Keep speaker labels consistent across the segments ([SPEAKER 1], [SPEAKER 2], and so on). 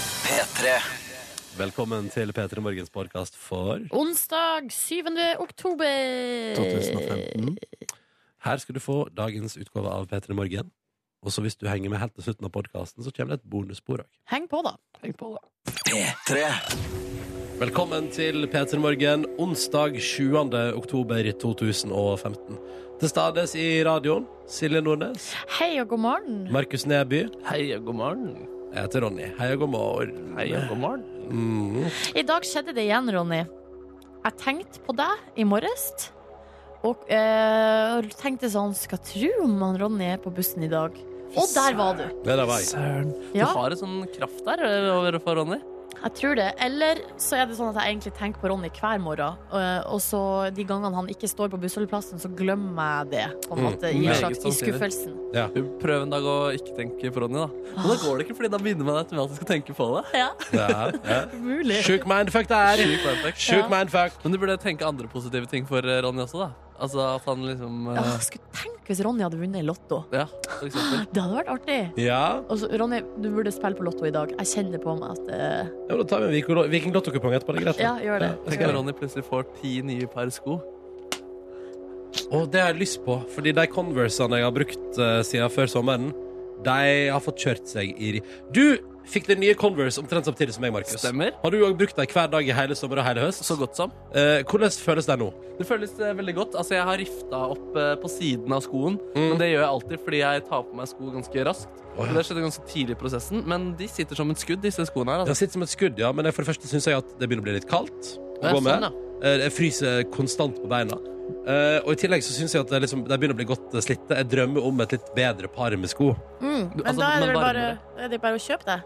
[SPEAKER 1] P3.
[SPEAKER 2] Velkommen til P3 Morgens podkast for
[SPEAKER 3] Onsdag 7. oktober.
[SPEAKER 4] 2015.
[SPEAKER 2] Her skal du få dagens utgave av P3 Morgen. Og så hvis du henger med helt til slutten av podkasten, så kommer det et bonusspor òg.
[SPEAKER 3] Heng på, da. Heng på, da.
[SPEAKER 1] P3.
[SPEAKER 2] Velkommen til P3 Morgen onsdag 7. oktober 2015. Til stades i radioen Silje Nordnes,
[SPEAKER 3] Hei og god morgen.
[SPEAKER 2] Markus Neby,
[SPEAKER 4] Hei og god morgen.
[SPEAKER 2] jeg heter Ronny. Hei og god morgen.
[SPEAKER 4] Hei og god morgen.
[SPEAKER 2] Mm.
[SPEAKER 3] I dag skjedde det igjen, Ronny. Jeg tenkte på deg i morges. Og eh, tenkte sånn Skal tro om han Ronny er på bussen i dag. Og der var du.
[SPEAKER 2] Det der var jeg.
[SPEAKER 4] Søren. Du
[SPEAKER 3] Ja,
[SPEAKER 4] har en sånn kraft der overfor Ronny.
[SPEAKER 3] jeg tror det. Eller så er det sånn at jeg egentlig tenker på Ronny hver morgen. eh, og så de gangene han ikke står på bussholdeplassen, så glemmer jeg det. På en
[SPEAKER 2] Mm,
[SPEAKER 3] måte, I en
[SPEAKER 4] meget
[SPEAKER 3] slags i
[SPEAKER 4] sannsynlig.
[SPEAKER 3] skuffelsen. Ah.
[SPEAKER 4] Prøv en dag å ikke tenke på Ronny, da. Men da går det ikke, fordi da begynner man automatisk å tenke på det.
[SPEAKER 3] Ja,
[SPEAKER 2] Det er, ja.
[SPEAKER 3] mulig.
[SPEAKER 2] Sjuk mindfuck der.
[SPEAKER 4] Sjukt perfekt.
[SPEAKER 2] Sjuk
[SPEAKER 3] Ja.
[SPEAKER 2] mindfuck.
[SPEAKER 4] Men du burde tenke andre positive ting for eh, Ronny også, da. Altså at han liksom eh,
[SPEAKER 3] Åh, skulle tenke hvis Ronny hadde vunnet i Lotto.
[SPEAKER 4] Ja, for eksempel.
[SPEAKER 3] Det hadde vært artig.
[SPEAKER 2] Ja,
[SPEAKER 3] Og så, Ronny, du burde spille på Lotto i dag. Jeg kjenner på meg at eh,
[SPEAKER 2] ja men Da tar vi en Viking- Viking-lottokupong etterpå. Det er greit.
[SPEAKER 3] Ja, gjør det.
[SPEAKER 4] Tenk når Ronny plutselig får ti nye par sko.
[SPEAKER 2] Og det har jeg lyst på, fordi de Conversene jeg har brukt eh, siden før sommeren, de har fått kjørt seg i ri- Du fikk den nye Converse omtrent samtidig som meg, Markus.
[SPEAKER 4] Stemmer.
[SPEAKER 2] Har du òg brukt dem hver dag i hele sommer og hele høst?
[SPEAKER 4] Så godt som.
[SPEAKER 2] Eh, hvordan føles det nå?
[SPEAKER 4] Det føles eh, veldig godt. Altså, jeg har rifta opp eh, på siden av skoen.
[SPEAKER 2] Mm.
[SPEAKER 4] Men det gjør jeg alltid fordi jeg tar på meg sko ganske raskt.
[SPEAKER 2] Å,
[SPEAKER 4] Og
[SPEAKER 2] ja.
[SPEAKER 4] det skjedde ganske tidlig i prosessen. Men de sitter som et skudd, disse skoene her.
[SPEAKER 2] Det
[SPEAKER 4] Altså.
[SPEAKER 2] sitter som et skudd, ja, men jeg- for det første syns jeg at det begynner å bli litt kaldt. å
[SPEAKER 4] Ja,
[SPEAKER 2] gå med.
[SPEAKER 4] sånn,
[SPEAKER 2] Eh, Jeg fryser konstant på beina. Eh, og i tillegg så syns jeg at det, liksom, de begynner å bli godt eh, slitte. Jeg drømmer om et litt bedre par med sko.
[SPEAKER 3] mm,
[SPEAKER 4] Du-
[SPEAKER 3] Men
[SPEAKER 4] altså,
[SPEAKER 3] da er det
[SPEAKER 4] men
[SPEAKER 3] vel bare,
[SPEAKER 4] varmere.
[SPEAKER 3] er det bare å kjøpe det.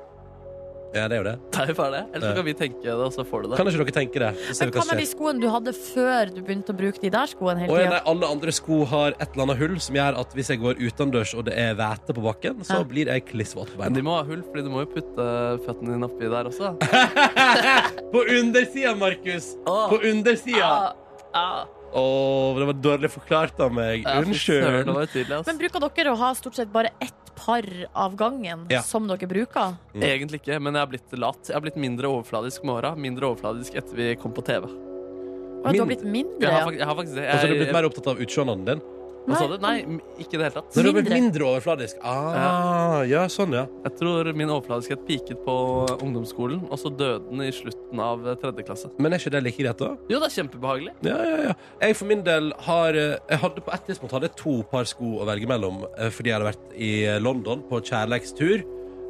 [SPEAKER 2] Ja, det er jo det.
[SPEAKER 4] Det er jo bare det. Ellers
[SPEAKER 2] Ja.
[SPEAKER 4] så kan vi tenke det, og så får du det.
[SPEAKER 2] Kan ikke dere tenke det? Så ser
[SPEAKER 3] Men
[SPEAKER 2] vi
[SPEAKER 3] hva
[SPEAKER 2] hva som
[SPEAKER 3] med de
[SPEAKER 2] skjer.
[SPEAKER 3] skoene du hadde før du begynte å bruke de der skoene hele
[SPEAKER 2] Og ja,
[SPEAKER 3] tida?
[SPEAKER 2] nei, alle andre sko har et eller annet hull som gjør at hvis jeg går utendørs og det er væte på bakken, så
[SPEAKER 3] Ja.
[SPEAKER 2] blir jeg klissvåt på
[SPEAKER 4] Men de
[SPEAKER 2] beina.
[SPEAKER 4] må ha hull, fordi du må jo putte føttene dine oppi der også.
[SPEAKER 2] På undersida, Markus! På undersida!
[SPEAKER 4] Ah,
[SPEAKER 2] Å, det var dårlig forklart av meg.
[SPEAKER 4] Unnskyld. Det
[SPEAKER 2] Unnskyld.
[SPEAKER 4] var jo tydelig, altså. ass.
[SPEAKER 3] Men bruker dere å ha stort sett bare ett par av gangen
[SPEAKER 2] Ja.
[SPEAKER 3] som dere bruker?
[SPEAKER 2] Mm.
[SPEAKER 4] Egentlig ikke, men jeg har blitt lat. Jeg har blitt mindre overfladisk med åra. Mindre overfladisk etter vi kom på TV.
[SPEAKER 3] Og du har blitt
[SPEAKER 4] Jeg
[SPEAKER 3] mindre,
[SPEAKER 4] har,
[SPEAKER 3] ja.
[SPEAKER 4] fak- jeg har faktisk det.
[SPEAKER 2] Og så har Altså, du
[SPEAKER 4] Jeg-
[SPEAKER 2] blitt mer opptatt av utseendet din?
[SPEAKER 4] Hva sa du? Nei, m- ikke i det hele tatt.
[SPEAKER 2] Så du har blitt
[SPEAKER 3] Mindre.
[SPEAKER 2] mindre overfladisk? Ah, ja, sånn, ja.
[SPEAKER 4] Jeg tror min overfladiskhet piket på ungdomsskolen, og så døde den i slutten av tredje klasse.
[SPEAKER 2] Men er ikke det like greit, da?
[SPEAKER 4] Jo, det er kjempebehagelig.
[SPEAKER 2] Ja, ja, ja. Jeg for min del har eh, Jeg hadde på et tidspunkt hadde jeg to par sko å velge mellom eh, fordi jeg hadde vært i eh, London på kjærleikstur.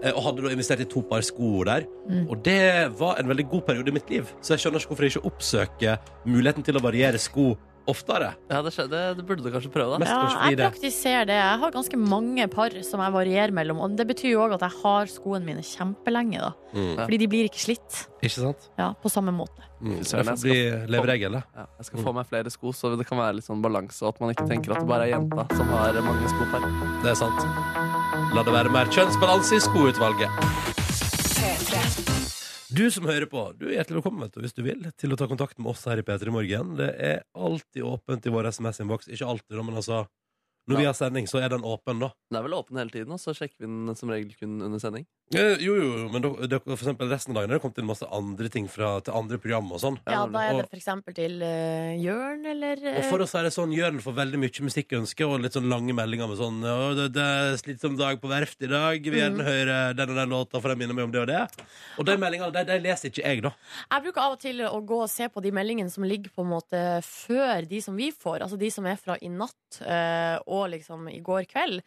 [SPEAKER 2] eh, Og hadde da investert i to par sko der. Og det var en veldig god periode i mitt liv. Så jeg skjønner ikke hvorfor jeg ikke oppsøker muligheten til å variere sko oftere.
[SPEAKER 4] Ja, det, skjedde, det burde du kanskje prøve, da.
[SPEAKER 2] Mest
[SPEAKER 3] Ja,
[SPEAKER 2] kanskje fordi
[SPEAKER 3] jeg
[SPEAKER 2] det
[SPEAKER 3] praktiserer det. Jeg har ganske mange par som jeg varierer mellom. Og det betyr jo òg at jeg har skoene mine kjempelenge, da.
[SPEAKER 2] mm.
[SPEAKER 3] Fordi de blir ikke slitt.
[SPEAKER 2] Ikke sant?
[SPEAKER 3] Ja, på samme måte.
[SPEAKER 4] Fy
[SPEAKER 2] Mm. Det
[SPEAKER 4] søren,
[SPEAKER 2] får bli
[SPEAKER 4] jeg
[SPEAKER 2] leveregel, det.
[SPEAKER 4] Ja, jeg skal få meg flere sko, så det kan være litt sånn balanse, og at man ikke tenker at det bare er jenta som har mange sko per.
[SPEAKER 2] Det er sant. eh, La det være mer kjønnsbalanse i skoutvalget. Du som hører på, du er hjertelig velkommen vet du, hvis du vil til å ta kontakt med oss her i P3 Morgen. Det er alltid åpent i vår SMS-innboks. Ikke alltid, da, men altså Når vi har sending, så er den åpen, da.
[SPEAKER 4] Den er vel åpen hele tiden, og så sjekker vi den som regel kun under sending.
[SPEAKER 2] Eh, Jo, jo, jo, men da, da, for eksempel resten av dagen har det kommet inn masse andre ting fra, til andre program og sånn.
[SPEAKER 3] Ja, da er
[SPEAKER 2] Og-
[SPEAKER 3] det f.eks. til uh, Jørn, eller eh,
[SPEAKER 2] Og for oss er det sånn Jørn får veldig mye musikkønsker og litt sånn lange meldinger med sånn «Å, det, 'Det er slitsom dag på verft i dag. Vil
[SPEAKER 3] Mm.
[SPEAKER 2] gjerne høre den og den låta, for den minner meg om det og det.' Og de meldingene de, de leser ikke jeg, da.
[SPEAKER 3] Jeg bruker av og til å gå og se på de meldingene som ligger på en måte før de som vi får, altså de som er fra i natt eh, og liksom i går kveld.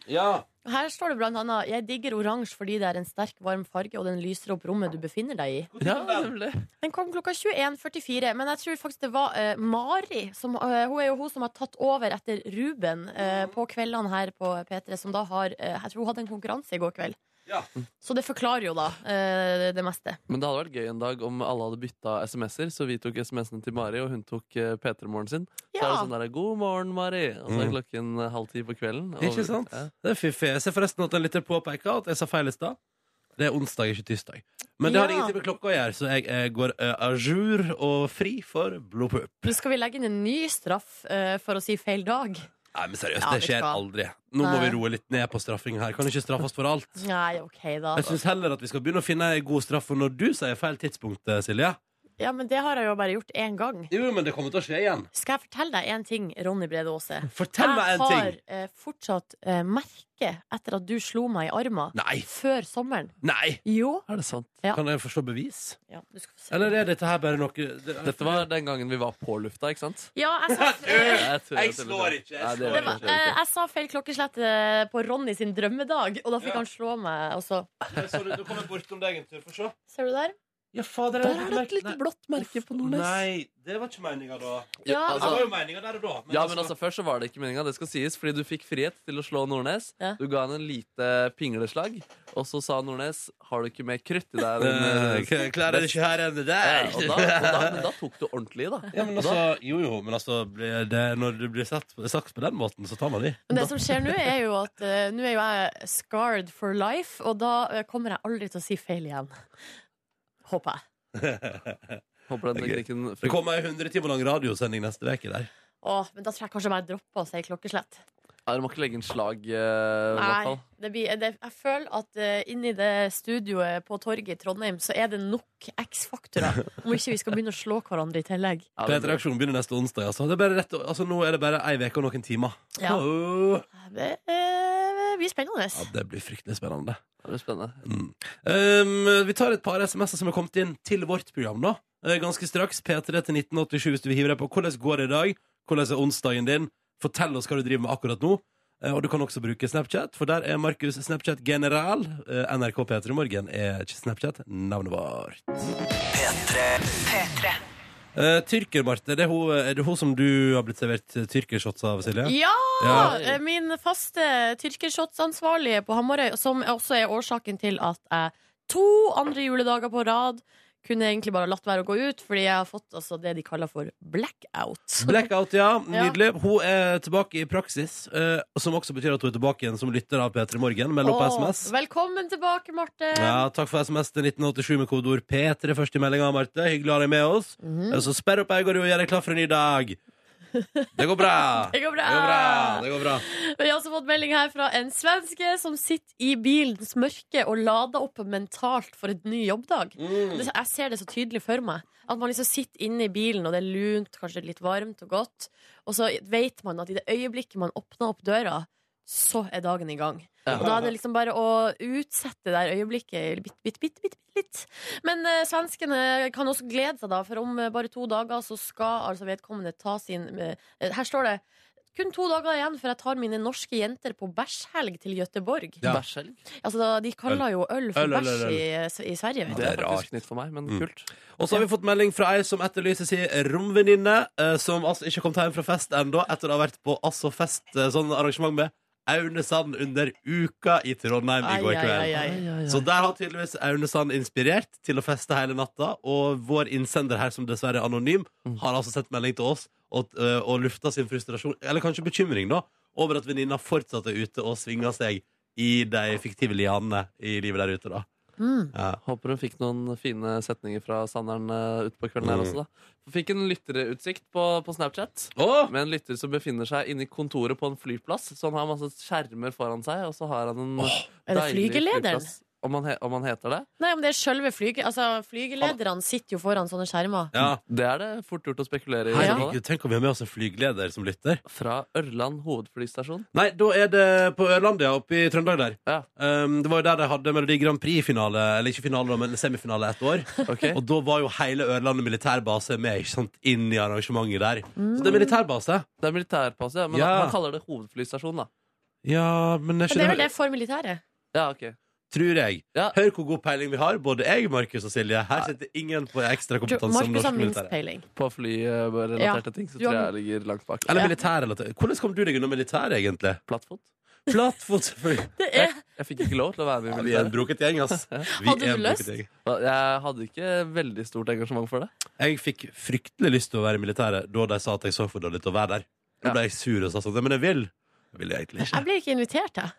[SPEAKER 3] Her står det blant annet 'Jeg digger oransje fordi det er en sterk, varm farge, og den lyser opp rommet du befinner deg i'.
[SPEAKER 4] Ja, nemlig.
[SPEAKER 3] Den kom klokka 21.44, men jeg tror faktisk det var eh, Mari. Som, eh, hun er jo hun som har tatt over etter Ruben eh,
[SPEAKER 2] Mm.
[SPEAKER 3] på kveldene her på P3, som da har eh, Jeg tror hun hadde en konkurranse i går kveld.
[SPEAKER 2] Ja.
[SPEAKER 3] Så det forklarer jo da eh, det meste.
[SPEAKER 4] Men det hadde vært gøy en dag om alle hadde bytta SMS-er, så vi tok SMS-ene til Mari, og hun tok eh, P3-morgen sin. Så er det sånn der 'God morgen, Mari', og så er klokken eh, halv ti på kvelden. og-
[SPEAKER 2] Ikke sant?
[SPEAKER 4] Ja.
[SPEAKER 2] Mm. Det er fiffig. Jeg ser forresten at en lytter påpeker at jeg sa feil i stad. Det er onsdag, ikke tirsdag. Men det har
[SPEAKER 3] Ja.
[SPEAKER 2] ingenting med klokka å gjøre, så jeg, eh, går uh, à jour og fri for blodpupp.
[SPEAKER 3] Nå skal vi legge inn en ny straff eh, for å si feil dag.
[SPEAKER 2] Nei, men seriøst,
[SPEAKER 3] Ja,
[SPEAKER 2] det
[SPEAKER 3] vet du
[SPEAKER 2] skjer
[SPEAKER 3] hva.
[SPEAKER 2] aldri. Nå må
[SPEAKER 3] Nei.
[SPEAKER 2] vi roe litt ned på straffing her. Kan ikke straffe oss for alt.
[SPEAKER 3] Nei, OK, da.
[SPEAKER 2] Jeg syns heller at vi skal begynne å finne ei god straff for når du sier feil tidspunkt, eh, Silje.
[SPEAKER 3] Ja, men det har jeg jo bare gjort én gang.
[SPEAKER 2] Jo, men det kommer til å skje igjen.
[SPEAKER 3] Skal jeg fortelle deg en ting, Ronny Brede Aase?
[SPEAKER 2] Fortell meg en
[SPEAKER 3] Jeg har
[SPEAKER 2] ting.
[SPEAKER 3] eh, fortsatt eh, merke etter at du slo meg i armen
[SPEAKER 2] Nei.
[SPEAKER 3] før sommeren.
[SPEAKER 2] Nei!
[SPEAKER 3] Jo.
[SPEAKER 4] Er det sant?
[SPEAKER 3] Ja.
[SPEAKER 2] Kan jeg forstå bevis?
[SPEAKER 3] Ja, du skal få se.
[SPEAKER 2] Eller er dette her bare noe det,
[SPEAKER 4] Dette var den gangen vi var på lufta, ikke sant?
[SPEAKER 3] Ja, jeg sa, eh,
[SPEAKER 4] Jeg, tror
[SPEAKER 2] Jeg
[SPEAKER 4] at det
[SPEAKER 2] slår
[SPEAKER 4] var-
[SPEAKER 2] ikke, jeg
[SPEAKER 4] Nei, det
[SPEAKER 2] slår
[SPEAKER 4] var
[SPEAKER 3] det var,
[SPEAKER 4] ikke-
[SPEAKER 3] eh, jeg sa feil klokkeslett eh, på Ronny sin drømmedag, og da fikk han slå meg. Og så,
[SPEAKER 2] Så du, Nå kommer jeg bortom deg en tur, få se.
[SPEAKER 3] ser du der?
[SPEAKER 2] Ja, fader,
[SPEAKER 4] Der er det et lite blått merke på Nordnes.
[SPEAKER 2] Nei, det var ikke meninga da.
[SPEAKER 3] Ja,
[SPEAKER 2] Det var
[SPEAKER 4] altså,
[SPEAKER 2] jo meninga der og da.
[SPEAKER 4] ja, men altså Først så var det ikke meninga, det skal sies, fordi du fikk frihet til å slå Nordnes.
[SPEAKER 3] Ja.
[SPEAKER 4] Du ga han en lite pingleslag, og så sa Nordnes 'Har du ikke mer krutt i deg?' din,
[SPEAKER 2] Eh,
[SPEAKER 4] eh,
[SPEAKER 2] k- Klarer det ikke her enn det
[SPEAKER 4] Ja,
[SPEAKER 2] der.
[SPEAKER 4] og da, og da, men da tok du ordentlig i, da.
[SPEAKER 2] Ja, men
[SPEAKER 4] Og da-
[SPEAKER 2] altså, jo, jo, men altså blir det, Når du blir satt, sagt på den måten, så tar man i.
[SPEAKER 3] Men det som skjer nå, er jo at eh, nå er jo jeg scarred for life, og da eh, kommer jeg aldri til å si feil igjen. Håper jeg.
[SPEAKER 4] håper den
[SPEAKER 2] Ok.
[SPEAKER 4] teknikken
[SPEAKER 2] Det kommer ei 100 timer lang altså- radiosending neste uke der.
[SPEAKER 3] Åh, men da tror jeg kanskje jeg dropper å si klokkeslett.
[SPEAKER 4] Ja, Du må ikke legge en slag, eh, i hvert
[SPEAKER 3] Nei,
[SPEAKER 4] fall.
[SPEAKER 3] det blir, det, jeg føler at eh, inni det studioet på torget i Trondheim, så er det nok X-faktorer. Om ikke vi skal begynne å slå hverandre i tillegg.
[SPEAKER 4] Ja, det er bra.
[SPEAKER 2] P3-aksjonen begynner neste onsdag. Altså. Det er bare rett, altså, nå er det bare ei uke og noen timer.
[SPEAKER 3] Ja.
[SPEAKER 2] Åh.
[SPEAKER 3] Det eh, blir spennende.
[SPEAKER 2] Ja, det blir fryktelig spennende.
[SPEAKER 4] Det blir spennende.
[SPEAKER 2] Mm. Um, vi tar et par SMS-er som er kommet inn til vårt program nå. Eh, Ganske straks. P3 til 1987 hvis du vil hive deg på. Hvordan går det i dag? Hvordan er onsdagen din? Fortell oss hva du driver med akkurat nå. Eh, Og du kan også bruke Snapchat, for der er Markus Snapchat general. Eh, NRK P3 Morgen er ikke Snapchat, navnet vårt. Eh, tyrker, Marte. Det er, hun, er det hun som du har blitt servert tyrkershots av, Silje?
[SPEAKER 3] Ja!
[SPEAKER 2] Ja.
[SPEAKER 3] eh, Min faste tyrkershotsansvarlige på Hamarøy, som også er årsaken til at jeg to andre juledager på rad kunne egentlig bare latt være å gå ut, fordi jeg har fått altså, det de kaller for blackout.
[SPEAKER 2] Blackout, ja. Nydelig. Hun er tilbake i praksis, eh, som også betyr at hun er tilbake igjen som lytter av P3 Morgen. Meld opp på
[SPEAKER 3] Åh,
[SPEAKER 2] SMS.
[SPEAKER 3] Velkommen tilbake, Marte.
[SPEAKER 2] Ja, takk for SMS til 1987 med kodeord P3 først i meldinga, Marte. Hyggelig å ha deg med oss.
[SPEAKER 3] Mhm.
[SPEAKER 2] Og Så sperr opp øynene og gjør deg klar for en ny dag. Det går bra.
[SPEAKER 3] Det går bra.
[SPEAKER 2] Det går bra. Det går bra.
[SPEAKER 3] Vi har også fått melding her fra en svenske som sitter i bilens mørke og lader opp mentalt for et ny jobbdag. Det- Jeg ser det så tydelig for meg. At man liksom sitter inne i bilen, og det er lunt, kanskje litt varmt og godt. Og så vet man at i det øyeblikket man åpner opp døra, så er dagen i gang. Og da er det liksom bare å utsette det der øyeblikket bitte, bitte, bitte, bitte litt. Men eh, svenskene kan også glede seg, da, for om eh, bare to dager så skal altså vedkommende ta sin eh, Her står det kun to dager igjen før jeg tar mine norske jenter på bæsjhelg til Gøteborg.
[SPEAKER 2] Ja.
[SPEAKER 4] Bæsjhelg.
[SPEAKER 3] Altså, da, de kaller jo øl for
[SPEAKER 2] Øl, øl, øl,
[SPEAKER 3] bæsj i, i Sverige. Vet
[SPEAKER 4] Det
[SPEAKER 3] du.
[SPEAKER 4] er faktisk nytt for meg, men
[SPEAKER 2] Mm.
[SPEAKER 4] kult.
[SPEAKER 2] Og så har vi fått melding fra ei som etterlyser si romvenninne, eh, som altså ikke kom hjem fra fest ennå, etter å ha vært på altså fest, eh, sånn arrangement med Aune Sand under Uka i Trondheim i
[SPEAKER 3] Ai,
[SPEAKER 2] går
[SPEAKER 3] ai,
[SPEAKER 2] kveld.
[SPEAKER 3] ai, ai.
[SPEAKER 2] Så der har tydeligvis Aune Sand inspirert til å feste hele natta. Og vår innsender her, som dessverre er anonym,
[SPEAKER 4] Mm.
[SPEAKER 2] har altså sett melding til oss og, øh, og lufta sin frustrasjon, eller kanskje bekymring, da, over at venninna fortsatt er ute og svinger seg i de fiktive lianene i livet der ute, da.
[SPEAKER 3] Mm.
[SPEAKER 2] Ja.
[SPEAKER 4] Håper hun fikk noen fine setninger fra Sanderen eh, ute på kvelden her
[SPEAKER 2] Mm.
[SPEAKER 4] også, da. Fikk en lytterutsikt på, på Snapchat.
[SPEAKER 2] Å!
[SPEAKER 4] Med en lytter som befinner seg inni kontoret på en flyplass. Så han har masse skjermer foran seg, og så har han en
[SPEAKER 3] Er det
[SPEAKER 4] deilig
[SPEAKER 3] flygelederen?
[SPEAKER 4] flyplass. Om han, he om han heter det?
[SPEAKER 3] Nei, men det er selve flyge... Altså, flygelederne sitter jo foran sånne skjermer.
[SPEAKER 2] Ja.
[SPEAKER 4] Det er det fort gjort å spekulere i.
[SPEAKER 2] Herregud, tenk om vi har med oss en flygleder som lytter.
[SPEAKER 4] Fra Ørland hovedflystasjon.
[SPEAKER 2] Nei, da er det på Ørlandet, ja, oppe i Trøndelag der.
[SPEAKER 4] Ja.
[SPEAKER 2] Um, det var jo der de hadde Melodi Grand Prix-finale, eller ikke finale, da, men semifinale ett år.
[SPEAKER 4] Ok.
[SPEAKER 2] Og da var jo hele Ørlandet militærbase med ikke sant, inn i arrangementet der. Så det er militærbase.
[SPEAKER 4] Det er militærpasse, ja. Men
[SPEAKER 2] Ja.
[SPEAKER 4] han kaller det hovedflystasjon, da.
[SPEAKER 2] Ja, men er
[SPEAKER 3] Men
[SPEAKER 2] ikke
[SPEAKER 3] det er vel
[SPEAKER 2] det,
[SPEAKER 3] det for militæret.
[SPEAKER 4] Ja, ok.
[SPEAKER 2] tror jeg.
[SPEAKER 4] Ja.
[SPEAKER 2] Hør hvor god peiling vi har, både jeg, Markus og Silje. Her sitter ingen på ekstra
[SPEAKER 3] Tror-
[SPEAKER 2] kompetanse om
[SPEAKER 3] Markus har
[SPEAKER 2] norsk
[SPEAKER 3] minst
[SPEAKER 2] militær.
[SPEAKER 3] peiling.
[SPEAKER 4] På flyrelaterte ting, så
[SPEAKER 3] Du har-
[SPEAKER 4] tror jeg jeg ligger langt bak.
[SPEAKER 2] Eller
[SPEAKER 3] Ja.
[SPEAKER 2] militærrelatert. Hvordan kom du deg unna militæret, egentlig?
[SPEAKER 4] Plattfot.
[SPEAKER 2] Flatfot, selvfølgelig.
[SPEAKER 3] Det
[SPEAKER 4] Jeg,
[SPEAKER 3] er
[SPEAKER 4] jeg fikk ikke lov til å være med i
[SPEAKER 2] Ja, vi er en
[SPEAKER 4] militæret.
[SPEAKER 2] broket gjeng, ass. Vi
[SPEAKER 3] Hadde
[SPEAKER 2] er en
[SPEAKER 3] du
[SPEAKER 2] broket
[SPEAKER 3] lyst?
[SPEAKER 2] gjeng.
[SPEAKER 4] Jeg hadde ikke veldig stort engasjement for det.
[SPEAKER 2] Jeg fikk fryktelig lyst til å være i militæret da de sa at jeg så for dårlig til å være der. Da
[SPEAKER 4] Ja.
[SPEAKER 2] ble jeg sur og sa sånn, «Nei, men jeg vil. Jeg vil egentlig ikke.
[SPEAKER 3] Jeg blir ikke invitert, jeg.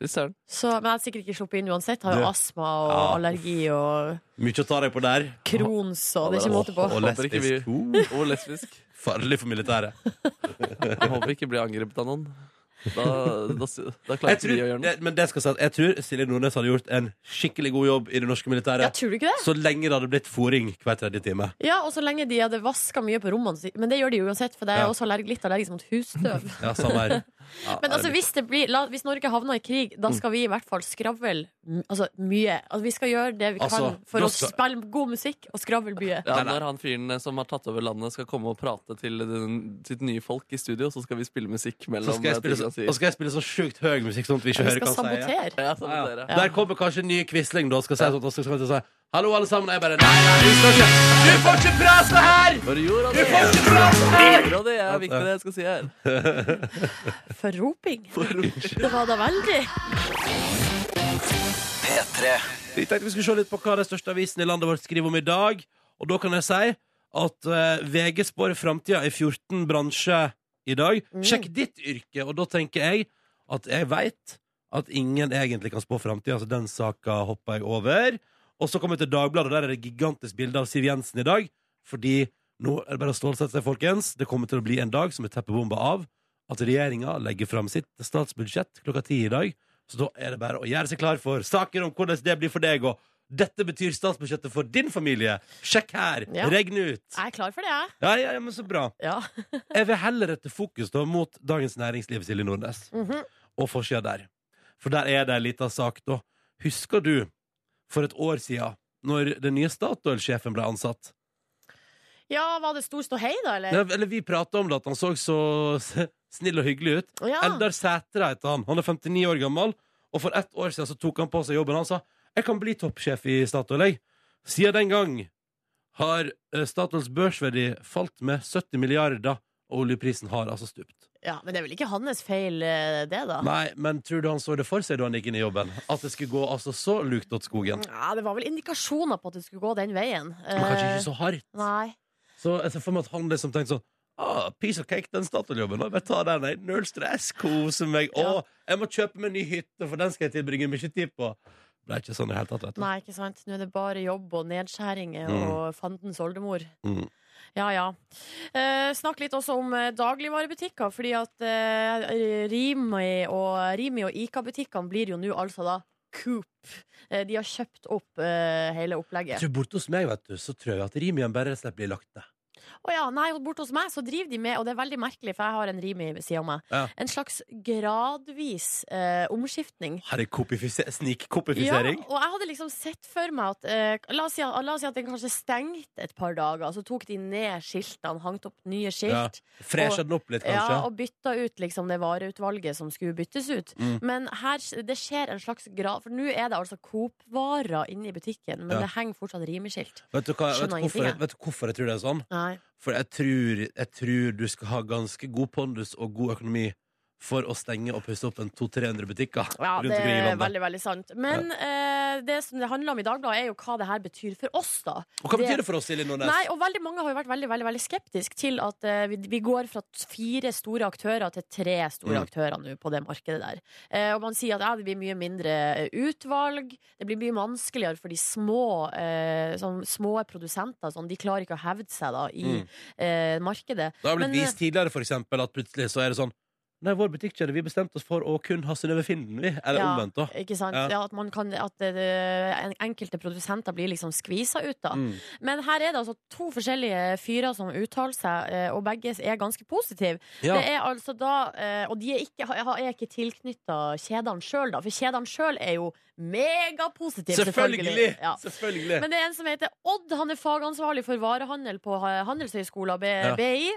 [SPEAKER 4] Fy søren.
[SPEAKER 3] Så, men jeg hadde sikkert ikke sluppet inn uansett. Har jo
[SPEAKER 2] Du-
[SPEAKER 3] astma og
[SPEAKER 2] Ja.
[SPEAKER 3] allergi og
[SPEAKER 2] Mye å ta deg på der.
[SPEAKER 3] Crohns og det er
[SPEAKER 4] Ja,
[SPEAKER 3] ikke måte på.
[SPEAKER 2] Og
[SPEAKER 4] Håper ikke vi-
[SPEAKER 2] lesbisk. Oh.
[SPEAKER 4] Og lesbisk.
[SPEAKER 2] Farlig for militæret.
[SPEAKER 4] Jeg håper vi ikke blir angrepet av noen. Da, da, da klarer
[SPEAKER 2] Jeg
[SPEAKER 4] ikke
[SPEAKER 2] tror,
[SPEAKER 4] vi å gjøre noe.
[SPEAKER 2] det, men det skal sies at jeg tror Silje Nordnes hadde gjort en skikkelig god jobb i det norske
[SPEAKER 3] Ja,
[SPEAKER 2] militæret.
[SPEAKER 3] tror du ikke det?
[SPEAKER 2] Så lenge det hadde blitt fôring hver tredje time.
[SPEAKER 3] Ja, og så lenge de hadde vaska mye på rommene sine. Men det gjør de jo uansett, for jeg er
[SPEAKER 2] Ja.
[SPEAKER 3] også allerg litt allergisk mot husstøv.
[SPEAKER 2] Ja, samme her. Ja,
[SPEAKER 3] Men altså,
[SPEAKER 2] det- Mm.
[SPEAKER 3] hvis, det blir, la, hvis Norge havner i krig, da skal vi i hvert fall skravle m- altså, mye. Altså, vi skal gjøre det vi kan
[SPEAKER 2] Altså,
[SPEAKER 3] for
[SPEAKER 2] da
[SPEAKER 3] å
[SPEAKER 2] skal-
[SPEAKER 3] spille god musikk og skravle mye.
[SPEAKER 4] Ja,
[SPEAKER 2] Nei, nei.
[SPEAKER 4] når han fyren eh, som har tatt over landet, skal komme og prate til den, sitt nye folk i studio, så skal vi spille musikk
[SPEAKER 2] så
[SPEAKER 4] mellom
[SPEAKER 2] skal jeg spille,
[SPEAKER 4] tingene
[SPEAKER 2] så,
[SPEAKER 4] han sier.
[SPEAKER 2] og skal jeg spille så sjukt høy musikk sånn at vi ikke
[SPEAKER 3] Vi
[SPEAKER 2] hører
[SPEAKER 3] skal
[SPEAKER 2] hva han sier.
[SPEAKER 3] sabotere.
[SPEAKER 4] Ja, sånn
[SPEAKER 2] Ja,
[SPEAKER 4] dere.
[SPEAKER 2] ja. Der kommer kanskje en ny Quisling da, og skal si sånn, og så skal han si Hallo, alle sammen. Og jeg bare Nei, nei, du skal ikke Du får ikke prate her!
[SPEAKER 4] Bare gjorde han
[SPEAKER 2] Du får
[SPEAKER 4] det.
[SPEAKER 2] ikke prate her!
[SPEAKER 4] Gjorde han det er viktig det jeg skal si her.
[SPEAKER 3] For roping. Det var da veldig.
[SPEAKER 2] Vi tenkte vi skulle se litt på hva de største avisene i landet vårt skriver om i dag. Og da kan jeg si at eh, VG spår framtida i 14 bransjer i dag. Sjekk ditt yrke, og da tenker jeg at jeg veit at ingen egentlig kan spå framtida, så den saka hopper jeg over. Og så kommer vi til Dagbladet, og der er det gigantisk bilde av Siv Jensen i dag. Fordi nå er det bare å stålsette seg, folkens. Det kommer til å bli en dag som er teppebomba av at regjeringa legger fram sitt statsbudsjett klokka ti i dag. Så da er det bare å gjøre seg klar for saker om hvordan det blir for deg. Og dette betyr statsbudsjettet for din familie. Sjekk her.
[SPEAKER 3] Ja.
[SPEAKER 2] Regn ut.
[SPEAKER 3] Jeg er klar for det, jeg.
[SPEAKER 2] Ja, ja, ja, men så bra.
[SPEAKER 3] Ja.
[SPEAKER 2] Jeg vil heller rette fokus da mot Dagens Næringsliv, Silje Nordnes,
[SPEAKER 3] Mhm.
[SPEAKER 2] og forsida der. For der er det ei lita sak, da. Husker du for et år sia, når den nye Statoil-sjefen ble ansatt?
[SPEAKER 3] ja, var det stor ståhei, da, eller?
[SPEAKER 2] Nei, eller vi prata om det, at han så så s- snill og hyggelig ut.
[SPEAKER 3] Ja.
[SPEAKER 2] Eldar Sætre heter han. Han er 59 år gammel. Og for ett år siden så tok han på seg jobben. Han sa jeg kan bli toppsjef i Statoil. jeg». Siden den gang har eh, Statoils børsverdi falt med 70 milliarder, og oljeprisen har altså stupt.
[SPEAKER 3] Ja, men det er vel ikke hans feil, eh, det, da?
[SPEAKER 2] Nei, men tror du han så det for seg da han gikk inn i jobben? At det skulle gå altså så lukt åt skogen?
[SPEAKER 3] Ja, det var vel indikasjoner på at det skulle gå den veien.
[SPEAKER 2] Men kanskje
[SPEAKER 3] Eh.
[SPEAKER 2] ikke så hardt?
[SPEAKER 3] Nei.
[SPEAKER 2] Så jeg ser for meg at han liksom tenkte sånn ah, Piece of cake, den Statoil-jobben. Jeg bare tar den, jeg. Null stress, kose meg. Å, jeg må kjøpe meg ny hytte, for den skal jeg tilbringe mye tid på. Det er ikke sånn i det hele tatt, vet du.
[SPEAKER 3] Nei, ikke sant. Nå er det bare jobb og nedskjæringer
[SPEAKER 2] Mm.
[SPEAKER 3] og fandens oldemor.
[SPEAKER 2] Mm.
[SPEAKER 3] Ja, ja. Eh, snakk litt også om eh, dagligvarebutikker, fordi at eh, Rimi og, Rimi og Ica-butikkene blir jo nå altså da Coop. Eh, de har kjøpt opp eh, hele
[SPEAKER 2] Jeg
[SPEAKER 3] opplegget.
[SPEAKER 2] tror borte hos meg, vet du, så tror jeg at Rimian bare slett blir lagt ned.
[SPEAKER 3] Å ja, nei, og Borte hos meg så driver de med, og det er veldig merkelig, for jeg har en Rimi ved siden av meg,
[SPEAKER 2] Ja.
[SPEAKER 3] en slags gradvis eh, omskiftning.
[SPEAKER 2] Her er kopifise- snikkopifisering.
[SPEAKER 3] Ja, og jeg hadde liksom sett for meg at eh, la, oss si, la oss si at den kanskje stengte et par dager, så tok de ned skiltene, hangt opp nye skilt,
[SPEAKER 2] Fresha den opp litt,
[SPEAKER 3] ja,
[SPEAKER 2] kanskje.
[SPEAKER 3] og bytta ut liksom det vareutvalget som skulle byttes ut.
[SPEAKER 2] Mm.
[SPEAKER 3] Men her, det skjer en slags grad For nå er det altså Coop-varer inne i butikken, men
[SPEAKER 2] Ja.
[SPEAKER 3] det henger fortsatt Rimi-skilt.
[SPEAKER 2] Vet du, hva, vet, du
[SPEAKER 3] Skjønner
[SPEAKER 2] hvorfor,
[SPEAKER 3] ingenting, jeg.
[SPEAKER 2] vet du hvorfor jeg tror det er sånn?
[SPEAKER 3] Nei.
[SPEAKER 2] For jeg tror, jeg tror du skal ha ganske god pondus og god økonomi for å stenge og pusse opp en 200-300 butikker
[SPEAKER 3] Ja,
[SPEAKER 2] rundt
[SPEAKER 3] det
[SPEAKER 2] omkring i
[SPEAKER 3] er
[SPEAKER 2] landet.
[SPEAKER 3] veldig, veldig sant. Men eh, det som det handler om i Dagbladet, er jo hva det her betyr for oss, da.
[SPEAKER 2] Og hva
[SPEAKER 3] det-
[SPEAKER 2] betyr det for oss, Silje Nordnes?
[SPEAKER 3] Nei, og veldig mange har jo vært veldig, veldig, veldig skeptisk til at eh, vi, vi går fra t- fire store aktører til tre store
[SPEAKER 2] Mm.
[SPEAKER 3] aktører nå på det markedet der. Eh, og man sier at ja, det blir mye mindre eh, utvalg, det blir mye vanskeligere for de små, eh, sånn, små produsenter. Sånn, de klarer ikke å hevde seg da i
[SPEAKER 2] Mm.
[SPEAKER 3] eh, markedet.
[SPEAKER 2] det har blitt
[SPEAKER 3] men, eh,
[SPEAKER 2] vist tidligere for eksempel, at plutselig så er det sånn Nei, vår butikkjede, vi bestemte oss for å kun ha Synnøve Finden, vi. Eller
[SPEAKER 3] Ja.
[SPEAKER 2] omvendt, da.
[SPEAKER 3] Ikke sant?
[SPEAKER 2] Ja.
[SPEAKER 3] Ja. at man kan, at eh, en- enkelte produsenter blir liksom skvisa ut, da.
[SPEAKER 2] Mm.
[SPEAKER 3] Men her er det altså to forskjellige fyrer som uttaler seg, eh, og begge er ganske positive.
[SPEAKER 2] Ja.
[SPEAKER 3] Det er altså da, eh, og de er ikke, ha- ha- er ikke tilknytta kjedene sjøl, da. For kjedene sjøl er jo megapositive,
[SPEAKER 2] Selvfølgelig! Selvfølgelig.
[SPEAKER 3] Ja. Men det er en som heter Odd. Han er fagansvarlig for varehandel på eh, Handelshøyskolen B-
[SPEAKER 2] Ja.
[SPEAKER 3] BI.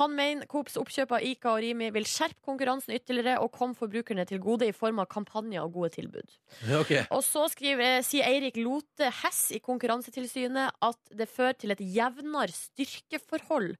[SPEAKER 3] Han mener Coops oppkjøp av Ica og Rimi vil skjerpe konkurransen ytterligere og komme forbrukerne til gode i form av kampanjer og gode tilbud.
[SPEAKER 2] Ok.
[SPEAKER 3] Og så skriver, eh, sier Eirik Lote Hess i Konkurransetilsynet at det fører til et jevnere styrkeforhold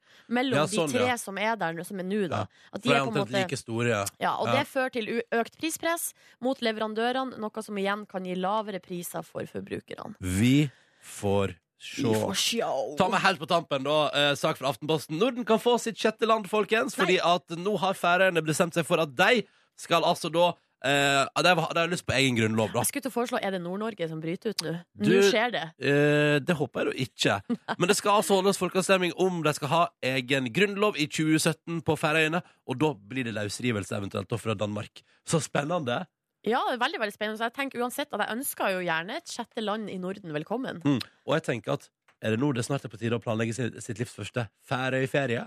[SPEAKER 2] Ja,
[SPEAKER 3] mellom
[SPEAKER 2] sånn,
[SPEAKER 3] de tre
[SPEAKER 2] ja.
[SPEAKER 3] som er der nå- som er nå, da.
[SPEAKER 2] Ja.
[SPEAKER 3] At
[SPEAKER 2] For
[SPEAKER 3] de
[SPEAKER 2] de
[SPEAKER 3] er
[SPEAKER 2] er
[SPEAKER 3] på en
[SPEAKER 2] omtrent
[SPEAKER 3] måte
[SPEAKER 2] like store, ja.
[SPEAKER 3] ja, og
[SPEAKER 2] Ja.
[SPEAKER 3] det fører til u- økt prispress mot leverandørene, noe som igjen kan gi lavere priser for forbrukerne.
[SPEAKER 2] Vi får sjå.
[SPEAKER 3] Vi får sjå.
[SPEAKER 2] Ta med helt på tampen, da. Eh, sak fra Aftenposten. Norden kan få sitt sjette land, folkens. Fordi at nå har Færøyene bestemt seg for at de skal altså da Eh, det har jeg lyst på egen grunnlov, da.
[SPEAKER 3] Jeg skulle til å foreslå er det Nord-Norge som bryter ut nå.
[SPEAKER 2] Du-
[SPEAKER 3] Nå skjer det.
[SPEAKER 2] Eh, det håper jeg da ikke. Men det skal altså holdes folkeavstemning om de skal ha egen grunnlov i 2017 på Færøyene, og da blir det løsrivelse eventuelt da fra Danmark. Så spennende!
[SPEAKER 3] Ja, det er veldig veldig spennende. Så jeg tenker uansett at jeg ønsker jo gjerne et sjette land i Norden velkommen.
[SPEAKER 2] Og jeg tenker at er det nå det snart er på tide å planlegge sitt, sitt livs første Færøyferie?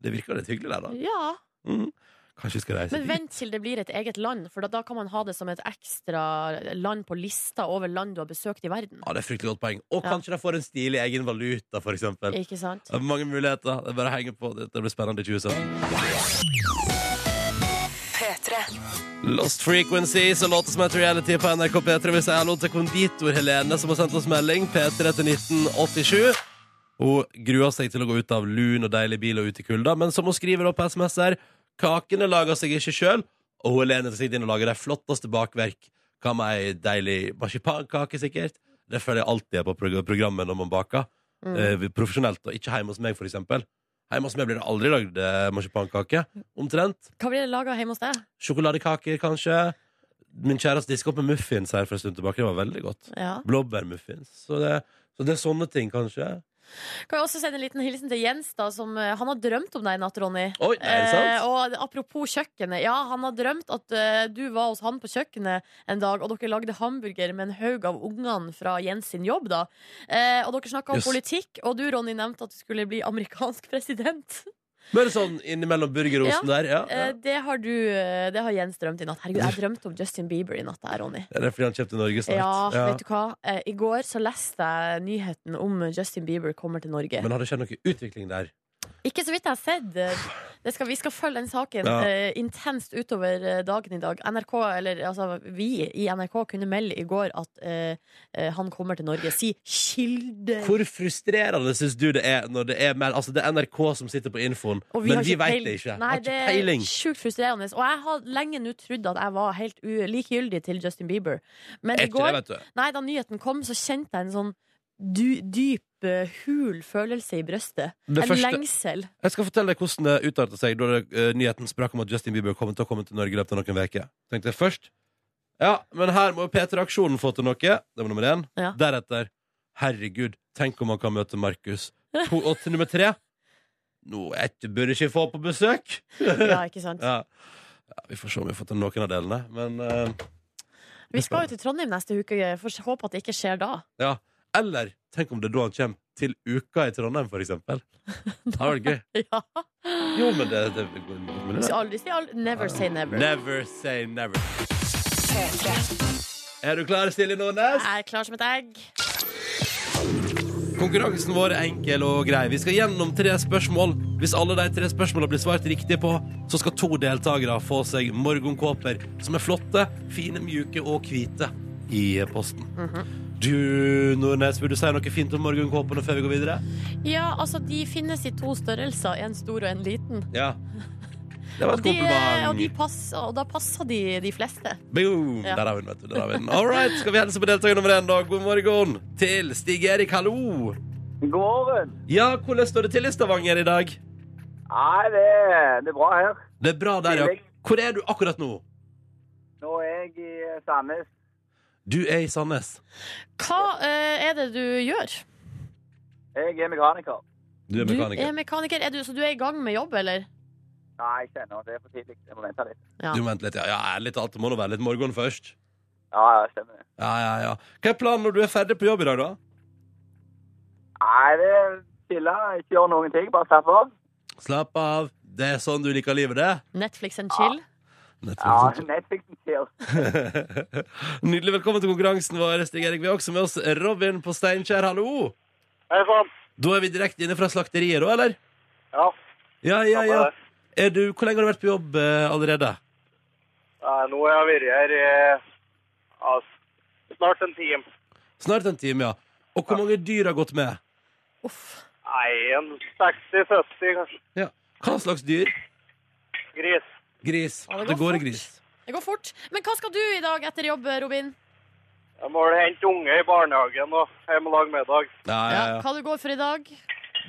[SPEAKER 2] Det virker litt hyggelig der, da.
[SPEAKER 3] Ja,
[SPEAKER 2] Mm. Kanskje vi skal reise
[SPEAKER 3] Men vent til det blir et eget land, for da, da kan man ha det som et ekstra land på lista over land du har besøkt i verden.
[SPEAKER 2] Ja, det er et fryktelig godt poeng. Og
[SPEAKER 3] Ja.
[SPEAKER 2] kanskje de får en stilig egen valuta, for eksempel.
[SPEAKER 3] Ikke sant?
[SPEAKER 2] Det er mange muligheter. Det er bare å henge på. Det blir spennende i 2017. Lost Frequencies og låter som heter Reality på NRK P3. Vi sier hallo til konditor Helene, som har sendt oss melding. P3 til 1987. Hun gruer seg til å gå ut av lun og deilig bil og ut i kulda, men som hun skriver opp på SMS her, kakene lager seg ikke sjøl, og hun Helene skal sitte inne og lage de flotteste bakverk. Hva med ei deilig marsipankake, sikkert? Det føler jeg alltid er på prog- programmet når man baker. Eh, profesjonelt, og ikke hjemme hos meg, for eksempel. Hjemme hos meg blir det aldri lagd eh, marsipankake. Omtrent.
[SPEAKER 3] Hva blir det laga hjemme hos deg?
[SPEAKER 2] Sjokoladekaker, kanskje. Min kjæreste diska opp med muffins her for en stund tilbake. Det var veldig godt.
[SPEAKER 3] Ja.
[SPEAKER 2] Blåbærmuffins. Så det, så det er sånne ting, kanskje.
[SPEAKER 3] Kan jeg også sende en liten hilsen til Jens, da, som eh, han har drømt om deg i natt, Ronny.
[SPEAKER 2] Oi, er det sant?
[SPEAKER 3] Eh, og apropos kjøkkenet. Ja, han har drømt at eh, du var hos han på kjøkkenet en dag, og dere lagde hamburger med en haug av ungene fra Jens sin jobb, da. Eh, og dere snakka om
[SPEAKER 2] Jøss.
[SPEAKER 3] politikk, og du, Ronny, nevnte at du skulle bli amerikansk president.
[SPEAKER 2] Bare sånn innimellom burgerosen der. Ja, ja.
[SPEAKER 3] Eh, det, har du, eh, det har Jens drømt i natt. Herregud, jeg drømte om Justin Bieber i natt, jeg, Ronny.
[SPEAKER 2] Er det fordi han kjøpte Norge snart?
[SPEAKER 3] Ja,
[SPEAKER 2] Ja.
[SPEAKER 3] vet du hva? Eh, I går så leste jeg nyheten om Justin Bieber kommer til Norge.
[SPEAKER 2] Men har det skjedd noe utvikling der?
[SPEAKER 3] Ikke så vidt jeg har sett. eh, Det skal, vi skal følge den saken
[SPEAKER 2] Ja.
[SPEAKER 3] eh, intenst utover eh, dagen i dag. NRK, eller altså vi i NRK kunne melde i går at eh, eh, han kommer til Norge. Si kilde!
[SPEAKER 2] Hvor frustrerende syns du det er når det er mer Altså, det er NRK som sitter på infoen, men vi veit det ikke.
[SPEAKER 3] Nei,
[SPEAKER 2] har ikke
[SPEAKER 3] det er
[SPEAKER 2] peiling.
[SPEAKER 3] sjukt frustrerende. Og jeg har lenge nå trodd at jeg var helt u likegyldig til Justin Bieber. Men i
[SPEAKER 2] Etter
[SPEAKER 3] går
[SPEAKER 2] det, vet du.
[SPEAKER 3] Nei, da nyheten kom, så kjente jeg en sånn dy dyp, eh, hul følelse i brøstet.
[SPEAKER 2] Det
[SPEAKER 3] en
[SPEAKER 2] første-
[SPEAKER 3] lengsel.
[SPEAKER 2] Jeg skal fortelle deg hvordan det utarta seg da det, eh, nyheten sprakk om at Justin Bieber kom til å komme til Norge i løpet av noen uker. Tenkte jeg først Ja, men her må jo Peter Aksjonen få til noe. Det var nummer én.
[SPEAKER 3] Ja.
[SPEAKER 2] Deretter Herregud, tenk om han kan møte Markus. To- Og til nummer tre Nå er ikke- burde ikke få på besøk.
[SPEAKER 3] Ja, ikke sant?
[SPEAKER 2] Ja. ja, Vi får se om vi får til noen av delene, men eh,
[SPEAKER 3] Vi skal jo til Trondheim neste uke. eh, Jeg får håpe at det ikke skjer da.
[SPEAKER 2] Ja. Eller tenk om det er da han kommer til uka i Trondheim, for eksempel. Det hadde vært gøy.
[SPEAKER 3] Ja.
[SPEAKER 2] Jo, men det, det, det, det,
[SPEAKER 3] Så aldri si aldri. Never say never.
[SPEAKER 2] Never say never. Er du klar, Silje Nordnes?
[SPEAKER 3] Jeg er klar som et egg.
[SPEAKER 2] Konkurransen vår er enkel og grei. Vi skal gjennom tre spørsmål. Hvis alle de tre spørsmålene blir svart riktig på, så skal to deltakere få seg morgenkåper som er flotte, fine, mjuke og hvite i posten.
[SPEAKER 3] Mhm.
[SPEAKER 2] Du, Nordnes, vil du si noe fint om morgenkåpene før vi går videre?
[SPEAKER 3] Ja, altså, de finnes i to størrelser. En stor og en liten.
[SPEAKER 2] Ja. Det var
[SPEAKER 3] Og,
[SPEAKER 2] et
[SPEAKER 3] de, eh, og,
[SPEAKER 2] kompliment.
[SPEAKER 3] de passer, og da passer de de fleste.
[SPEAKER 2] Boom!
[SPEAKER 3] Ja.
[SPEAKER 2] Der har vi den, vet du. Der har vi den. All right, skal vi hilse på deltaker nummer én, da? God morgen til Stig-Erik, hallo!
[SPEAKER 1] God morgen.
[SPEAKER 2] Ja, hvordan står det til i Stavanger i dag?
[SPEAKER 1] Nei, det, det er bra her.
[SPEAKER 2] Det er bra der, ja. Hvor er du akkurat nå?
[SPEAKER 1] Nå er jeg i Sandnes.
[SPEAKER 2] Du er i Sandnes.
[SPEAKER 3] Hva eh, er det du gjør?
[SPEAKER 1] Jeg er mekaniker.
[SPEAKER 2] Du er
[SPEAKER 3] Du
[SPEAKER 2] mekaniker.
[SPEAKER 3] er mekaniker. Er du, så du er i gang med jobb, eller?
[SPEAKER 1] Nei, ikke ennå. Det er for tidlig. Jeg må vente litt.
[SPEAKER 3] Ja.
[SPEAKER 2] Du må vente litt, ja. ja ærlig talt, det må nå være litt morgen først.
[SPEAKER 1] Ja, ja, stemmer det.
[SPEAKER 2] Ja, ja, ja. Hva er planen når du er ferdig på jobb i dag, da?
[SPEAKER 1] Nei, det er chille. Ikke gjøre noen ting. Bare slappe av.
[SPEAKER 2] Slapp av. Det er sånn du liker livet, det.
[SPEAKER 3] Netflix and chill?
[SPEAKER 1] Ja,
[SPEAKER 2] Nettopp.
[SPEAKER 1] Netflix and chill.
[SPEAKER 2] Nydelig. Velkommen til konkurransen vår, Stig-Erik. Vi har også med oss Robin på Steinkjer, hallo!
[SPEAKER 1] Hei sann.
[SPEAKER 2] Da er vi direkte inne fra slakteriet, da, eller?
[SPEAKER 1] Ja.
[SPEAKER 2] Ja, ja,
[SPEAKER 1] Stemmer
[SPEAKER 2] ja.
[SPEAKER 1] det.
[SPEAKER 2] Er du, hvor lenge har du vært på jobb eh, allerede?
[SPEAKER 1] Nå har jeg vært her eh, snart en time.
[SPEAKER 2] Snart en time, ja. Og hvor mange dyr har gått med?
[SPEAKER 3] Uff.
[SPEAKER 1] Nei, en 60-70 kanskje.
[SPEAKER 2] Ja. Hva slags dyr?
[SPEAKER 1] Gris.
[SPEAKER 2] Gris.
[SPEAKER 3] Ja, det går
[SPEAKER 2] det går
[SPEAKER 3] fort.
[SPEAKER 2] gris.
[SPEAKER 3] Det går fort. Men hva skal du i dag etter jobb, Robin?
[SPEAKER 1] Jeg må hente unge i barnehagen og hjem og lage middag.
[SPEAKER 2] Ja, ja, ja.
[SPEAKER 3] Hva du går for i dag?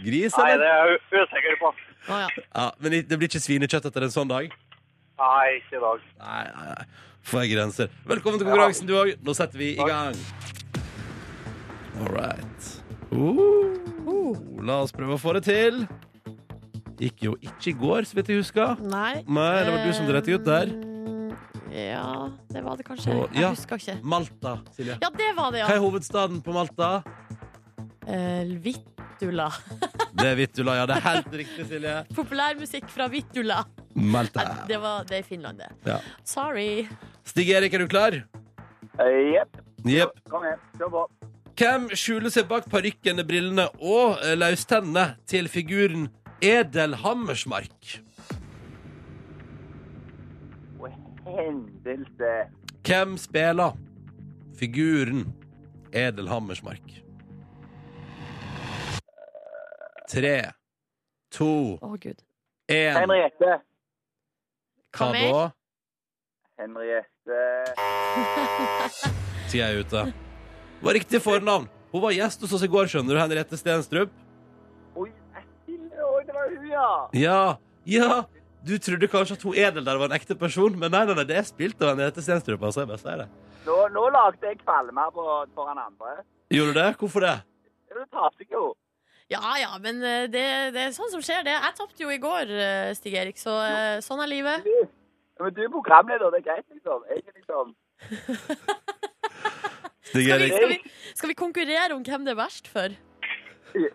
[SPEAKER 2] Gris, eller?
[SPEAKER 1] er jeg usikker på.
[SPEAKER 3] Å, ja.
[SPEAKER 2] Ja, men det blir ikke svinekjøtt etter en sånn dag?
[SPEAKER 1] Nei, ikke i dag.
[SPEAKER 2] Nei, nei, nei. får jeg grenser. Velkommen til konkurransen, du òg. Nå setter vi i gang. All right. Uh, la oss prøve å få det til. Gikk jo ikke i går, så vidt jeg husker.
[SPEAKER 3] Nei.
[SPEAKER 2] Nei, det var du som dreit deg ut der.
[SPEAKER 3] Mm, Ja, det var det kanskje.
[SPEAKER 2] Og-
[SPEAKER 3] Jeg
[SPEAKER 2] ja.
[SPEAKER 3] husker ikke.
[SPEAKER 2] Malta, Silje.
[SPEAKER 3] Ja, det var det,
[SPEAKER 2] Hva
[SPEAKER 3] ja.
[SPEAKER 2] er hovedstaden på Malta?
[SPEAKER 3] Eh, Vittula.
[SPEAKER 2] Det er Vittula, ja. Det er helt riktig, Silje.
[SPEAKER 3] Populærmusikk fra Vittula.
[SPEAKER 2] Malta.
[SPEAKER 3] Nei, Det, var, det er Finland, det.
[SPEAKER 2] Ja.
[SPEAKER 3] Sorry.
[SPEAKER 2] Stig Erik, er du klar?
[SPEAKER 1] Eh, Jepp.
[SPEAKER 2] Jepp.
[SPEAKER 1] Kom igjen. Kjør på.
[SPEAKER 2] Hvem skjuler seg bak parykkene, brillene og eh, løstennene til figuren Edel Hammersmark?
[SPEAKER 1] Og Hendelse.
[SPEAKER 2] Hvem spiller figuren Edel Hammersmark? Tre, to,
[SPEAKER 3] Å, gud.
[SPEAKER 2] én
[SPEAKER 1] Henriette.
[SPEAKER 2] Hva da?
[SPEAKER 1] Henriette
[SPEAKER 2] Sier jeg ute. Var riktig fornavn. Hun var gjest hos oss i går, skjønner du, Henriette Stenstrup.
[SPEAKER 1] Oi, Eskil. Oi, det var hun, ja.
[SPEAKER 2] Ja, ja. Du trodde kanskje at hun Edel der var en ekte person, men nei, nei, nei det er spilt av Henriette Stenstrup. Altså, jeg bare sier det.
[SPEAKER 1] Nå, nå lagde jeg kvalme her på, foran andre.
[SPEAKER 2] Gjorde du det? Hvorfor det?
[SPEAKER 1] Du tapte ikke jo.
[SPEAKER 3] Ja ja, men eh, det, det er sånn som skjer, det. Jeg tapte jo i går, eh, Stig Erik, så eh, sånn er livet.
[SPEAKER 1] Men du er programleder, det er greit, liksom. Jeg er liksom
[SPEAKER 2] Stig
[SPEAKER 3] Skal vi,
[SPEAKER 2] Erik.
[SPEAKER 3] skal, vi, skal vi konkurrere om hvem det er verst for?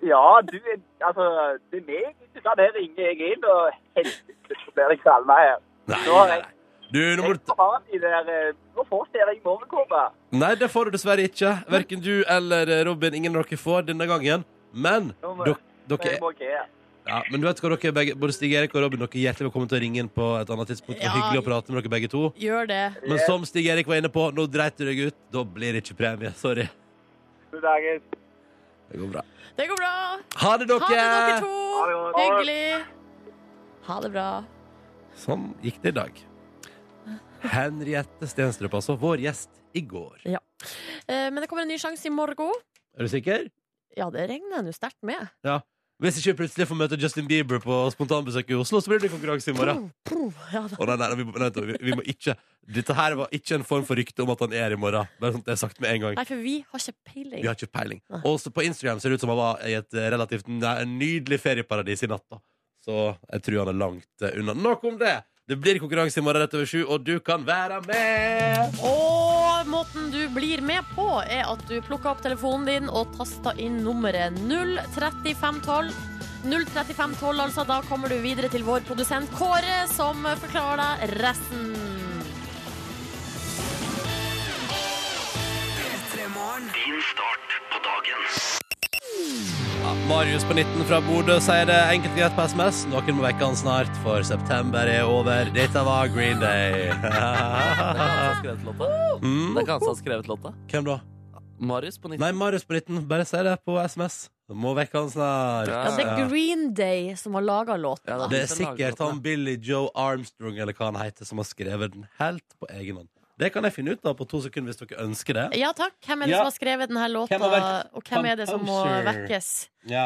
[SPEAKER 1] Ja, du er Altså, det er meg. Ikke sant? Her ringer jeg inn, og helvete, så blir det kvalme her.
[SPEAKER 2] Nei,
[SPEAKER 1] Nå har
[SPEAKER 2] nei,
[SPEAKER 1] jeg-
[SPEAKER 2] nei. Du, nå må
[SPEAKER 1] Jeg
[SPEAKER 2] du
[SPEAKER 1] får ha de der eh, Nå fortsetter jeg morgenkåpa.
[SPEAKER 2] Nei, det får du dessverre ikke. Verken du eller eh, Robin. Ingen av dere får denne gangen. Men
[SPEAKER 1] Nå må-
[SPEAKER 2] dere, dere
[SPEAKER 1] Jeg må ikke her.
[SPEAKER 2] ja, Men du vet hva dere begge Både Stig Erik og Robin Dere er hjertelig velkommen til å ringe inn på et annet tidspunkt. Det var
[SPEAKER 3] Ja.
[SPEAKER 2] hyggelig å prate med dere begge to.
[SPEAKER 3] Gjør det.
[SPEAKER 2] Men som Stig Erik var inne på, nå dreit du deg ut. Da blir det ikke premie. Sorry.
[SPEAKER 1] God dagen.
[SPEAKER 2] Det går bra.
[SPEAKER 3] Det går bra.
[SPEAKER 2] Ha det, dere!
[SPEAKER 3] Ha det, dere to.
[SPEAKER 1] Ha det godt.
[SPEAKER 3] Hyggelig. Ha det bra.
[SPEAKER 2] Sånn gikk det i dag. Henriette Stenstrup, altså. Vår gjest i går.
[SPEAKER 3] Eh, Men det kommer en ny sjanse i morgen.
[SPEAKER 2] Er du sikker?
[SPEAKER 3] Ja, det regner nå sterkt med.
[SPEAKER 2] Hvis ikke vi plutselig får møte Justin Bieber på spontanbesøk i Oslo, så blir det konkurranse i morgen.
[SPEAKER 3] Ja, da.
[SPEAKER 2] Å, nei, nei, vi, må- nei, vent, vi, vi må ikke Dette her var ikke en form for rykte om at han er i morgen. Bare sånn at det er sagt med en gang.
[SPEAKER 3] Nei, for vi har ikke peiling.
[SPEAKER 2] Vi har ikke peiling.
[SPEAKER 3] Nei.
[SPEAKER 2] Også på Instagram ser det ut som han var i et eh, relativt n- nydelig ferieparadis i natt. da. Så jeg tror han er langt eh, unna. Nok om det! Det blir konkurranse i morgen rett over sju, og du kan være med!
[SPEAKER 3] Og måten du blir med på, er at du plukker opp telefonen din og taster inn nummeret 03512. 03512, altså. Da kommer du videre til vår produsent Kåre, som forklarer deg resten.
[SPEAKER 2] Ja, Marius på 19 fra Bodø sier det enkelt og greit på SMS. Noen må vekke han snart, for september er over. Dette var Green Day.
[SPEAKER 4] Det er han som har skrevet låta.
[SPEAKER 2] mm.
[SPEAKER 4] Det er ikke han som har skrevet låta.
[SPEAKER 2] Hvem da?
[SPEAKER 4] Marius på 19.
[SPEAKER 2] Nei, Marius på 19. Bare si det på SMS. Må vekke han snart.
[SPEAKER 4] Ja.
[SPEAKER 3] Ja, det er Green Day som har laga låta.
[SPEAKER 4] Ja,
[SPEAKER 2] Det
[SPEAKER 4] er
[SPEAKER 2] er sikkert han Billy Joe Armstrong eller hva han heter, som har skrevet den helt på egen hånd. Det kan jeg finne ut av på to sekunder hvis dere ønsker det.
[SPEAKER 3] Ja takk. Hvem er det
[SPEAKER 2] Ja.
[SPEAKER 3] som har skrevet denne låta,
[SPEAKER 2] Hvem har vært
[SPEAKER 3] og hvem er det som må
[SPEAKER 2] composer?
[SPEAKER 3] vekkes?
[SPEAKER 2] Ja,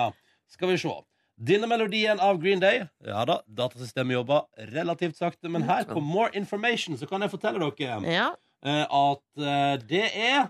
[SPEAKER 2] skal vi se. Denne melodien av Green Day Ja da, datasystemet jobber relativt sakte, men her på More Information så kan jeg fortelle dere
[SPEAKER 3] Ja.
[SPEAKER 2] eh, at eh, det er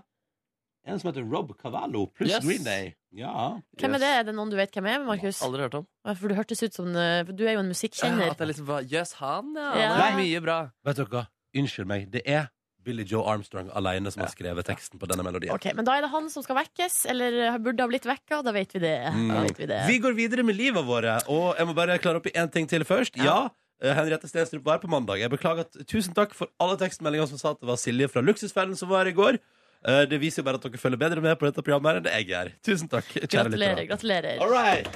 [SPEAKER 2] en som heter Rob Cavallo pluss
[SPEAKER 4] Yes.
[SPEAKER 2] Green Day. Ja.
[SPEAKER 3] Hvem er det? Er det noen du vet hvem er, Markus?
[SPEAKER 4] Aldri hørt om.
[SPEAKER 3] For du hørtes ut som eh, for Du er jo
[SPEAKER 4] Ja,
[SPEAKER 3] en musikkjenner.
[SPEAKER 4] At jeg liksom var Yes, han, ja.
[SPEAKER 3] Ja.
[SPEAKER 4] Han er mye bra.
[SPEAKER 2] Vet dere hva? Unnskyld meg, det er Billy Joe Armstrong alene som har skrevet teksten på denne melodien.
[SPEAKER 3] Ok, Men da er det han som skal vekkes, eller burde ha blitt vekka. Da vet vi det. Da vet vi det.
[SPEAKER 2] Mm. Vi går videre med livet våre, og jeg må bare klare opp i én ting til først. Ja, eh, Henriette Stenstrup var her på mandag. Jeg beklager at, Tusen takk for alle tekstmeldinger som sa at det var Silje fra Luksusfellen som var her i går. Eh, Det viser jo bare at dere følger bedre med på dette programmet her enn det jeg gjør. Tusen takk, kjære
[SPEAKER 3] Gratulerer.
[SPEAKER 2] lyttere.
[SPEAKER 3] gratulerer
[SPEAKER 2] All right.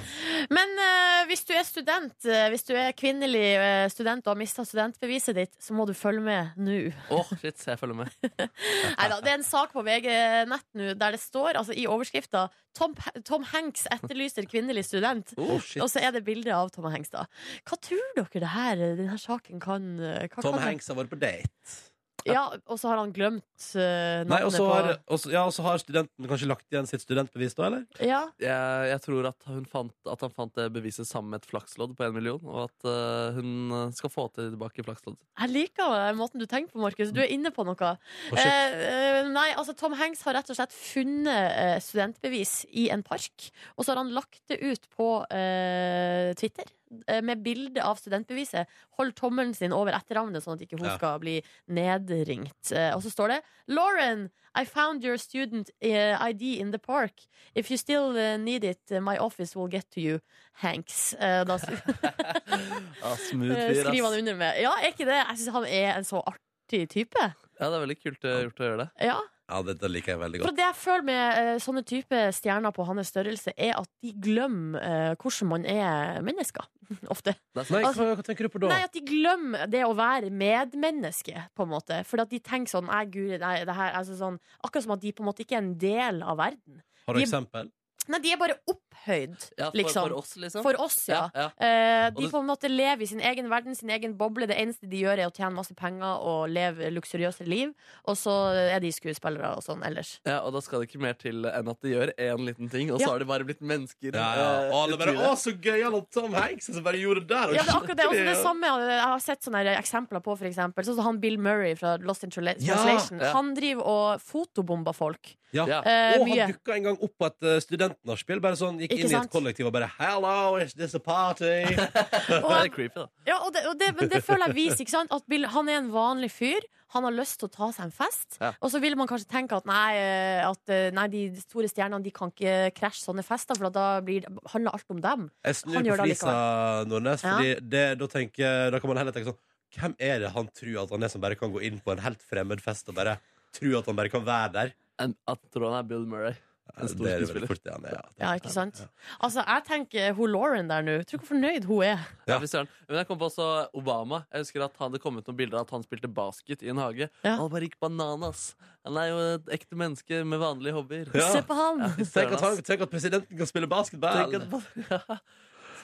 [SPEAKER 3] Men eh, hvis du er student, eh, hvis du er kvinnelig eh, student og har mista studentbeviset ditt, så må du følge med nå.
[SPEAKER 4] Åh, shit, jeg følger med.
[SPEAKER 3] Neida, det er en sak på VG-nett nå der det står altså, i overskrifta Tom, Tom Hanks etterlyser kvinnelig student.
[SPEAKER 2] Oh, shit.
[SPEAKER 3] Og så er det bilde av Tom Hanks, da. Hva tror dere det her, denne saken kan, eh, hva
[SPEAKER 2] Tom
[SPEAKER 3] kan
[SPEAKER 2] Hanks har vært på date.
[SPEAKER 3] Ja, og så har han glemt eh,
[SPEAKER 2] Nei, og
[SPEAKER 3] navnet
[SPEAKER 2] så
[SPEAKER 3] på
[SPEAKER 2] har, og så- ja, og så har studenten kanskje lagt igjen sitt studentbevis da, eller?
[SPEAKER 3] Ja,
[SPEAKER 4] Jeg, jeg tror at, hun fant, at han fant det beviset sammen med et flakslodd på en million, og at eh, hun eh, skal få til tilbake flaksloddet.
[SPEAKER 3] Jeg liker den måten du tenker på, Markus. Du er inne på noe.
[SPEAKER 2] Å, shit.
[SPEAKER 3] Eh, eh, nei, altså Tom Hanks har rett og slett funnet eh, studentbevis i en park. Og så har han lagt det ut på eh, Twitter eh, med bilde av studentbeviset. Hold tommelen sin over etternavnet, sånn at ikke hun
[SPEAKER 2] Ja.
[SPEAKER 3] skal bli nedringt. Eh, og så står det Lauren, I found your student eh, ID in the park. If you still eh, need it, eh, my office will get to you. Hanks. Eh, da s-
[SPEAKER 4] Ja, smooth
[SPEAKER 3] eh,
[SPEAKER 4] fyr, ass.
[SPEAKER 3] skriver han under med. Ja, er ikke det? Jeg syns han er en så artig type.
[SPEAKER 4] Ja, det er veldig kult eh, gjort å gjøre det.
[SPEAKER 3] Ja.
[SPEAKER 2] Ja, dette liker jeg veldig
[SPEAKER 3] For
[SPEAKER 2] godt.
[SPEAKER 3] det jeg føler med eh, sånne type stjerner på hans størrelse, er at de glemmer eh, hvordan man er mennesker. Ofte. Altså,
[SPEAKER 4] det er sant.
[SPEAKER 2] Nei, hva, hva tenker du på da?
[SPEAKER 3] Nei, at de glemmer det å være medmenneske, på en måte. For at de tenker sånn, nei, guri, nei, det her, altså sånn Akkurat som at de på en måte ikke er en del av verden.
[SPEAKER 2] Har du
[SPEAKER 3] de-
[SPEAKER 2] eksempel?
[SPEAKER 3] Nei, de er bare opphøyd,
[SPEAKER 4] Ja, for,
[SPEAKER 3] liksom.
[SPEAKER 4] for oss, liksom.
[SPEAKER 3] For oss, ja.
[SPEAKER 4] ja.
[SPEAKER 3] Eh,
[SPEAKER 4] Og
[SPEAKER 3] de
[SPEAKER 4] det-
[SPEAKER 3] på en måte lever i sin egen verden, sin egen boble. Det eneste de gjør, er å tjene masse penger og leve luksuriøse liv. Og så er de skuespillere og sånn ellers.
[SPEAKER 4] Ja, og da skal det ikke mer til enn at de gjør én liten ting, og
[SPEAKER 3] Ja.
[SPEAKER 4] så har de bare blitt mennesker.
[SPEAKER 2] Ja, ja.
[SPEAKER 4] eh,
[SPEAKER 2] Å, det er bare,
[SPEAKER 4] utover
[SPEAKER 2] å, så gøy han og Tom Hanks som bare gjorde det der! og
[SPEAKER 3] Ja, det er akkurat det. Også det
[SPEAKER 2] skikkelig, ja.
[SPEAKER 3] samme eh, jeg har sett sånne her eksempler på, for eksempel. Sånn som han Bill Murray fra Lost in Translation.
[SPEAKER 2] Ja,
[SPEAKER 4] ja.
[SPEAKER 3] Han driver og fotobomber folk.
[SPEAKER 2] Ja.
[SPEAKER 4] Ja.
[SPEAKER 3] Eh,
[SPEAKER 2] og
[SPEAKER 3] mye.
[SPEAKER 2] han dukka en gang opp på et eh, studentnachspiel. Bare sånn, gikk
[SPEAKER 3] Ikke
[SPEAKER 2] inn i
[SPEAKER 3] sant?
[SPEAKER 2] et kollektiv og bare 'Hello, is this a party?'
[SPEAKER 4] Det er creepy, da.
[SPEAKER 3] Ja, og det, og det, men det føler jeg viser ikke sant? at Bill, han er en vanlig fyr. Han har lyst til å ta seg en fest.
[SPEAKER 4] Ja.
[SPEAKER 3] Og så vil man kanskje tenke at nei, eh, at eh, nei de store stjernene de kan ikke krasje sånne fester, for at da blir, handler alt om dem.
[SPEAKER 2] Jeg snur
[SPEAKER 3] Han
[SPEAKER 2] på
[SPEAKER 3] gjør det
[SPEAKER 2] flisa, Nordnes,
[SPEAKER 3] Ja.
[SPEAKER 2] Fordi det, da, tenker, da kan man heller tenke sånn Hvem er det han tror at han er som bare kan gå inn på en helt fremmed fest og bare tro at han bare kan være der?
[SPEAKER 4] En- At tror han er Bill Murray. En stor
[SPEAKER 2] det er det
[SPEAKER 4] skuespiller.
[SPEAKER 2] veldig fort det han er. Ja.
[SPEAKER 3] Ja, ikke sant? Altså, jeg tenker hun Lauren der nå. Tror du hvor fornøyd hun er?
[SPEAKER 2] Ja.
[SPEAKER 4] Ja. fy søren. Men jeg kom på også Obama. Jeg husker at han, Det kom ut noen bilder av at han spilte basket i en hage.
[SPEAKER 3] Ja.
[SPEAKER 4] Han bare gikk bananas. Han er jo et ekte menneske med vanlige hobbyer.
[SPEAKER 2] Ja.
[SPEAKER 3] Se på han!
[SPEAKER 4] Ja, fy
[SPEAKER 2] Tenk,
[SPEAKER 4] søren,
[SPEAKER 2] at han,
[SPEAKER 4] ass.
[SPEAKER 2] tenk at presidenten kan spille basketball!
[SPEAKER 4] Tenk at-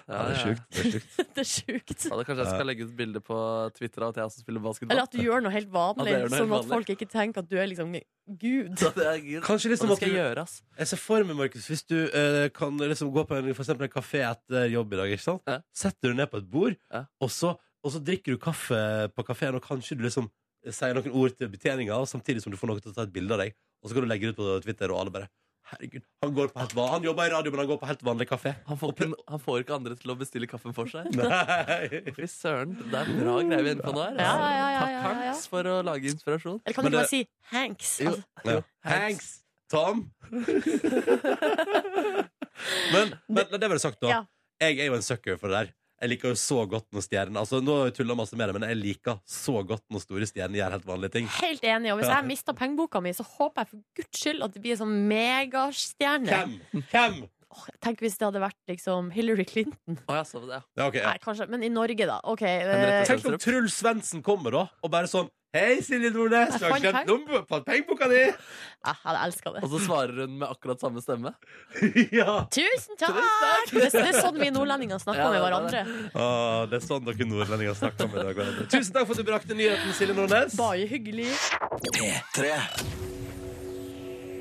[SPEAKER 4] Ja.
[SPEAKER 2] Ja, det er sjukt. Det er sjukt.
[SPEAKER 3] Det er sjukt.
[SPEAKER 4] Ja, da kanskje jeg skal legge ut bilde på Twitter av at jeg også spiller basketball.
[SPEAKER 3] Eller at du gjør noe helt
[SPEAKER 4] Ja, det
[SPEAKER 3] vanlig,
[SPEAKER 4] gjør noe helt
[SPEAKER 3] sånn at
[SPEAKER 4] vanlig.
[SPEAKER 3] folk ikke tenker at du er liksom Gud.
[SPEAKER 4] Så det er gud.
[SPEAKER 2] Kanskje
[SPEAKER 4] Og
[SPEAKER 2] liksom
[SPEAKER 4] det
[SPEAKER 2] at
[SPEAKER 4] skal jeg
[SPEAKER 2] du,
[SPEAKER 4] gjøre, ass.
[SPEAKER 2] jeg ser for meg, Markus, hvis du eh, kan liksom gå på en, for eksempel en kafé etter jobb i dag, ikke sant?
[SPEAKER 4] Ja.
[SPEAKER 2] Setter du ned på et bord,
[SPEAKER 4] Ja.
[SPEAKER 2] og, så, og så drikker du kaffe på kafeen, og kanskje du liksom sier noen ord til betjeninga, og samtidig som du får noen til å ta et bilde av deg, og så kan du legge det ut på Twitter, og alle bare Herregud, han, går på helt, van- han jobber i radio, men han går på helt vanlig kafé.
[SPEAKER 4] Han får, ikke, han får ikke andre til å bestille kaffen for seg.
[SPEAKER 2] Nei. Uh.
[SPEAKER 4] Fy søren, det er bra greier vi er inne på nå her. ass.
[SPEAKER 3] Ja, ja, ja, ja,
[SPEAKER 4] Takk,
[SPEAKER 3] ja, ja.
[SPEAKER 4] Hanks, for å lage inspirasjon.
[SPEAKER 3] Eller kan
[SPEAKER 2] Men
[SPEAKER 3] du ikke
[SPEAKER 2] det-
[SPEAKER 3] bare si Hanks?
[SPEAKER 4] Jo.
[SPEAKER 2] Ja.
[SPEAKER 3] Altså,
[SPEAKER 2] Hanks! Tom! men, men la det være sagt, da.
[SPEAKER 3] Ja.
[SPEAKER 2] Jeg er jo en sucker for det der. Jeg liker jo så godt når stjerner Altså, Nå har jeg tullet masse med det, men jeg liker så godt når store stjerner gjør helt vanlige ting.
[SPEAKER 3] helt enig. Og hvis
[SPEAKER 2] Ja.
[SPEAKER 3] jeg mister pengeboka mi, så håper jeg for guds skyld at det blir en sånn megastjerne.
[SPEAKER 2] Hvem? Hvem?
[SPEAKER 3] Åh, Tenk hvis det hadde vært liksom Hillary Clinton.
[SPEAKER 4] Å, ja, så det, ja.
[SPEAKER 2] Ja, ok, ja.
[SPEAKER 3] Nei, kanskje, men i Norge, da. Ok.
[SPEAKER 4] Henriette
[SPEAKER 3] eh,
[SPEAKER 4] Sand.
[SPEAKER 2] Tenk om Truls Svendsen kommer, da, og bare sånn Hei, Silje Nordnes, du har
[SPEAKER 3] Jeg fant
[SPEAKER 2] glemt nummeret på pengeboka di!
[SPEAKER 3] jeg hadde elska det.
[SPEAKER 4] Og så svarer hun med akkurat samme stemme.
[SPEAKER 2] ja.
[SPEAKER 3] Tusen takk! Det, det er sånn vi nordlendinger snakker
[SPEAKER 4] Ja,
[SPEAKER 3] med
[SPEAKER 4] det er
[SPEAKER 3] hverandre.
[SPEAKER 2] Å, det er sånn dere nordlendinger snakker om i dag. Tusen takk for at du brakte nyheten, Silje Nordnes.
[SPEAKER 3] Bare hyggelig.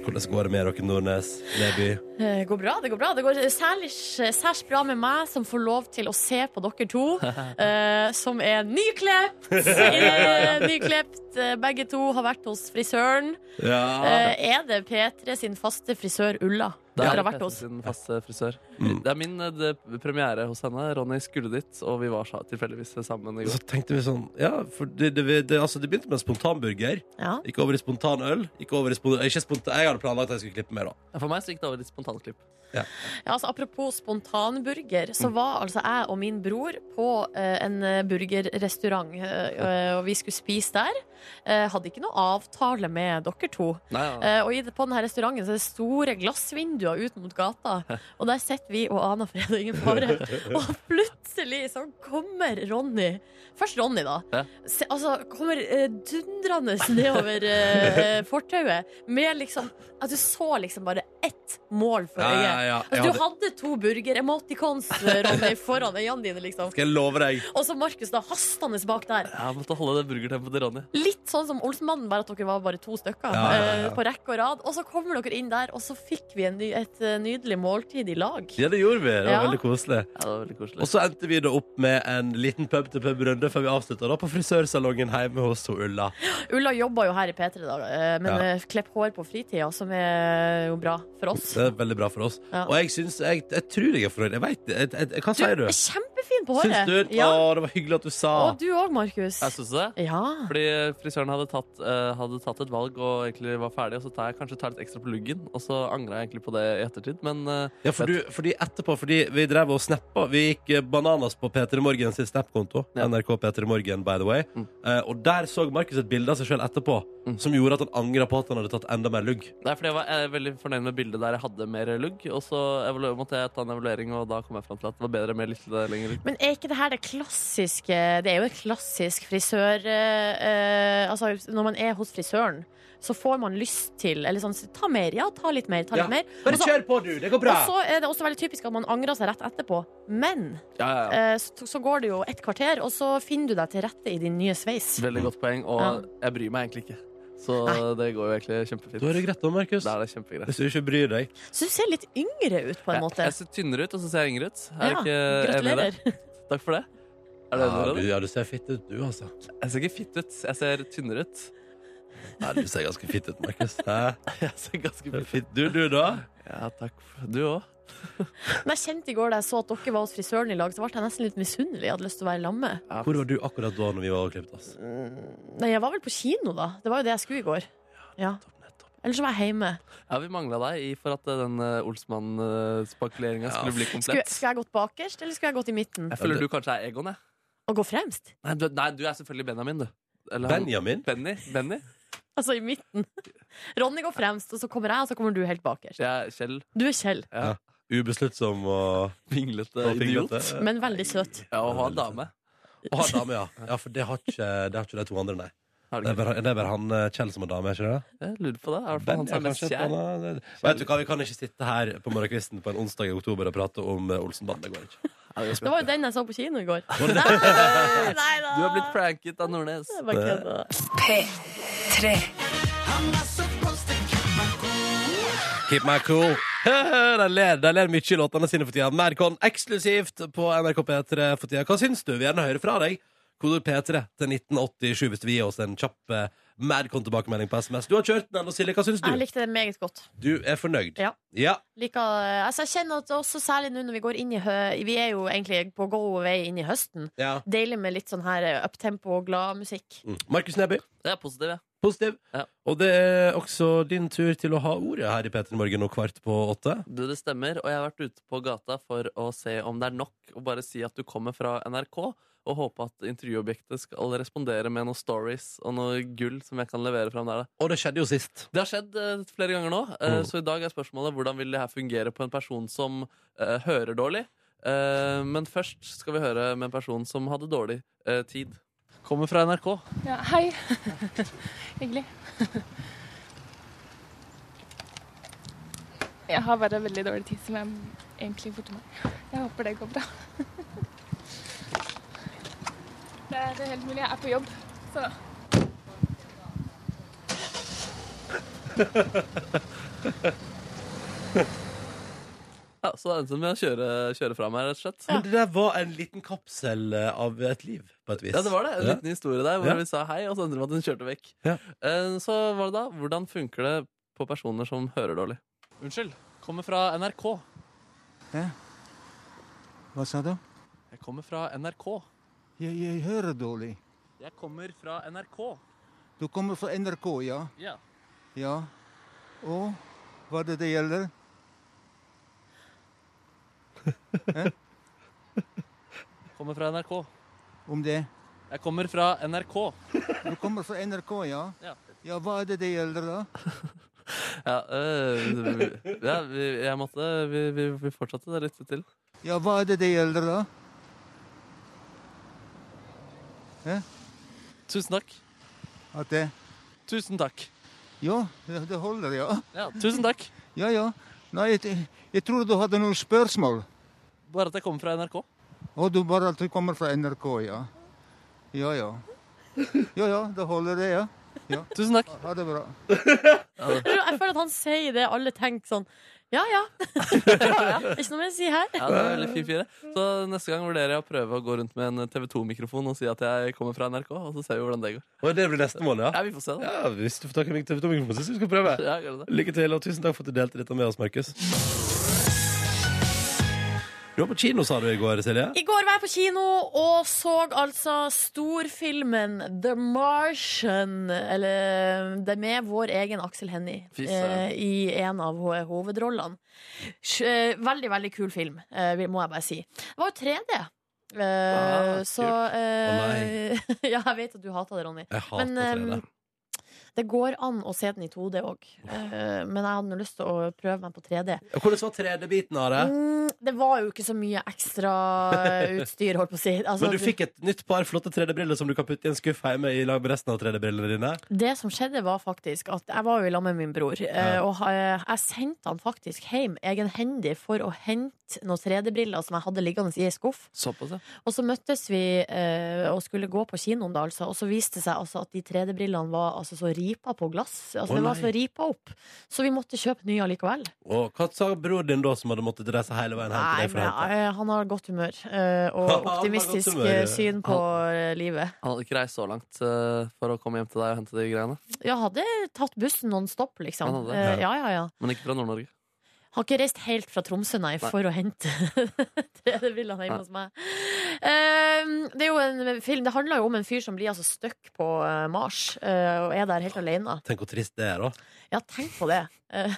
[SPEAKER 2] Hvordan går det med dere, Nordnes? Neby?
[SPEAKER 3] Det Eh, går bra. det går bra Det går særlig, særs bra med meg som får lov til å se på dere to, eh, som er nyklept. Eh, nyklept. Eh, Begge to har vært hos frisøren.
[SPEAKER 2] Ja.
[SPEAKER 3] Eh, er det P3 sin faste frisør Ulla
[SPEAKER 4] Det er
[SPEAKER 3] dere har vært
[SPEAKER 4] Petter
[SPEAKER 3] hos?
[SPEAKER 4] sin faste frisør.
[SPEAKER 2] Mm.
[SPEAKER 4] Det er min eh, det, premiere hos henne. Ronny skulle dit, og vi var sa- tilfeldigvis sammen i
[SPEAKER 2] Og
[SPEAKER 4] går.
[SPEAKER 2] så tenkte vi sånn Ja, for det, det, det, altså, det begynte med en spontanburger.
[SPEAKER 3] Ja.
[SPEAKER 2] Gikk over i spontan øl. Gikk over i spon- ikke spontan, jeg hadde planlagt at jeg skulle klippe mer, da.
[SPEAKER 4] Ja, For meg så gikk det over litt spontanklipp.
[SPEAKER 3] Ja, altså, apropos spontanburger,
[SPEAKER 4] Mm.
[SPEAKER 3] så var altså jeg og min bror på eh, en eh, burgerrestaurant. eh, og vi skulle spise der. Eh, hadde ikke noe avtale med dere to.
[SPEAKER 4] Nei, ja.
[SPEAKER 3] Eh, og i, på denne restauranten så er det store glassvinduer ut mot gata. Og der sitter vi og aner fred og ingen fare. Og plutselig plutselig så kommer Ronny Først Ronny, da.
[SPEAKER 4] Ja.
[SPEAKER 3] Se, altså, kommer eh, dundrende nedover eh, fortauet med liksom At du så liksom bare ett mål for
[SPEAKER 2] Ja,
[SPEAKER 3] øyet.
[SPEAKER 2] ja, ja. Jeg
[SPEAKER 3] Altså, du
[SPEAKER 2] hadde,
[SPEAKER 3] hadde to burger, emoticons, eh, Ronny, foran øynene dine, liksom.
[SPEAKER 2] skal jeg love deg.
[SPEAKER 3] Og så Markus, da, hastende bak der.
[SPEAKER 4] Jeg måtte holde det burgertempoet til Ronny.
[SPEAKER 3] Litt sånn som Olsenmannen, bare at dere var bare to stykker
[SPEAKER 2] Ja, ja, ja.
[SPEAKER 3] eh, på rekke og rad. Og så kommer dere inn der, og så fikk vi en ny, et eh, nydelig måltid i lag.
[SPEAKER 2] Ja, det gjorde vi. Det var
[SPEAKER 3] Ja.
[SPEAKER 2] veldig koselig.
[SPEAKER 4] Ja, det var veldig
[SPEAKER 2] Og
[SPEAKER 4] koselig.
[SPEAKER 2] så endte vi da opp med en liten pub-til-pub-runde før vi avslutta da på frisørsalongen hjemme hos to Ulla.
[SPEAKER 3] Ulla jobber jo her i P3, da, eh, men
[SPEAKER 2] Ja.
[SPEAKER 3] eh, klipp hår på fritida, som er jo bra for oss.
[SPEAKER 2] Det er veldig bra for oss.
[SPEAKER 3] Ja.
[SPEAKER 2] Og jeg syns Jeg, jeg tror jeg er fornøyd. Jeg vet det. Jeg- jeg- jeg- Hva
[SPEAKER 3] Du
[SPEAKER 2] sier du?
[SPEAKER 3] er kjempefin på
[SPEAKER 2] Syns
[SPEAKER 3] håret.
[SPEAKER 2] du?
[SPEAKER 3] Ja.
[SPEAKER 2] Å, det var hyggelig at du sa.
[SPEAKER 3] Og du òg, Markus.
[SPEAKER 4] Jeg synes det.
[SPEAKER 3] Ja.
[SPEAKER 4] Fordi frisøren hadde tatt, eh, hadde tatt et valg og egentlig var ferdig, og så tar jeg kanskje tar litt ekstra på luggen, og så angrer jeg egentlig på det i ettertid, men eh,
[SPEAKER 2] Ja, for du, fordi etterpå, fordi vi drev og snappa Vi gikk eh, bananas på Peter i Morgen sin snapkonto.
[SPEAKER 4] Ja.
[SPEAKER 2] NRK Peter i Morgen, by the way.
[SPEAKER 4] Mm.
[SPEAKER 2] Eh, og der så Markus et bilde av seg sjøl etterpå
[SPEAKER 4] Mm.
[SPEAKER 2] som gjorde at han angra på at han hadde tatt enda mer lugg.
[SPEAKER 4] Nei, fordi jeg var eh, veldig fornøyd med bildet der jeg hadde mer lugg, og så evalu- måtte jeg ta en evaluering, og da kom jeg frem til at det var bedre med litt lenger lugg.
[SPEAKER 3] Men er ikke det her det klassiske Det er jo et klassisk frisør eh, eh, Altså, når man er hos frisøren, så får man lyst til Eller sånn Ta mer, ja, ta litt mer, ta litt
[SPEAKER 2] Ja.
[SPEAKER 3] mer.
[SPEAKER 2] Bare
[SPEAKER 3] Og så-
[SPEAKER 2] kjør på, du! Det går bra!
[SPEAKER 3] Og så er det også veldig typisk at man angrer seg rett etterpå. Men
[SPEAKER 4] Ja, ja, ja.
[SPEAKER 3] eh, så, så går det jo et kvarter, og så finner du deg til rette i din nye sveis.
[SPEAKER 4] Veldig godt poeng, og
[SPEAKER 3] Ja.
[SPEAKER 4] jeg bryr meg egentlig ikke. Så
[SPEAKER 3] Nei.
[SPEAKER 4] det går jo egentlig kjempefint.
[SPEAKER 2] Da er det greit da, Markus.
[SPEAKER 4] Da er det kjempegreit.
[SPEAKER 2] Hvis du ikke bryr deg.
[SPEAKER 3] Så du ser litt yngre ut, på en
[SPEAKER 4] Jeg,
[SPEAKER 3] måte.
[SPEAKER 4] jeg ser tynnere ut, og så ser jeg yngre ut. Er du
[SPEAKER 3] Ja,
[SPEAKER 4] ikke enig i det?
[SPEAKER 3] gratulerer.
[SPEAKER 4] Takk for det. Er du
[SPEAKER 2] Ja,
[SPEAKER 4] enig i
[SPEAKER 2] du,
[SPEAKER 4] det?
[SPEAKER 2] ja, du ser fitt ut, du, altså.
[SPEAKER 4] Jeg ser ikke fitt ut, jeg ser tynnere ut.
[SPEAKER 2] Ja, du ser ganske fitt ut, Markus. Hæ?
[SPEAKER 4] Jeg ser ganske fitt
[SPEAKER 2] Fitt. Du, du, da?
[SPEAKER 4] Ja, takk. for- Du òg.
[SPEAKER 3] Men jeg kjente i går da jeg så at dere var hos frisøren i lag, så ble jeg nesten litt misunnelig. Jeg hadde lyst til å være lamme.
[SPEAKER 4] Ja.
[SPEAKER 2] Hvor var du akkurat da når vi var og klippet oss?
[SPEAKER 3] Nei, jeg var vel på kino, da. Det var jo det jeg skulle i går. Ja. Eller så var jeg hjemme.
[SPEAKER 4] Ja, vi mangla deg i for at den eh, Olsmann-spakuleringa skulle bli
[SPEAKER 3] Skulle,
[SPEAKER 4] komplett.
[SPEAKER 3] skulle jeg gått bakerst, eller skulle jeg gått i midten?
[SPEAKER 4] Jeg føler du kanskje er Egon, jeg.
[SPEAKER 3] Og gå fremst?
[SPEAKER 4] Nei, du, nei, du er selvfølgelig Benjamin, du. Eller han-
[SPEAKER 2] Benjamin?
[SPEAKER 4] Benny? Benny?
[SPEAKER 3] Altså i midten. Ronny går fremst, og så kommer jeg, og så kommer du helt bakerst.
[SPEAKER 4] Jeg er Kjell.
[SPEAKER 3] Du er Kjell,
[SPEAKER 2] Ubesluttsom og
[SPEAKER 4] Vinglete
[SPEAKER 2] og
[SPEAKER 4] idiot.
[SPEAKER 2] finglete.
[SPEAKER 3] men veldig søt.
[SPEAKER 4] Ja, og han dame.
[SPEAKER 2] Å, ha dame, ja. ja. For det har ikke, det har ikke de to andre, nei.
[SPEAKER 4] Har du
[SPEAKER 2] Det er
[SPEAKER 4] ikke?
[SPEAKER 2] bare, det er bare han eh, Kjell som er dame, er ikke det?
[SPEAKER 4] Jeg lurer på det. Er det for
[SPEAKER 2] Ben,
[SPEAKER 4] han som er
[SPEAKER 2] ja,
[SPEAKER 4] mest
[SPEAKER 2] kanskje
[SPEAKER 4] kjær?
[SPEAKER 2] et eller annet. Vet du hva, Vi kan ikke sitte her på morgenkvisten på en onsdag i oktober og prate om eh, Olsenbanden. Det går ikke.
[SPEAKER 3] Det var jo den jeg så på kino i går.
[SPEAKER 2] Var det
[SPEAKER 3] Nei,
[SPEAKER 2] det?
[SPEAKER 3] nei da!
[SPEAKER 4] Du har blitt pranket av Nordnes.
[SPEAKER 3] Jeg bare kødda.
[SPEAKER 2] Keep my cool. De ler, de ler mye i låtene sine for tida. Nærkon eksklusivt på NRK P3 for tida. Hva syns du? Vi vil gjerne høre fra deg. Kodord P3 til 1987 hvis du vil gi oss en kjapp eh, Madcon-tilbakemelding på SMS. Du har kjørt den, og Silje, hva syns
[SPEAKER 3] Jeg
[SPEAKER 2] du?
[SPEAKER 3] likte det meget godt.
[SPEAKER 2] Du er fornøyd?
[SPEAKER 3] Ja.
[SPEAKER 2] ja.
[SPEAKER 3] Liker, altså jeg kjenner at også særlig nå når vi går inn i hø Vi er jo egentlig på go away inn i høsten.
[SPEAKER 2] ja.
[SPEAKER 3] Deilig med litt sånn her uptempo og glad musikk.
[SPEAKER 2] Mm. Markus Neby,
[SPEAKER 4] Jeg er positiv, jeg.
[SPEAKER 2] positiv.
[SPEAKER 4] Ja.
[SPEAKER 2] Og det er også din tur til å ha ordet her i P3 Morgen nå kvart på åtte.
[SPEAKER 4] Du, det stemmer. Og jeg har vært ute på gata for å se om det er nok å bare si at du kommer fra NRK, og håpe at intervjuobjektet skal respondere med noen stories og noe gull som jeg kan levere fram der. da.
[SPEAKER 2] Og det skjedde jo sist.
[SPEAKER 4] Det har skjedd eh, flere ganger nå, eh,
[SPEAKER 2] Mm.
[SPEAKER 4] så i dag er spørsmålet hvordan vil det her fungere på en person som eh, hører dårlig. Eh, men først skal vi høre med en person som hadde dårlig eh, tid. Kommer fra NRK.
[SPEAKER 5] Ja, hei. Hyggelig. Jeg har bare veldig dårlig tid, som jeg egentlig burde meg. Jeg håper det går bra. Det er det er helt mulig. Jeg er på jobb, så
[SPEAKER 4] Ja, så det endte med å kjøre, kjøre fra meg, rett og slett.
[SPEAKER 2] Men det der var en liten kapsel eh, av et liv, på et vis.
[SPEAKER 4] Ja, det var det. En
[SPEAKER 2] Ja.
[SPEAKER 4] liten historie der hvor
[SPEAKER 2] Ja.
[SPEAKER 4] vi sa hei, og så endte det med at hun kjørte vekk.
[SPEAKER 2] Ja.
[SPEAKER 4] Eh, Så var det da hvordan funker det på personer som hører dårlig? Unnskyld. Kommer fra NRK.
[SPEAKER 6] Hva sa du?
[SPEAKER 4] Jeg kommer fra NRK.
[SPEAKER 6] Jeg, jeg hører dårlig.
[SPEAKER 4] Jeg kommer fra NRK.
[SPEAKER 6] Du kommer fra NRK, ja?
[SPEAKER 4] Ja.
[SPEAKER 6] Ja. Og hva er det det gjelder?
[SPEAKER 4] Kommer fra NRK.
[SPEAKER 6] Om det?
[SPEAKER 4] Jeg kommer fra NRK.
[SPEAKER 6] Du kommer fra NRK, ja?
[SPEAKER 4] Ja.
[SPEAKER 6] Ja, hva er det det gjelder, da?
[SPEAKER 4] Ja, øh, ja vi, jeg måtte vi, vi, vi fortsatte det litt til.
[SPEAKER 6] Ja, hva er det det gjelder, da? Ja.
[SPEAKER 4] Tusen takk.
[SPEAKER 6] At det
[SPEAKER 4] Tusen takk.
[SPEAKER 6] Ja, det det holder, ja.
[SPEAKER 4] Ja, tusen takk.
[SPEAKER 6] Ja, ja. Nei, jeg, jeg trodde du hadde noen spørsmål.
[SPEAKER 4] Bare at jeg kommer fra NRK.
[SPEAKER 6] Og du bare at du kommer fra NRK, ja. Ja, ja. Ja, ja, det holder det, ja. ja.
[SPEAKER 4] Tusen takk.
[SPEAKER 6] Ha det bra.
[SPEAKER 3] Jeg føler at han sier det alle tenker sånn Ja ja. Ikke noe mer å si her.
[SPEAKER 4] Ja, det er veldig fin fire. Så neste gang vurderer jeg å prøve å gå rundt med en TV 2-mikrofon og si at jeg kommer fra NRK, og så ser vi hvordan det går.
[SPEAKER 2] Og det blir neste måned, ja?
[SPEAKER 4] Ja, vi får se, da.
[SPEAKER 2] Ja, Hvis du får tak i meg til mikrofonen, så skal vi prøve.
[SPEAKER 4] Ja, gjør det.
[SPEAKER 2] Lykke til, og tusen takk for at du delte dette med oss, Markus. Du var på kino, sa du i går, Silje.
[SPEAKER 3] I går var jeg på kino og så altså storfilmen The Martian. Eller det med vår egen Aksel Hennie
[SPEAKER 4] Fy
[SPEAKER 3] eh,
[SPEAKER 4] søren.
[SPEAKER 3] i en av ho- hovedrollene. Sj- eh, Veldig, veldig kul film, eh, vil- må jeg bare si. Det var jo 3D. Eh,
[SPEAKER 4] Ah,
[SPEAKER 3] så
[SPEAKER 4] kult.
[SPEAKER 3] eh, Ja, jeg vet at du hater det, Ronny.
[SPEAKER 2] Jeg hater
[SPEAKER 3] Men,
[SPEAKER 2] 3D.
[SPEAKER 3] eh, Det går an å se den i 2D òg, eh, men jeg hadde nå lyst til å prøve meg på 3D.
[SPEAKER 2] Og Hvordan var 3D-biten av det?
[SPEAKER 3] Mm, det var jo ikke så mye ekstra eh, utstyr, holdt på å si. Altså,
[SPEAKER 2] Men du fikk et nytt par flotte 3D-briller som du kan putte i en skuff hjemme i lag med resten av 3D-brillene dine.
[SPEAKER 3] Det som skjedde var faktisk at jeg var jo i lag med min bror, eh, og eh, jeg sendte han faktisk hjem egenhendig for å hente noen 3D-briller som jeg hadde liggende i ei skuff.
[SPEAKER 4] Såpass, ja.
[SPEAKER 3] Og så møttes vi eh, og skulle gå på kinoen, da, altså, og så viste det seg altså, at de 3D-brillene var altså, så ripa på glass.
[SPEAKER 2] Å,
[SPEAKER 3] Altså, det var
[SPEAKER 2] nei.
[SPEAKER 3] så ripa opp. Så vi måtte kjøpe nye allikevel.
[SPEAKER 2] Og hva sa broren din da, som hadde måttet reise hele veien hjem til
[SPEAKER 3] Nei,
[SPEAKER 2] deg for å
[SPEAKER 3] men
[SPEAKER 2] hente?
[SPEAKER 3] eh, han har godt humør eh,
[SPEAKER 2] Han
[SPEAKER 3] og
[SPEAKER 2] har
[SPEAKER 3] optimistisk
[SPEAKER 2] godt humør,
[SPEAKER 3] eh,
[SPEAKER 2] ja.
[SPEAKER 3] syn på eh, livet.
[SPEAKER 4] Han hadde ikke reist så langt eh, for å komme hjem til deg og hente de greiene.
[SPEAKER 3] Jeg hadde tatt bussen non stop, liksom.
[SPEAKER 4] Han hadde
[SPEAKER 3] Eh,
[SPEAKER 2] det?
[SPEAKER 3] ja, ja, ja.
[SPEAKER 4] Men ikke fra Nord-Norge.
[SPEAKER 3] Har ikke reist helt fra Tromsø, nei,
[SPEAKER 4] Nei.
[SPEAKER 3] for å hente 3D-brillene hjemme hos meg. Eh, det er jo en film Det handler jo om en fyr som blir altså stuck på eh, Mars eh, og er der helt alene.
[SPEAKER 2] Tenk hvor trist det er, da.
[SPEAKER 3] Ja, tenk på det. Eh,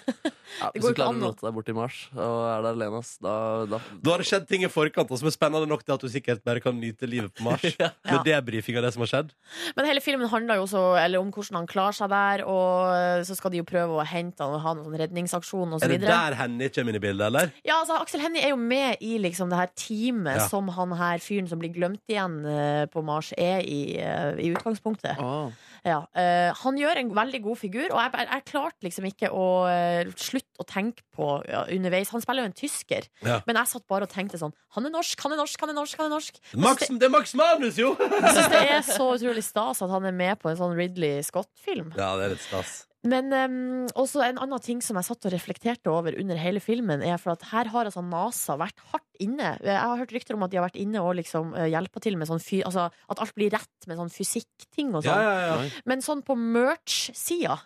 [SPEAKER 4] Ja,
[SPEAKER 3] Det
[SPEAKER 4] hvis
[SPEAKER 3] går
[SPEAKER 4] du
[SPEAKER 3] ikke
[SPEAKER 4] klarer
[SPEAKER 3] an
[SPEAKER 4] å
[SPEAKER 3] å-
[SPEAKER 4] rote deg bort i mars og er der alene, ass, da, da
[SPEAKER 2] Da har det skjedd ting i forkant og som er spennende nok til at du sikkert bare kan nyte livet på Mars. Med debrifing av det som har skjedd.
[SPEAKER 3] Men hele filmen handler jo også eller om hvordan han klarer seg der, og eh, så skal de jo prøve å hente han og ha noen sånn redningsaksjon og så
[SPEAKER 2] Er det
[SPEAKER 3] videre.
[SPEAKER 2] der Henny kommer inn i bildet, eller?
[SPEAKER 3] Ja, altså Aksel Hennie er jo med i liksom, det her teamet
[SPEAKER 2] Ja.
[SPEAKER 3] som han her fyren som blir glemt igjen eh, på Mars, er i, eh, i utgangspunktet.
[SPEAKER 2] Ah.
[SPEAKER 4] Å,
[SPEAKER 3] Ja. eh, han gjør en veldig god figur, og jeg, jeg, jeg klarte liksom ikke å eh, slutte å tenke på ja, underveis. Han spiller jo en tysker,
[SPEAKER 2] Ja.
[SPEAKER 3] men jeg satt bare og tenkte sånn Han er norsk, han er norsk, han er norsk! han er norsk
[SPEAKER 2] Max, det er Max Manus, jo!
[SPEAKER 3] Jeg syns det er så utrolig stas at han er med på en sånn Ridley Scott-film.
[SPEAKER 2] Ja, det er litt stas.
[SPEAKER 3] Men um, også en annen ting som jeg satt og reflekterte over under hele filmen, er for at her har altså NASA vært hardt inne. Jeg har hørt rykter om at de har vært inne og liksom eh, hjelpa til med sånn fy... Altså at alt blir rett med sånn fysikkting og
[SPEAKER 2] Ja,
[SPEAKER 3] sånn.
[SPEAKER 2] ja, ja.
[SPEAKER 3] Men sånn på merch-sida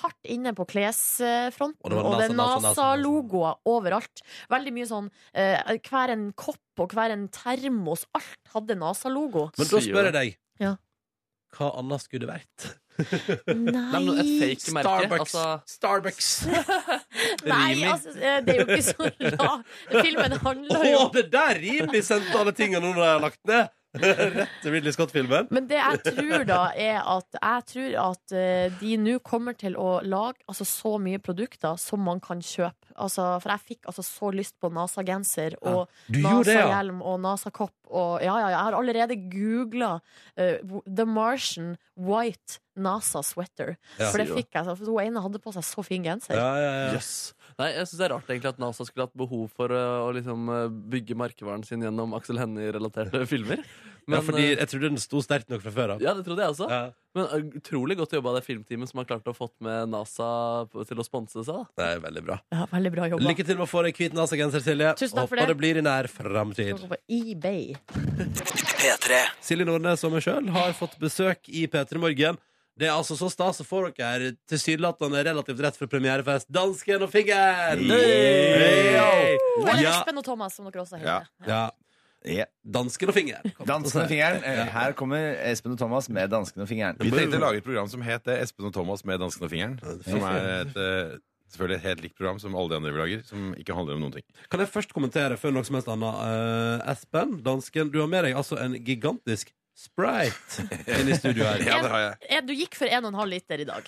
[SPEAKER 3] hardt inne på klesfronten.
[SPEAKER 2] Og
[SPEAKER 3] Og
[SPEAKER 2] det var NASA,
[SPEAKER 3] det, er
[SPEAKER 2] NASA, NASA.
[SPEAKER 3] NASA-logoer overalt. Veldig mye sånn eh, Hver en kopp og hver en termos, alt hadde NASA-logo.
[SPEAKER 2] Men da spør jeg deg,
[SPEAKER 3] Ja.
[SPEAKER 2] hva annet skulle det vært?
[SPEAKER 4] Nei, men et
[SPEAKER 3] Nei!
[SPEAKER 4] fake merke. Altså,
[SPEAKER 2] Starbucks!
[SPEAKER 3] Nei,
[SPEAKER 2] Rimi.
[SPEAKER 3] altså, eh, det er jo ikke så rart. Filmen handler jo
[SPEAKER 2] Å, det der rimer vi sendte alle tingene nå når jeg har lagt ned! Rett til Ridley Scott-filmen.
[SPEAKER 3] Men det jeg tror da, er at jeg tror at eh, de nå kommer til å lage altså, så mye produkter som man kan kjøpe. Altså, for jeg fikk altså så lyst på NASA-genser og
[SPEAKER 2] Du gjorde det, ja.
[SPEAKER 3] NASA-hjelm og NASA-kopp. Og ja, ja, ja, jeg har allerede googla The Martian White NASA Sweater.
[SPEAKER 2] Ja.
[SPEAKER 3] For det fikk jeg. altså, For hun ene hadde på seg så fin genser.
[SPEAKER 2] Ja, ja, ja.
[SPEAKER 4] Jøss. Nei, jeg syns det er rart egentlig at NASA skulle hatt behov for øh, å liksom øh, bygge merkevaren sin gjennom Aksel Hennie-relaterte filmer.
[SPEAKER 2] ja, fordi
[SPEAKER 4] øh,
[SPEAKER 2] jeg trodde den sto sterkt nok fra før av.
[SPEAKER 4] ja, det trodde jeg også.
[SPEAKER 2] Ja.
[SPEAKER 4] Men øh, utrolig godt jobba av det filmteamet som har klart å fått med NASA på- til å sponse seg. da.
[SPEAKER 2] Det er veldig bra.
[SPEAKER 3] Ja, veldig bra jobba.
[SPEAKER 2] Lykke til med å få deg hvit NASA-genser, Silje.
[SPEAKER 3] Tusen takk for
[SPEAKER 2] Håper
[SPEAKER 3] det.
[SPEAKER 2] det blir i nær framtid.
[SPEAKER 3] På eBay.
[SPEAKER 2] Silje Nordnes og meg sjøl har fått besøk i P3 Morgen. Det er altså så stas å få dere her tilsynelatende relativt rett før premierefest. Dansken og fingeren! Hey!
[SPEAKER 3] Eller
[SPEAKER 2] Ja.
[SPEAKER 3] Espen og Thomas, som dere også heter.
[SPEAKER 2] ja.
[SPEAKER 7] Ja.
[SPEAKER 2] Dansken og fingeren. kom
[SPEAKER 7] Dansken
[SPEAKER 2] og
[SPEAKER 7] og
[SPEAKER 2] si.
[SPEAKER 7] fingeren. Eh, Her kommer Espen og Thomas med dansken og fingeren.
[SPEAKER 8] Vi tenkte å lage et program som het eh, Espen og Thomas med dansken og fingeren. Som er et eh, selvfølgelig et helt likt program som alle de andre vi lager, som ikke handler om noen ting.
[SPEAKER 2] Kan jeg først kommentere før noe som helst annet? Eh, Espen, dansken, du har med deg altså en gigantisk Sprite inn i studio her.
[SPEAKER 8] Ja, det har jeg.
[SPEAKER 3] Eh, Du gikk for 1,5 liter i dag.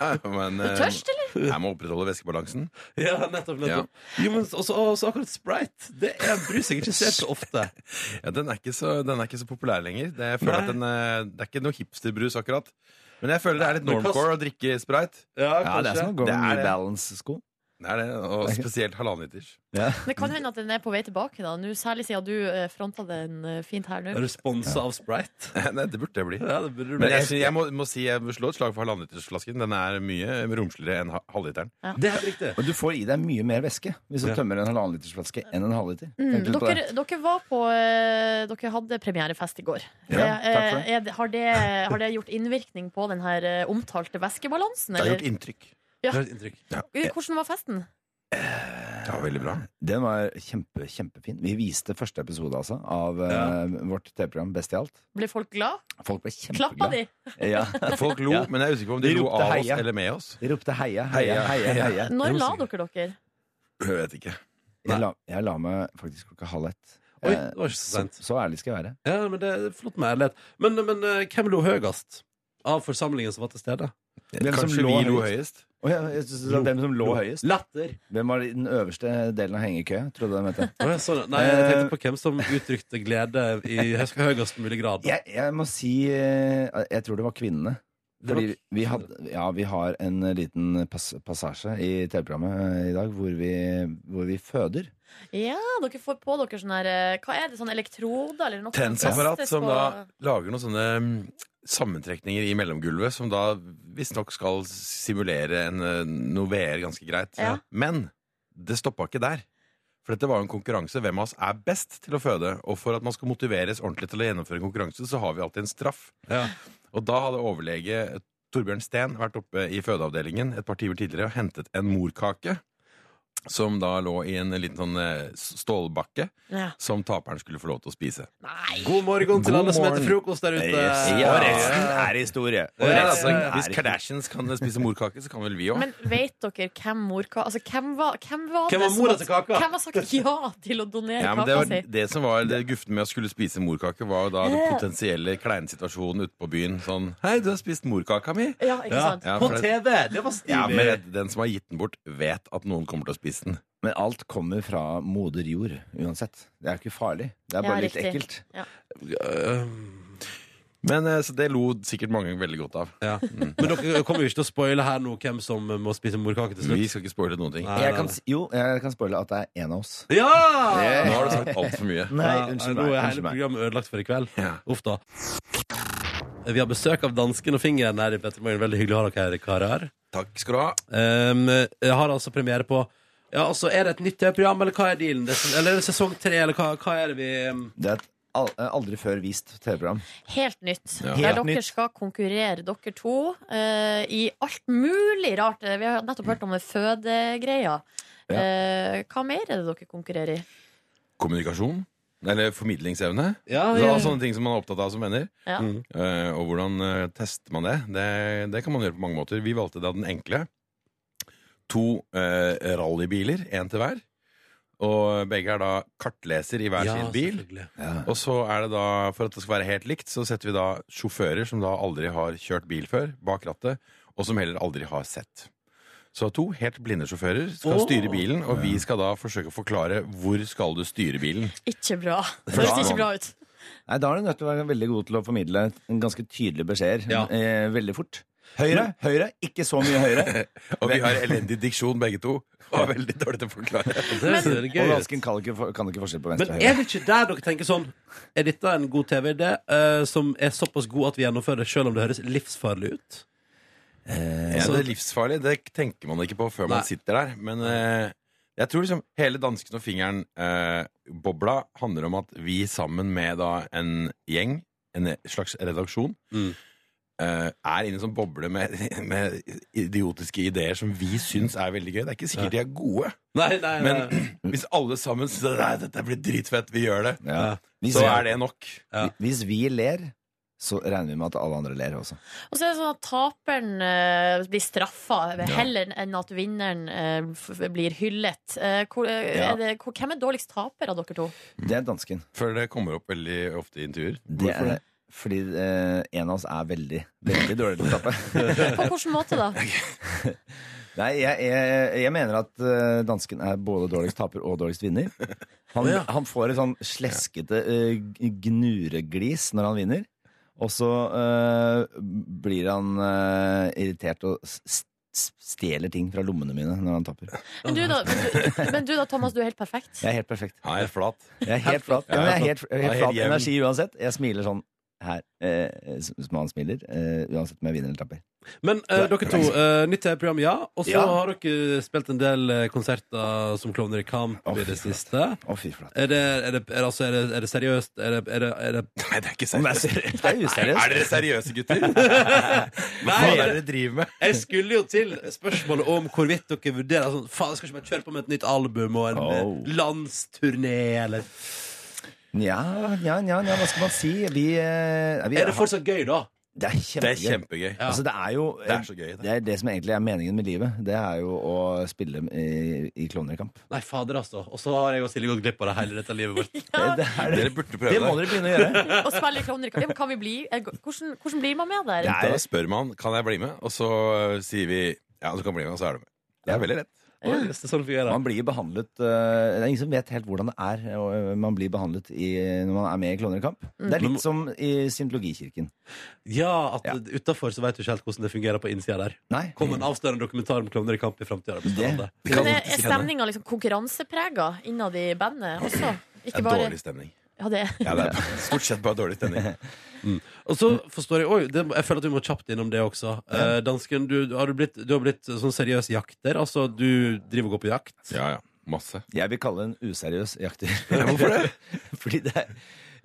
[SPEAKER 8] Ja, men
[SPEAKER 3] Du
[SPEAKER 8] eh,
[SPEAKER 3] tørst, eller?
[SPEAKER 8] jeg må opprettholde væskebalansen.
[SPEAKER 2] Ja, nettopp. nettopp. Jo, men også, også akkurat Sprite. Det er en brus jeg ikke ser så ofte.
[SPEAKER 8] Ja, den, er ikke så, den er ikke så populær lenger. Det, jeg føler
[SPEAKER 2] Nei.
[SPEAKER 8] at den, eh, det er ikke noe hipsterbrus, akkurat. Men jeg føler det er litt
[SPEAKER 2] Men hva s-
[SPEAKER 8] normcore å drikke sprite.
[SPEAKER 7] Ja, det er som å gå
[SPEAKER 8] Det
[SPEAKER 7] med New
[SPEAKER 8] er det.
[SPEAKER 7] Balance-sko.
[SPEAKER 8] Det er det, og spesielt halvannenliters.
[SPEAKER 3] Det kan hende at den er på vei tilbake, da. Nå, særlig siden du eh, fronta den eh, fint her nå.
[SPEAKER 2] Er du sponsa av Sprite?
[SPEAKER 8] Nei, det burde det bli.
[SPEAKER 2] Ja, det burde du
[SPEAKER 8] Men
[SPEAKER 2] bli.
[SPEAKER 8] jeg, sy- jeg må, må si jeg må slå et slag for halvannenlitersflasken. Den er mye romsligere enn ha- halvliteren.
[SPEAKER 2] Det er helt riktig.
[SPEAKER 7] Og du får i deg mye mer væske hvis du
[SPEAKER 2] Ja.
[SPEAKER 7] tømmer en halvannen liters flaske enn en halvliter.
[SPEAKER 3] Mm,
[SPEAKER 7] Tenk litt på
[SPEAKER 3] dere,
[SPEAKER 7] det.
[SPEAKER 3] dere var på eh, Dere hadde premierefest i går.
[SPEAKER 7] Ja,
[SPEAKER 3] Eh,
[SPEAKER 7] takk for det.
[SPEAKER 3] eh, er det- har, det, har det gjort innvirkning på den her eh, omtalte væskebalansen?
[SPEAKER 8] Det har
[SPEAKER 3] Eller?
[SPEAKER 8] gjort inntrykk.
[SPEAKER 2] Det er et inntrykk.
[SPEAKER 3] Eh, Hvordan var festen?
[SPEAKER 8] Det var veldig bra.
[SPEAKER 7] Den var kjempe, kjempefin. Vi viste første episode altså, av eh, vårt TV-program Best i alt.
[SPEAKER 3] Ble folk glad?
[SPEAKER 7] Folk ble
[SPEAKER 3] Klappa
[SPEAKER 7] kjempeglade.
[SPEAKER 3] de?
[SPEAKER 7] Ja.
[SPEAKER 8] Folk lo,
[SPEAKER 7] Ja.
[SPEAKER 8] men jeg er usikker på om de
[SPEAKER 7] De
[SPEAKER 8] lo
[SPEAKER 7] ropte
[SPEAKER 8] av oss
[SPEAKER 7] heia.
[SPEAKER 8] eller med oss.
[SPEAKER 7] De ropte heia, heia,
[SPEAKER 8] Heia,
[SPEAKER 7] heia. heia.
[SPEAKER 3] Når la dere dere?
[SPEAKER 8] Jeg vet ikke.
[SPEAKER 7] Jeg, la, jeg la meg faktisk klokka halv ett.
[SPEAKER 2] Oi,
[SPEAKER 7] Eh,
[SPEAKER 2] det var ikke så
[SPEAKER 7] så,
[SPEAKER 2] sent.
[SPEAKER 7] så ærlig skal jeg være.
[SPEAKER 2] Ja, men det er flott med ærlighet. Men, men eh, hvem lo høyest av forsamlingen som var til stede?
[SPEAKER 7] Hvem som
[SPEAKER 8] Kanskje
[SPEAKER 7] lå
[SPEAKER 8] vi lo
[SPEAKER 7] høyest?
[SPEAKER 8] høyest?
[SPEAKER 7] Å ja, jeg synes det var hvem som lå høyest?
[SPEAKER 2] Latter.
[SPEAKER 7] Hvem var i den øverste delen av hengekøya? Trodde jeg, mente.
[SPEAKER 2] Å, ja, sånn. Nei, jeg tenkte på hvem som uttrykte glede i høyest- høyest mulig grad.
[SPEAKER 7] Jeg, jeg må si eh, Jeg tror det var kvinnene.
[SPEAKER 2] Det var
[SPEAKER 7] Fordi vi, had, ja, vi har en liten pass, passasje i TV-programmet eh, i dag hvor vi, hvor vi føder.
[SPEAKER 3] Ja, dere får på dere sånn her eh, Hva er det, sånn elektroder eller noe? som
[SPEAKER 8] Tensapparat
[SPEAKER 3] festes
[SPEAKER 8] som
[SPEAKER 3] på-
[SPEAKER 8] da lager noen sånne mm, sammentrekninger i mellomgulvet, som da visstnok skal simulere en eh, noe VR ganske greit.
[SPEAKER 3] Ja.
[SPEAKER 8] Men det stoppa ikke der. For dette var jo en konkurranse. Hvem av oss er best til å føde? Og for at man skal motiveres ordentlig til å gjennomføre en konkurranse, så har vi alltid en straff.
[SPEAKER 2] Ja.
[SPEAKER 8] Og da hadde overlege Torbjørn Steen vært oppe i fødeavdelingen et par timer tidligere og hentet en morkake. Som da lå i en liten sånn eh, stålbakke
[SPEAKER 3] Ja.
[SPEAKER 8] som taperen skulle få lov til å spise.
[SPEAKER 2] God morgen til
[SPEAKER 7] God
[SPEAKER 2] alle som heter
[SPEAKER 7] morgen.
[SPEAKER 2] frokost der ute.
[SPEAKER 7] Ja, er historie. Og
[SPEAKER 8] Ja,
[SPEAKER 7] resten
[SPEAKER 8] altså,
[SPEAKER 7] er
[SPEAKER 8] hvis
[SPEAKER 7] historie.
[SPEAKER 8] Kardashians kan spise morkake, så kan vel vi òg.
[SPEAKER 3] Men vet dere hvem morka Altså, hvem var, hvem var,
[SPEAKER 2] Hvem
[SPEAKER 3] det
[SPEAKER 2] var
[SPEAKER 3] som
[SPEAKER 2] mora
[SPEAKER 3] hadde-
[SPEAKER 2] til kaka?
[SPEAKER 3] Hvem har sagt ja til å donere
[SPEAKER 8] Ja, men det,
[SPEAKER 3] kaka
[SPEAKER 8] var,
[SPEAKER 3] si?
[SPEAKER 8] det som var det guften med å skulle spise morkake, var jo da den potensielle kleinsituasjonen ute på byen. Sånn 'Hei, du har spist morkaka mi'.
[SPEAKER 3] Ja, ikke
[SPEAKER 2] Ja.
[SPEAKER 3] sant?
[SPEAKER 8] Ja,
[SPEAKER 2] På
[SPEAKER 8] for det-
[SPEAKER 2] TV! Det var stilig.
[SPEAKER 8] Ja, men det- den som har gitt den bort, vet at noen kommer til å spise den.
[SPEAKER 7] Men alt kommer fra moder jord uansett. Det er ikke farlig. Det
[SPEAKER 3] Ja,
[SPEAKER 7] er bare litt
[SPEAKER 3] riktig.
[SPEAKER 7] ekkelt.
[SPEAKER 8] Men eh, Så det lo sikkert mange veldig godt av. Mm.
[SPEAKER 2] Ja. Men dere kommer jo ikke til å spoile her nå hvem som må spise morkake til slutt.
[SPEAKER 8] Vi skal ikke spoile noen ting.
[SPEAKER 2] Nei,
[SPEAKER 7] Jeg
[SPEAKER 2] nei,
[SPEAKER 7] kan,
[SPEAKER 2] nei.
[SPEAKER 7] s- jo, jeg kan spoile at det er en av oss.
[SPEAKER 2] Ja!
[SPEAKER 8] Nå har du sagt altfor mye.
[SPEAKER 7] Nei,
[SPEAKER 2] Ja,
[SPEAKER 7] unnskyld
[SPEAKER 2] Nå
[SPEAKER 7] meg.
[SPEAKER 2] er hele
[SPEAKER 7] Unnskyld meg.
[SPEAKER 2] programmet ødelagt for i kveld.
[SPEAKER 8] Ja.
[SPEAKER 2] Uff da. Vi har besøk av dansken og fingeren her i Petter Morgen. Veldig hyggelig å ha dere her, karer.
[SPEAKER 8] Takk skal du ha.
[SPEAKER 2] Um, jeg har altså premiere på ja, altså, Er det et nytt program, eller hva er dealen? Det, er- eller er det sesong tre, eller hva, hva er det vi um,
[SPEAKER 7] Det er et al- eh, aldri før vist TV-program.
[SPEAKER 3] Helt nytt. Der
[SPEAKER 8] Ja.
[SPEAKER 7] Helt
[SPEAKER 3] dere
[SPEAKER 7] nytt.
[SPEAKER 3] skal konkurrere, dere to, eh, i alt mulig rart. Vi har nettopp hørt om det fødegreia.
[SPEAKER 7] Ja.
[SPEAKER 3] Eh, hva mer er det dere konkurrerer i?
[SPEAKER 8] Kommunikasjon. Eller formidlingsevne.
[SPEAKER 2] ja,
[SPEAKER 8] Så,
[SPEAKER 2] ja,
[SPEAKER 8] sånne ting som man er opptatt av som venner.
[SPEAKER 3] Ja.
[SPEAKER 2] Mm.
[SPEAKER 8] Eh, og hvordan eh, tester man det? det? Det kan man gjøre på mange måter. Vi valgte da den enkle. To eh, rallybiler, én til hver. Og begge er da kartleser i hver
[SPEAKER 2] ja,
[SPEAKER 8] sin bil.
[SPEAKER 2] selvfølgelig.
[SPEAKER 8] Og så er det da, for at det skal være helt likt, så setter vi da sjåfører som da aldri har kjørt bil før, bak rattet, og som heller aldri har sett. Så to helt blinde sjåfører skal
[SPEAKER 2] Åh.
[SPEAKER 8] styre bilen, og vi skal da forsøke å forklare hvor skal du styre bilen.
[SPEAKER 3] Ikke bra. Det
[SPEAKER 7] Bra.
[SPEAKER 3] høres ikke bra ut.
[SPEAKER 7] Nei, Da er du nødt til å være veldig god til å formidle en ganske tydelige beskjeder
[SPEAKER 2] Ja.
[SPEAKER 7] eh, veldig fort. Høyre, høyre, ikke så mye høyre.
[SPEAKER 8] Og vi har elendig diksjon begge to, og er veldig dårlig til å forklare.
[SPEAKER 2] Det ser gøy
[SPEAKER 7] Og
[SPEAKER 2] ut.
[SPEAKER 7] dansken kan ikke, for- kan ikke forskjell på
[SPEAKER 2] Men
[SPEAKER 7] venstre og
[SPEAKER 2] er
[SPEAKER 7] høyre.
[SPEAKER 2] det ikke der dere tenker sånn Er dette en god TV-idé eh, som er såpass god at vi gjennomfører det, selv om det høres livsfarlig ut?
[SPEAKER 8] Eh,
[SPEAKER 2] Altså-
[SPEAKER 8] Ja, det er livsfarlig. Det tenker man ikke på før man
[SPEAKER 2] Nei.
[SPEAKER 8] sitter der. Men eh, jeg tror liksom hele dansken og fingeren-bobla handler om at vi sammen med da en gjeng, en slags redaksjon,
[SPEAKER 2] Mm.
[SPEAKER 8] eh, er inne i en sånn boble med, med idiotiske ideer som vi syns er veldig gøy. Det er ikke sikkert de er gode,
[SPEAKER 2] Nei, nei, nei.
[SPEAKER 8] men hvis alle sammen syns at dette blir dritfett, vi gjør det,
[SPEAKER 7] Ja. Hvis,
[SPEAKER 8] så er det nok.
[SPEAKER 2] Ja.
[SPEAKER 7] hvis vi ler, så regner vi med at alle andre ler også.
[SPEAKER 3] Og så er det sånn at taperen eh, blir straffa heller enn at vinneren eh, f- blir hyllet. Eh, hvor, eh,
[SPEAKER 7] Ja.
[SPEAKER 3] er det, hvor, hvem er dårligst taper av dere to?
[SPEAKER 7] Det er dansken.
[SPEAKER 8] Før det kommer opp veldig ofte i intervjuer.
[SPEAKER 7] Det er, fordi eh, en av oss er veldig, veldig dårlig til å tape.
[SPEAKER 3] På hvilken måte da?
[SPEAKER 7] Nei, jeg, jeg, jeg mener at eh, dansken er både dårligst taper og dårligst vinner.
[SPEAKER 2] Å,
[SPEAKER 7] Han,
[SPEAKER 2] ja.
[SPEAKER 7] han får et sånn sleskete eh, g- gnureglis når han vinner. Og så eh, blir han eh, irritert og s- s- stjeler ting fra lommene mine når han taper.
[SPEAKER 3] Men du da, men du, men du da Thomas, du er helt perfekt.
[SPEAKER 7] Jeg er helt perfekt.
[SPEAKER 8] Han er flat.
[SPEAKER 7] Jeg er helt flat, ja, men jeg er helt,
[SPEAKER 8] Ja,
[SPEAKER 7] helt
[SPEAKER 8] helt
[SPEAKER 7] flat
[SPEAKER 8] jevn.
[SPEAKER 7] energi uansett. Jeg smiler sånn her, eh, s- som han smiler, eh, uansett om jeg vinner eller taper.
[SPEAKER 2] Men eh, dere to, eh, nytt TV-program, ja. Og så
[SPEAKER 7] Ja.
[SPEAKER 2] har dere spilt en del eh, konserter som Klovner i kamp
[SPEAKER 7] Å,
[SPEAKER 2] i det
[SPEAKER 7] fy
[SPEAKER 2] siste.
[SPEAKER 7] Å, fy flate.
[SPEAKER 2] Er det, er, det, er, det, altså, er, det, er det seriøst? Er det, er det, er det
[SPEAKER 8] Nei, det er ikke
[SPEAKER 7] Om jeg er seriøs-
[SPEAKER 8] seriøst.
[SPEAKER 7] Det er useriøst.
[SPEAKER 8] Er dere seriøse, gutter? Hva faen er det dere driver med?
[SPEAKER 2] Jeg skulle jo til spørsmålet om hvorvidt dere vurderer sånn Faen, skal ikke bare kjøre på med et nytt album og en eh,
[SPEAKER 7] Oh.
[SPEAKER 2] landsturné, eller
[SPEAKER 7] Nja, nja, nja, nja, hva skal man si? Vi, eh, vi
[SPEAKER 2] Er det fortsatt gøy, da?
[SPEAKER 7] Det er kjempegøy.
[SPEAKER 8] Det er kjempegøy.
[SPEAKER 2] Ja.
[SPEAKER 7] Altså, det er jo
[SPEAKER 8] Det er så gøy, det.
[SPEAKER 7] det, er det som egentlig er meningen med livet. Det er jo å spille i, i klovnekamp.
[SPEAKER 2] Nei, fader, altså. Og så har jeg og Silje gått glipp av det hele dette livet vårt.
[SPEAKER 7] Det, det, er, det,
[SPEAKER 8] Dere burde prøve
[SPEAKER 7] det
[SPEAKER 8] det.
[SPEAKER 7] må dere begynne å gjøre.
[SPEAKER 3] Og spille klovner. Kan, kan vi bli? eh, Hvordan, hvordan blir man med der?
[SPEAKER 7] Ja.
[SPEAKER 8] Da spør man kan jeg bli med, og så øh, sier vi ja, du kan bli med, og så er du med. Det er veldig lett.
[SPEAKER 2] Hvis det er sånn det fungerer.
[SPEAKER 7] Man blir behandlet eh, Det er ingen som vet helt hvordan det er og, eh, man blir behandlet i, når man er med i klovnekamp.
[SPEAKER 2] Mm.
[SPEAKER 7] Det er litt som i Syntologikirken.
[SPEAKER 2] Ja, at
[SPEAKER 7] Ja.
[SPEAKER 2] utafor så veit du ikke helt hvordan det fungerer på innsida der.
[SPEAKER 7] Nei.
[SPEAKER 2] Kommer en avslørende dokumentar om klovner i kamp i framtida.
[SPEAKER 7] Det-
[SPEAKER 8] Det kan
[SPEAKER 3] Men er, er
[SPEAKER 8] faktisk hende.
[SPEAKER 3] stemninga liksom konkurranseprega innad i bandet også?
[SPEAKER 8] Det
[SPEAKER 3] Ikke
[SPEAKER 8] er
[SPEAKER 3] bare
[SPEAKER 8] dårlig stemning.
[SPEAKER 3] ja, det.
[SPEAKER 8] Ja, det er stort sett bare dårlig stemning.
[SPEAKER 2] Mm. Og så forstår jeg Oi, det, jeg føler at vi må kjapt innom det også. Eh, dansken, du, du har du, blitt, du har blitt sånn seriøs jakter. Altså, du driver og går på jakt.
[SPEAKER 8] Ja, ja. Masse.
[SPEAKER 7] Jeg vil kalle det en useriøs jakter.
[SPEAKER 8] Hvorfor det?
[SPEAKER 7] Fordi det er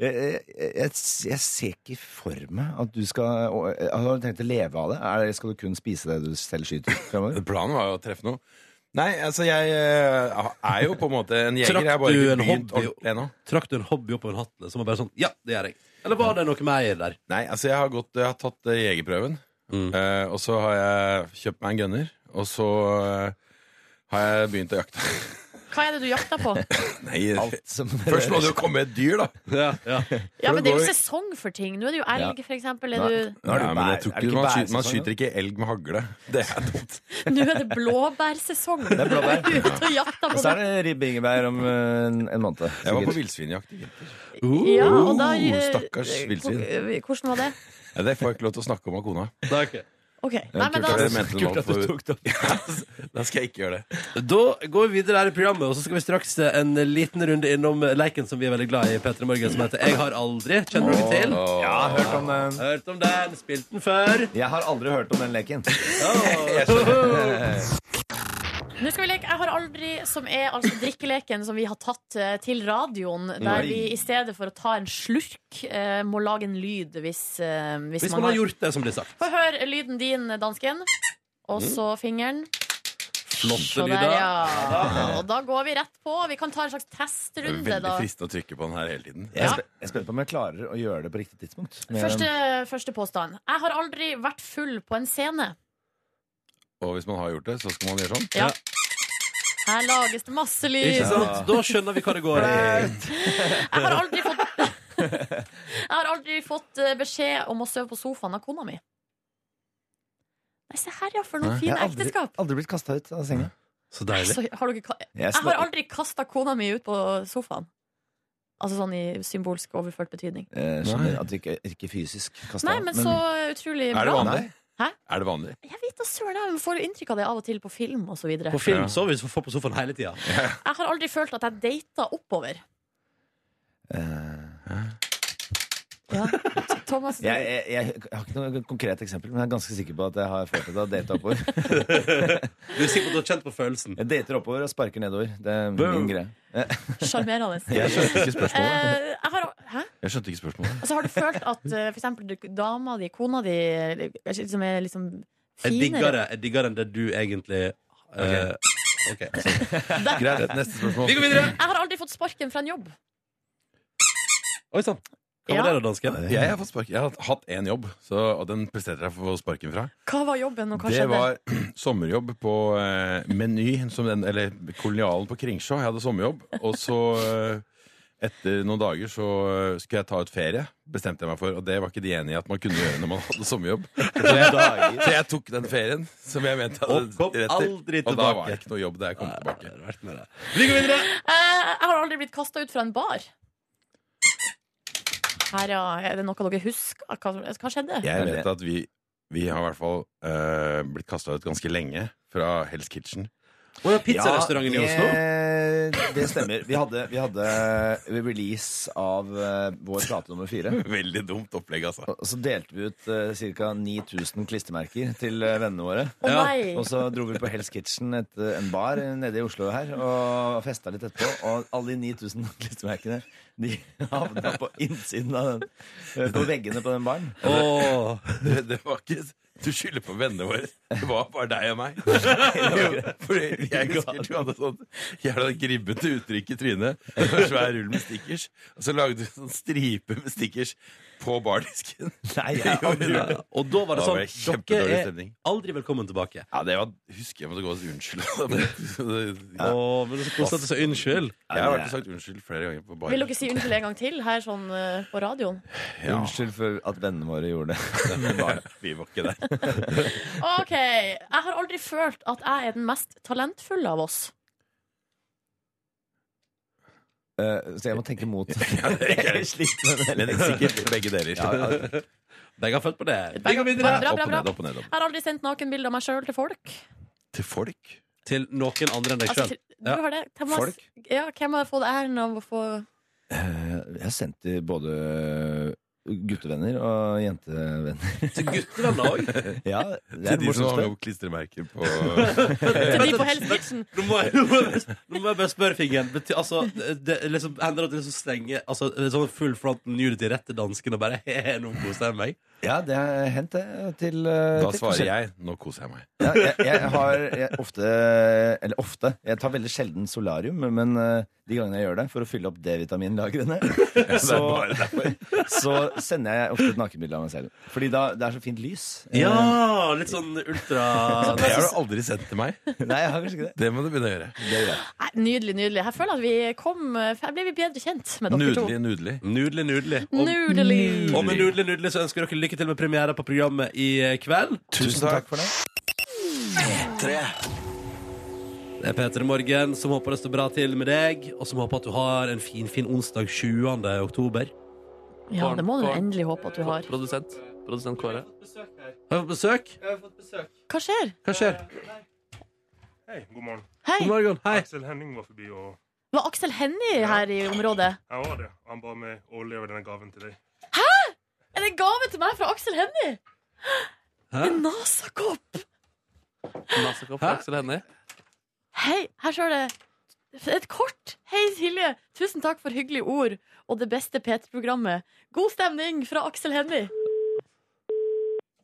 [SPEAKER 7] jeg, jeg, jeg, jeg ser ikke for meg at du skal og- Har du tenkt å leve av det? Er det? Skal du kun spise det du selv skyter fremover?
[SPEAKER 8] Planen var jo å treffe noe. Nei, altså jeg øh, er jo på en måte en jeger.
[SPEAKER 2] Trakk
[SPEAKER 8] Jeg har bare
[SPEAKER 2] du
[SPEAKER 8] ikke
[SPEAKER 2] en
[SPEAKER 8] begynt
[SPEAKER 2] hobby?
[SPEAKER 8] ordentlig ennå.
[SPEAKER 2] Trakk du en hobby opp av en hatt som var bare sånn Ja, det gjør jeg. Eller var det noe mer der? Mm.
[SPEAKER 8] Nei, altså jeg har, gått, jeg har tatt eh, jegerprøven, eh, og så har jeg kjøpt meg en gunner, og så eh, har jeg begynt å jakte.
[SPEAKER 3] Hva er det du jakter på?
[SPEAKER 8] Nei,
[SPEAKER 7] Alt som
[SPEAKER 8] først må du jo komme med et dyr, da.
[SPEAKER 2] Ja, ja.
[SPEAKER 3] Ja,
[SPEAKER 8] For
[SPEAKER 3] men
[SPEAKER 8] det
[SPEAKER 3] Det er
[SPEAKER 8] går
[SPEAKER 3] jo
[SPEAKER 8] jo-
[SPEAKER 3] sesong for ting. Nå er det jo elg, for eksempel. Er
[SPEAKER 7] Nei.
[SPEAKER 3] du,
[SPEAKER 7] Nå er det
[SPEAKER 8] Ja, men jeg
[SPEAKER 7] bær-
[SPEAKER 8] tror
[SPEAKER 7] er det
[SPEAKER 8] ikke
[SPEAKER 7] ikke
[SPEAKER 8] man, skyter, man
[SPEAKER 7] bærsesong
[SPEAKER 2] sånn,
[SPEAKER 7] nå?
[SPEAKER 8] skyter ikke elg med hagle. Det er dumt.
[SPEAKER 3] nå er det blåbærsesong.
[SPEAKER 7] er blåbær.
[SPEAKER 3] Du er ute og jakter
[SPEAKER 7] Og
[SPEAKER 3] på
[SPEAKER 7] så er det ribbengebær om eh, en, en måned.
[SPEAKER 8] Jeg var på
[SPEAKER 7] sikkert.
[SPEAKER 8] villsvinjakt i vinter.
[SPEAKER 3] Uh. Ja, og da, eh,
[SPEAKER 8] Oh, stakkars villsvin.
[SPEAKER 3] Hvor- eh, Hvordan var det?
[SPEAKER 8] Ja, det får jeg ikke lov til å snakke om av kona.
[SPEAKER 2] Nei, ok.
[SPEAKER 3] OK. Nei, men da,
[SPEAKER 8] Jeg mente det var
[SPEAKER 7] Kult at du
[SPEAKER 8] for-
[SPEAKER 7] tok det opp.
[SPEAKER 8] Da skal jeg ikke gjøre det.
[SPEAKER 2] Da går vi videre her i programmet, og så skal vi straks eh, en liten runde innom leiken som vi er veldig glad i, Petra Morgen, som heter Jeg har aldri. Kjenner du til?
[SPEAKER 7] Ja, hørt om den.
[SPEAKER 2] Hørt om den, spilt den før.
[SPEAKER 7] Jeg har aldri hørt om den leken.
[SPEAKER 3] nå skal vi leke Jeg har aldri, som er altså drikkeleken som vi har tatt eh, til radioen, der
[SPEAKER 7] Nei.
[SPEAKER 3] vi i stedet for å ta en slurk, eh, må lage en lyd hvis, eh, hvis,
[SPEAKER 2] Hvis man har gjort det som blir sagt.
[SPEAKER 3] Få høre lyden din, dansken. Og så fingeren.
[SPEAKER 2] Flotte
[SPEAKER 3] Og der,
[SPEAKER 2] lyder.
[SPEAKER 3] ja. Og da går vi rett på. Vi kan ta en slags testrunde,
[SPEAKER 8] Veldig
[SPEAKER 3] da.
[SPEAKER 8] fristende å trykke på den her hele tiden.
[SPEAKER 7] Jeg
[SPEAKER 3] Ja.
[SPEAKER 7] spe- jeg spør på om jeg klarer å gjøre det på riktig tidspunkt. Men-
[SPEAKER 3] Første, første påstand. Jeg har aldri vært full på en scene.
[SPEAKER 8] Og hvis man har gjort det, så skal man gjøre sånn.
[SPEAKER 3] Ja. Her lages det masse lyd.
[SPEAKER 2] Ikke sant? Da skjønner vi hva det går i.
[SPEAKER 3] Jeg har aldri fått Jeg har aldri fått eh, beskjed om å sove på sofaen av kona mi. Nei, se her, ja, for noen
[SPEAKER 7] Jeg
[SPEAKER 3] fine
[SPEAKER 7] har aldri,
[SPEAKER 3] ekteskap.
[SPEAKER 7] aldri blitt kasta ut av senga.
[SPEAKER 2] Så deilig.
[SPEAKER 3] Så har dere, ka- jeg
[SPEAKER 7] Jeg
[SPEAKER 3] har
[SPEAKER 7] snak-
[SPEAKER 3] aldri kasta kona mi ut på sofaen. Altså sånn i symbolsk overført betydning.
[SPEAKER 7] Eh, skjønner at du ikke, ikke fysisk kasta
[SPEAKER 3] Nei, men så utrolig
[SPEAKER 8] Er det
[SPEAKER 3] bra.
[SPEAKER 8] vanlig?
[SPEAKER 3] Hæ?
[SPEAKER 8] Er det vanlig?
[SPEAKER 3] Jeg vet da søren, jeg får jo inntrykk av det av og til på film og så videre.
[SPEAKER 2] På film så vi får på sofaen hele tida.
[SPEAKER 3] Jeg har aldri følt at jeg data oppover.
[SPEAKER 2] Eh,
[SPEAKER 3] Ja. Thomas,
[SPEAKER 7] jeg, jeg, jeg har ikke noe konkret eksempel, men jeg er ganske sikker på at jeg har følt det. og Data oppover.
[SPEAKER 2] Du er sikker på at du har kjent på følelsen.
[SPEAKER 7] Jeg dater oppover og sparker nedover. Det er
[SPEAKER 2] Boom.
[SPEAKER 7] min greie.
[SPEAKER 3] sjarmerende.
[SPEAKER 8] Jeg skjønte ikke spørsmålet.
[SPEAKER 3] Eh, jeg har, hæ?
[SPEAKER 8] Jeg skjønte ikke spørsmålet.
[SPEAKER 3] Altså, har du følt at eh, for eksempel du- dama di, kona di, eller, kanskje som er liksom
[SPEAKER 2] Jeg digger
[SPEAKER 3] finere
[SPEAKER 2] det jeg digger det enn det du egentlig eh, Ok.
[SPEAKER 8] Greit, neste spørsmål.
[SPEAKER 2] Vi går videre.
[SPEAKER 3] Jeg har aldri fått sparken fra en jobb.
[SPEAKER 2] Oi sann. Hva var det da, dansken?
[SPEAKER 8] Jeg har fått spark. Jeg har hatt én jobb, så, og den presterte jeg for å få sparken fra.
[SPEAKER 3] Hva var jobben, og hva
[SPEAKER 8] Det
[SPEAKER 3] skjedde?
[SPEAKER 8] var sommerjobb på eh, Meny, som den, eller Kolonialen på Kringsjå. Jeg hadde sommerjobb. Og så, eh, etter noen dager, så eh, skulle jeg ta ut ferie. Bestemte jeg meg for, og det var ikke de enige i at man kunne gjøre når man hadde sommerjobb. Så jeg, så jeg tok den ferien som jeg mente jeg
[SPEAKER 2] Og kom
[SPEAKER 8] hadde rett til.
[SPEAKER 2] aldri
[SPEAKER 8] Og da var
[SPEAKER 2] tilbake.
[SPEAKER 8] det ikke noe jobb da jeg kom tilbake.
[SPEAKER 2] Vi går videre!
[SPEAKER 3] Eh, jeg har aldri blitt kasta ut fra en bar. Her, ja. Er det noe dere husker? Hva, hva skjedde?
[SPEAKER 8] Jeg vet at vi, vi har i hvert fall eh, blitt kasta ut ganske lenge fra Hell's Kitchen.
[SPEAKER 2] Å ja, pizzarestauranten i Oslo.
[SPEAKER 7] Oslo? eh, Det stemmer. Vi hadde, vi hadde eh, release av eh, vår plate nummer fire.
[SPEAKER 8] Veldig dumt opplegg, altså.
[SPEAKER 7] Og så delte vi ut uh, ca. 9000 klistremerker til eh, vennene våre.
[SPEAKER 3] Å
[SPEAKER 2] Ja.
[SPEAKER 3] nei!
[SPEAKER 7] Og så dro vi på Hell's Kitchen, et, eh, en bar nede i Oslo her, og festa litt etterpå. Og alle de 9000 klistremerkene de havna på innsiden av den, eh, på veggene på den baren.
[SPEAKER 2] Åh.
[SPEAKER 8] Det, det var ikke Du skylder på vennene våre. Det var bare deg og meg. Jo, Fordi jeg husker du hadde sånn jævla gribbete uttrykk i trynet. Det var en sånn Svær rull med stickers. Og så lagde du sånn stripe med stickers på bardisken.
[SPEAKER 7] Nei, jeg
[SPEAKER 8] Jo,
[SPEAKER 7] aldri.
[SPEAKER 8] jo.
[SPEAKER 2] Og da var det
[SPEAKER 8] Da var det
[SPEAKER 2] sånn
[SPEAKER 8] kjempedårlig
[SPEAKER 2] Dere er
[SPEAKER 8] stemning.
[SPEAKER 2] aldri velkommen tilbake.
[SPEAKER 8] Ja, det var Husker jeg måtte gå og si unnskyld.
[SPEAKER 2] Å, men det er så koselig at du sier unnskyld.
[SPEAKER 8] Jeg har vært og sagt unnskyld flere ganger på
[SPEAKER 3] Vil
[SPEAKER 8] baren.
[SPEAKER 3] dere si unnskyld en gang til her sånn eh, på radioen?
[SPEAKER 8] Ja.
[SPEAKER 7] Unnskyld for at vennene våre gjorde det.
[SPEAKER 8] Vi var ikke der.
[SPEAKER 3] OK. Jeg har aldri følt at jeg er den mest talentfulle av oss.
[SPEAKER 7] Eh, så jeg må tenke mot. Jeg sliter med det.
[SPEAKER 8] Men sikkert begge deler.
[SPEAKER 2] Begge har følt på det.
[SPEAKER 3] Begge-
[SPEAKER 2] Vi går videre
[SPEAKER 3] Bra,
[SPEAKER 8] Opp
[SPEAKER 3] bra,
[SPEAKER 8] og
[SPEAKER 3] bra.
[SPEAKER 8] ned, opp og ned. Opp.
[SPEAKER 3] Jeg har aldri sendt nakenbilder av meg sjøl til folk.
[SPEAKER 8] Til folk.
[SPEAKER 2] til noen andre enn deg
[SPEAKER 3] Altså,
[SPEAKER 2] sjøl.
[SPEAKER 3] til, du
[SPEAKER 2] Ja.
[SPEAKER 3] har det. Hvem har,
[SPEAKER 7] Folk?
[SPEAKER 3] Ja, hvem har fått æren av å få
[SPEAKER 7] Eh, jeg sendte både guttevenner og jentevenner.
[SPEAKER 2] Til guttevenner òg.
[SPEAKER 7] Ja, det
[SPEAKER 8] Til
[SPEAKER 7] er
[SPEAKER 8] de som
[SPEAKER 7] morsomt.
[SPEAKER 8] hang
[SPEAKER 7] det.
[SPEAKER 8] opp klistremerker på
[SPEAKER 3] til de på Hell's Kitchen?
[SPEAKER 2] Nå må jeg, nå må jeg, nå må jeg bare spørre fingeren. Bety, altså, det er liksom, hender det at det er så strenge altså, det er sånn full front nudity rett til dansken og bare he, nå koser jeg meg?
[SPEAKER 7] Ja, det har hendt, det. Til, eh,
[SPEAKER 8] Da
[SPEAKER 7] til
[SPEAKER 8] svarer jeg 'nå koser jeg meg'.
[SPEAKER 7] Ja, jeg, jeg har jeg, ofte Eller ofte. Jeg tar veldig sjelden solarium, men eh, de gangene jeg gjør det, for å fylle opp D-vitaminlagrene, så, så sender jeg ofte et nakenbilde av meg selv. Fordi da, det er så fint lys. Eh,
[SPEAKER 2] Ja! Litt sånn ultra
[SPEAKER 8] Det har du aldri sendt til meg.
[SPEAKER 7] Nei, jeg har kanskje ikke det.
[SPEAKER 8] Det må du begynne å gjøre.
[SPEAKER 7] Det er greit.
[SPEAKER 3] Nei, nydelig, nydelig. Jeg føler at vi kom eh, Her ble vi bedre kjent med dere
[SPEAKER 8] Nudelig, nudelig.
[SPEAKER 2] Nudelig, nudelig. Og,
[SPEAKER 3] Nudelig.
[SPEAKER 2] og med nudelig, nudelig så ønsker dere lykke til med premiere på programmet i eh, kveld.
[SPEAKER 7] Tusen takk for det.
[SPEAKER 2] Det er Peter Morgen som håper det står bra til med deg, og som håper at du har en fin, fin onsdag 20. oktober.
[SPEAKER 3] Ja, det må du endelig håpe at du har.
[SPEAKER 4] Produsent. Produsent Kåre.
[SPEAKER 2] Har vi fått besøk?
[SPEAKER 3] Hva skjer?
[SPEAKER 2] Hva skjer?
[SPEAKER 9] Hei, god morgen.
[SPEAKER 3] Hei,
[SPEAKER 2] God morgen. Hei.
[SPEAKER 9] Aksel Henning var forbi, og
[SPEAKER 3] var Aksel Hennie her i området?
[SPEAKER 9] jeg var det. Han ba meg å levere denne gaven til deg.
[SPEAKER 3] Er det en gave til meg fra Aksel Hennie?
[SPEAKER 2] Hæ?
[SPEAKER 3] En NASA-kopp!
[SPEAKER 4] Nasekopp fra Aksel Hennie.
[SPEAKER 3] Hei, her står det et kort. Hei, Silje. Tusen takk for hyggelige ord og det beste P3-programmet. God stemning fra Aksel Hennie.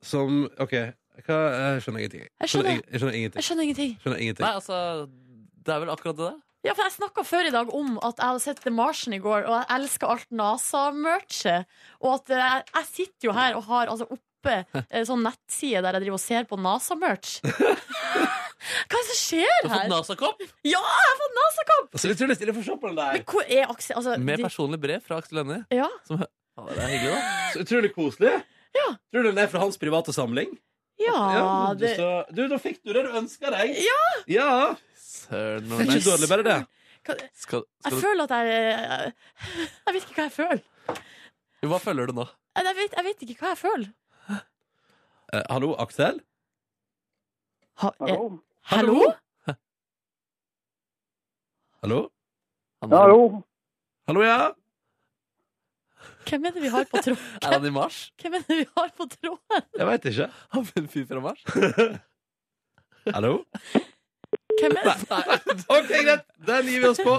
[SPEAKER 2] Som OK. Hva, jeg skjønner ingenting.
[SPEAKER 3] Jeg skjønner.
[SPEAKER 2] ing- jeg skjønner ingenting.
[SPEAKER 3] Jeg skjønner ingenting.
[SPEAKER 2] Skjønner ingenting.
[SPEAKER 4] Nei, altså, det er vel akkurat det der.
[SPEAKER 3] Ja, for Jeg snakka før i dag om at jeg hadde sett The Martian i går, og jeg elsker alt NASA-merchet. Og at eh, jeg sitter jo her og har altså oppe eh, sånn nettside der jeg driver og ser på NASA-merch. Hva er det som
[SPEAKER 4] Du
[SPEAKER 3] skjer
[SPEAKER 4] har fått
[SPEAKER 3] her?
[SPEAKER 4] Nasakopp
[SPEAKER 3] Ja, jeg har fått NASA-kopp!
[SPEAKER 2] Så det er utrolig stille for å se på den der.
[SPEAKER 3] Men hvor er Aksel altså,
[SPEAKER 4] med
[SPEAKER 3] de-
[SPEAKER 4] personlig brev fra Aksel Hennie.
[SPEAKER 3] ja.
[SPEAKER 4] Som, ja, det er hyggelig, da.
[SPEAKER 2] Så utrolig koselig. Tror du den er fra hans private samling?
[SPEAKER 3] ja,
[SPEAKER 2] Ja, du,
[SPEAKER 3] det
[SPEAKER 2] så, du, da fikk du det du ønska deg.
[SPEAKER 3] Ja.
[SPEAKER 2] ja.
[SPEAKER 4] Søren,
[SPEAKER 2] Det
[SPEAKER 4] nå-
[SPEAKER 2] er
[SPEAKER 4] nei,
[SPEAKER 2] ikke dårlig, bare det.
[SPEAKER 3] Hva-
[SPEAKER 4] skal,
[SPEAKER 3] Jeg
[SPEAKER 4] skal,
[SPEAKER 3] føler at jeg Jeg jeg vet ikke hva jeg føler.
[SPEAKER 4] du- hva følger du nå?
[SPEAKER 3] Jeg jeg vet, jeg vet ikke hva jeg føler.
[SPEAKER 2] Eh, hallo, Aksel?
[SPEAKER 3] Ha, eh,
[SPEAKER 1] Hallo?
[SPEAKER 3] hallo?
[SPEAKER 2] Hallo?
[SPEAKER 4] Han,
[SPEAKER 1] Ja, jo.
[SPEAKER 2] Hallo, ja?
[SPEAKER 3] Hvem er det vi har på tråden?
[SPEAKER 4] Er han i Mars?
[SPEAKER 3] Hvem er det vi har på tråden?
[SPEAKER 2] Jeg veit ikke.
[SPEAKER 4] Han er en fyr fra Mars?
[SPEAKER 2] Hallo?
[SPEAKER 3] Hvem er det?
[SPEAKER 2] OK, greit. Den gir vi oss på.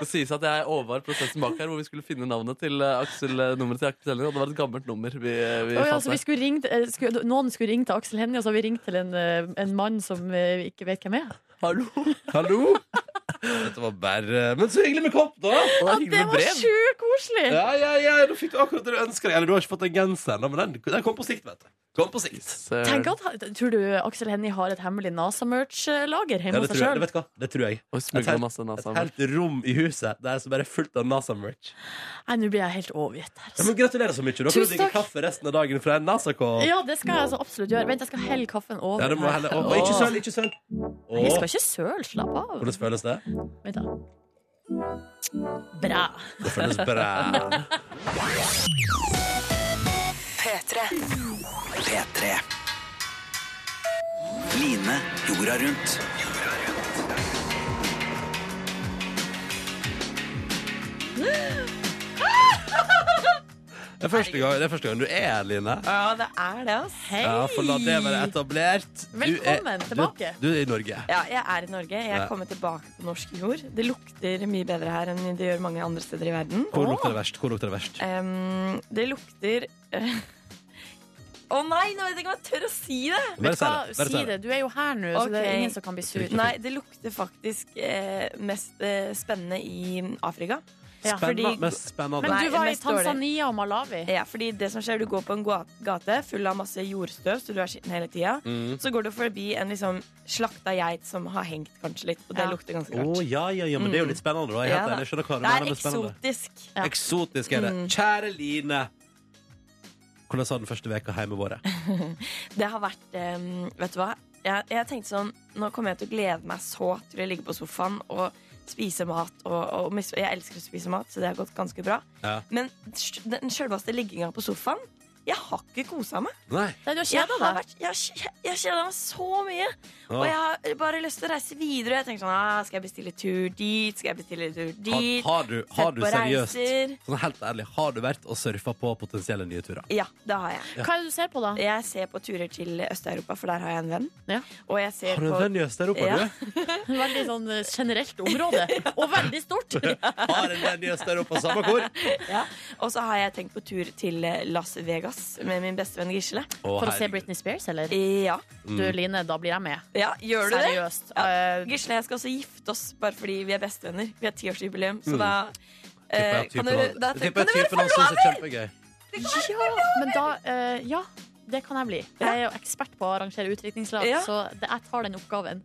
[SPEAKER 4] Det sies at jeg overvar prosessen bak her, hvor vi skulle finne navnet til eh, Aksel, eh, nummeret til Aksel Hennie. Og det var et gammelt nummer vi, eh, vi
[SPEAKER 3] Å ja,
[SPEAKER 4] fant
[SPEAKER 3] så vi
[SPEAKER 4] der.
[SPEAKER 3] skulle ringe, eh, skulle, noen skulle ringe til Aksel Hennie, og så har vi ringt til en, eh, en mann som eh, vi ikke vet hvem er.
[SPEAKER 4] Hallo?
[SPEAKER 2] Hallo? Dette var bare Men så hyggelig med kopp, da!
[SPEAKER 3] Ja, det var sjukt koselig!
[SPEAKER 2] Ja, ja, ja, da fikk du akkurat det du ønska deg. Eller du har ikke fått den genseren, da, men den, den kom på sikt, vet du. Kom på sikt.
[SPEAKER 3] Tenk at, han- tror du Aksel Hennie har et hemmelig NASA-merch-lager
[SPEAKER 2] Ja,
[SPEAKER 3] hjemme
[SPEAKER 2] det
[SPEAKER 3] hos seg
[SPEAKER 2] tror jeg. Det,
[SPEAKER 3] sjøl?
[SPEAKER 2] vet du hva? det tror
[SPEAKER 4] Og
[SPEAKER 2] jeg. Et helt-
[SPEAKER 4] smugler masse
[SPEAKER 2] Et
[SPEAKER 4] NASA-merch.
[SPEAKER 2] helt rom i huset der som bare er fullt av NASA-merch.
[SPEAKER 3] Nei, nå blir jeg helt overgitt her.
[SPEAKER 2] Ja,
[SPEAKER 3] Altså.
[SPEAKER 2] men Gratulerer så mye. Da kan du
[SPEAKER 3] Tusen
[SPEAKER 2] drikke
[SPEAKER 3] takk.
[SPEAKER 2] kaffe resten av dagen fra en NASA-kopp.
[SPEAKER 3] Ja, det skal jeg altså absolutt gjøre. Vent, jeg skal helle kaffen over.
[SPEAKER 2] Ja, det må
[SPEAKER 3] her.
[SPEAKER 2] helle. Og, og ikke
[SPEAKER 3] Åh.
[SPEAKER 2] søl, ikke søl.
[SPEAKER 3] Nei, Jeg
[SPEAKER 2] Åh,
[SPEAKER 3] skal ikke søle. Slapp av.
[SPEAKER 2] Hvordan føles det?
[SPEAKER 3] Vent, da. Bra.
[SPEAKER 2] Det føles bra.
[SPEAKER 10] P3. Line jorda rundt.
[SPEAKER 2] Det er første gang, det er første gang du er her, Line.
[SPEAKER 11] Ja, det er det, ass.
[SPEAKER 3] Hei!
[SPEAKER 2] Ja, for la det være etablert. Du
[SPEAKER 3] Velkommen
[SPEAKER 2] er,
[SPEAKER 3] tilbake.
[SPEAKER 2] Du, du er i Norge.
[SPEAKER 11] Ja, jeg er i Norge. Jeg
[SPEAKER 2] Ja.
[SPEAKER 11] er kommet tilbake på norsk jord. Det lukter mye bedre her enn det gjør mange andre steder i verden.
[SPEAKER 2] Hvor lukter det verst? Hvor lukter det verst?
[SPEAKER 11] Ehm, det lukter eh, Å nei, nå vet jeg ikke om jeg tør å si det!
[SPEAKER 2] Bare
[SPEAKER 3] Vet du
[SPEAKER 2] si
[SPEAKER 3] hva?
[SPEAKER 2] det. Bare
[SPEAKER 3] Si
[SPEAKER 2] si det.
[SPEAKER 3] det. Du er jo her nå, så det er
[SPEAKER 11] Ok.
[SPEAKER 3] ingen som kan bli sur.
[SPEAKER 2] Ikke
[SPEAKER 11] Nei, det lukter faktisk eh, mest eh, spennende i Afrika.
[SPEAKER 3] Ja.
[SPEAKER 2] Spennende,
[SPEAKER 11] fordi-
[SPEAKER 2] mest spennende.
[SPEAKER 3] Men
[SPEAKER 11] Nei,
[SPEAKER 3] du var i
[SPEAKER 11] mest dårlig.
[SPEAKER 3] Tanzania og Malawi.
[SPEAKER 11] Ja, fordi det som skjer, du går på en gua- gate full av masse jordstøv, så du er skitten hele tida.
[SPEAKER 2] Mm.
[SPEAKER 11] Så går du forbi en liksom slakta geit som har hengt kanskje litt, og det
[SPEAKER 3] Ja.
[SPEAKER 11] lukter ganske
[SPEAKER 2] Å,
[SPEAKER 11] rart.
[SPEAKER 2] ja, ja, ja, men det er jo litt spennende, da. Jeg, er helt
[SPEAKER 11] Ja,
[SPEAKER 2] enig.
[SPEAKER 11] da.
[SPEAKER 2] Oh, jeg skjønner hva du
[SPEAKER 11] det
[SPEAKER 2] mener
[SPEAKER 11] er
[SPEAKER 2] med spennende.
[SPEAKER 11] eksotisk.
[SPEAKER 3] Ja.
[SPEAKER 2] Eksotisk er det.
[SPEAKER 11] Mm.
[SPEAKER 2] Kjære Line. Hvordan har den første veka hjemme våre?
[SPEAKER 11] Det har vært eh, Vet du hva? Jeg, jeg tenkte sånn Nå kommer jeg til å glede meg så til å ligge på sofaen og spise mat. Og, og mis jeg elsker å spise mat, så det har gått ganske bra.
[SPEAKER 2] Ja.
[SPEAKER 11] Men sj- den sjølveste ligginga på sofaen Jeg har ikke kosa meg.
[SPEAKER 2] Nei.
[SPEAKER 3] Nei, du har
[SPEAKER 11] Jeg
[SPEAKER 3] kjeda
[SPEAKER 11] har
[SPEAKER 3] deg.
[SPEAKER 11] vært- jeg har kj- jeg har kjeda meg så mye. Og jeg
[SPEAKER 2] Ah.
[SPEAKER 11] har bare lyst til å reise videre. Jeg tenker sånn, ah, Skal jeg bestille tur dit? Skal jeg bestille tur
[SPEAKER 2] Har,
[SPEAKER 11] dit?
[SPEAKER 2] har, du, har
[SPEAKER 11] Sett
[SPEAKER 2] du
[SPEAKER 11] på
[SPEAKER 2] seriøst
[SPEAKER 11] reiser.
[SPEAKER 2] sånn helt ærlig, har du vært og surfa på potensielle nye turer?
[SPEAKER 11] Ja, det har jeg.
[SPEAKER 3] Hva er det du ser på, da?
[SPEAKER 11] Jeg ser på turer til Øst-Europa, for der har jeg en venn.
[SPEAKER 3] Ja.
[SPEAKER 11] Og jeg ser
[SPEAKER 2] Har du en
[SPEAKER 11] på
[SPEAKER 2] venn i Øst-Europa,
[SPEAKER 11] Ja.
[SPEAKER 2] du?
[SPEAKER 3] Veldig sånn eh, generelt område. Og veldig stort.
[SPEAKER 2] Har en venn i Øst-Europa, samme hvor?
[SPEAKER 11] Og så har jeg tenkt på tur til eh, Las Vegas med min bestevenn Gisle.
[SPEAKER 3] For å se Britney Spears, eller?
[SPEAKER 11] Ja,
[SPEAKER 2] Mm.
[SPEAKER 3] Du, Line, da blir jeg med.
[SPEAKER 11] ja gjør du det?
[SPEAKER 3] Seriøst. Eh,
[SPEAKER 11] Gisle og jeg skal også gifte oss bare fordi vi er bestevenner. Vi har tiårsjubileum, så da eh,
[SPEAKER 2] Tipper
[SPEAKER 11] kan du,
[SPEAKER 2] Mm. jeg
[SPEAKER 11] da kan
[SPEAKER 2] typen
[SPEAKER 11] du være
[SPEAKER 2] han syns er
[SPEAKER 11] forlover!
[SPEAKER 2] kjempegøy.
[SPEAKER 3] Men da eh, Ja, det kan jeg bli. Jeg er jo ekspert på å arrangere utdrikningslag,
[SPEAKER 11] Ja.
[SPEAKER 3] så det, jeg tar den oppgaven.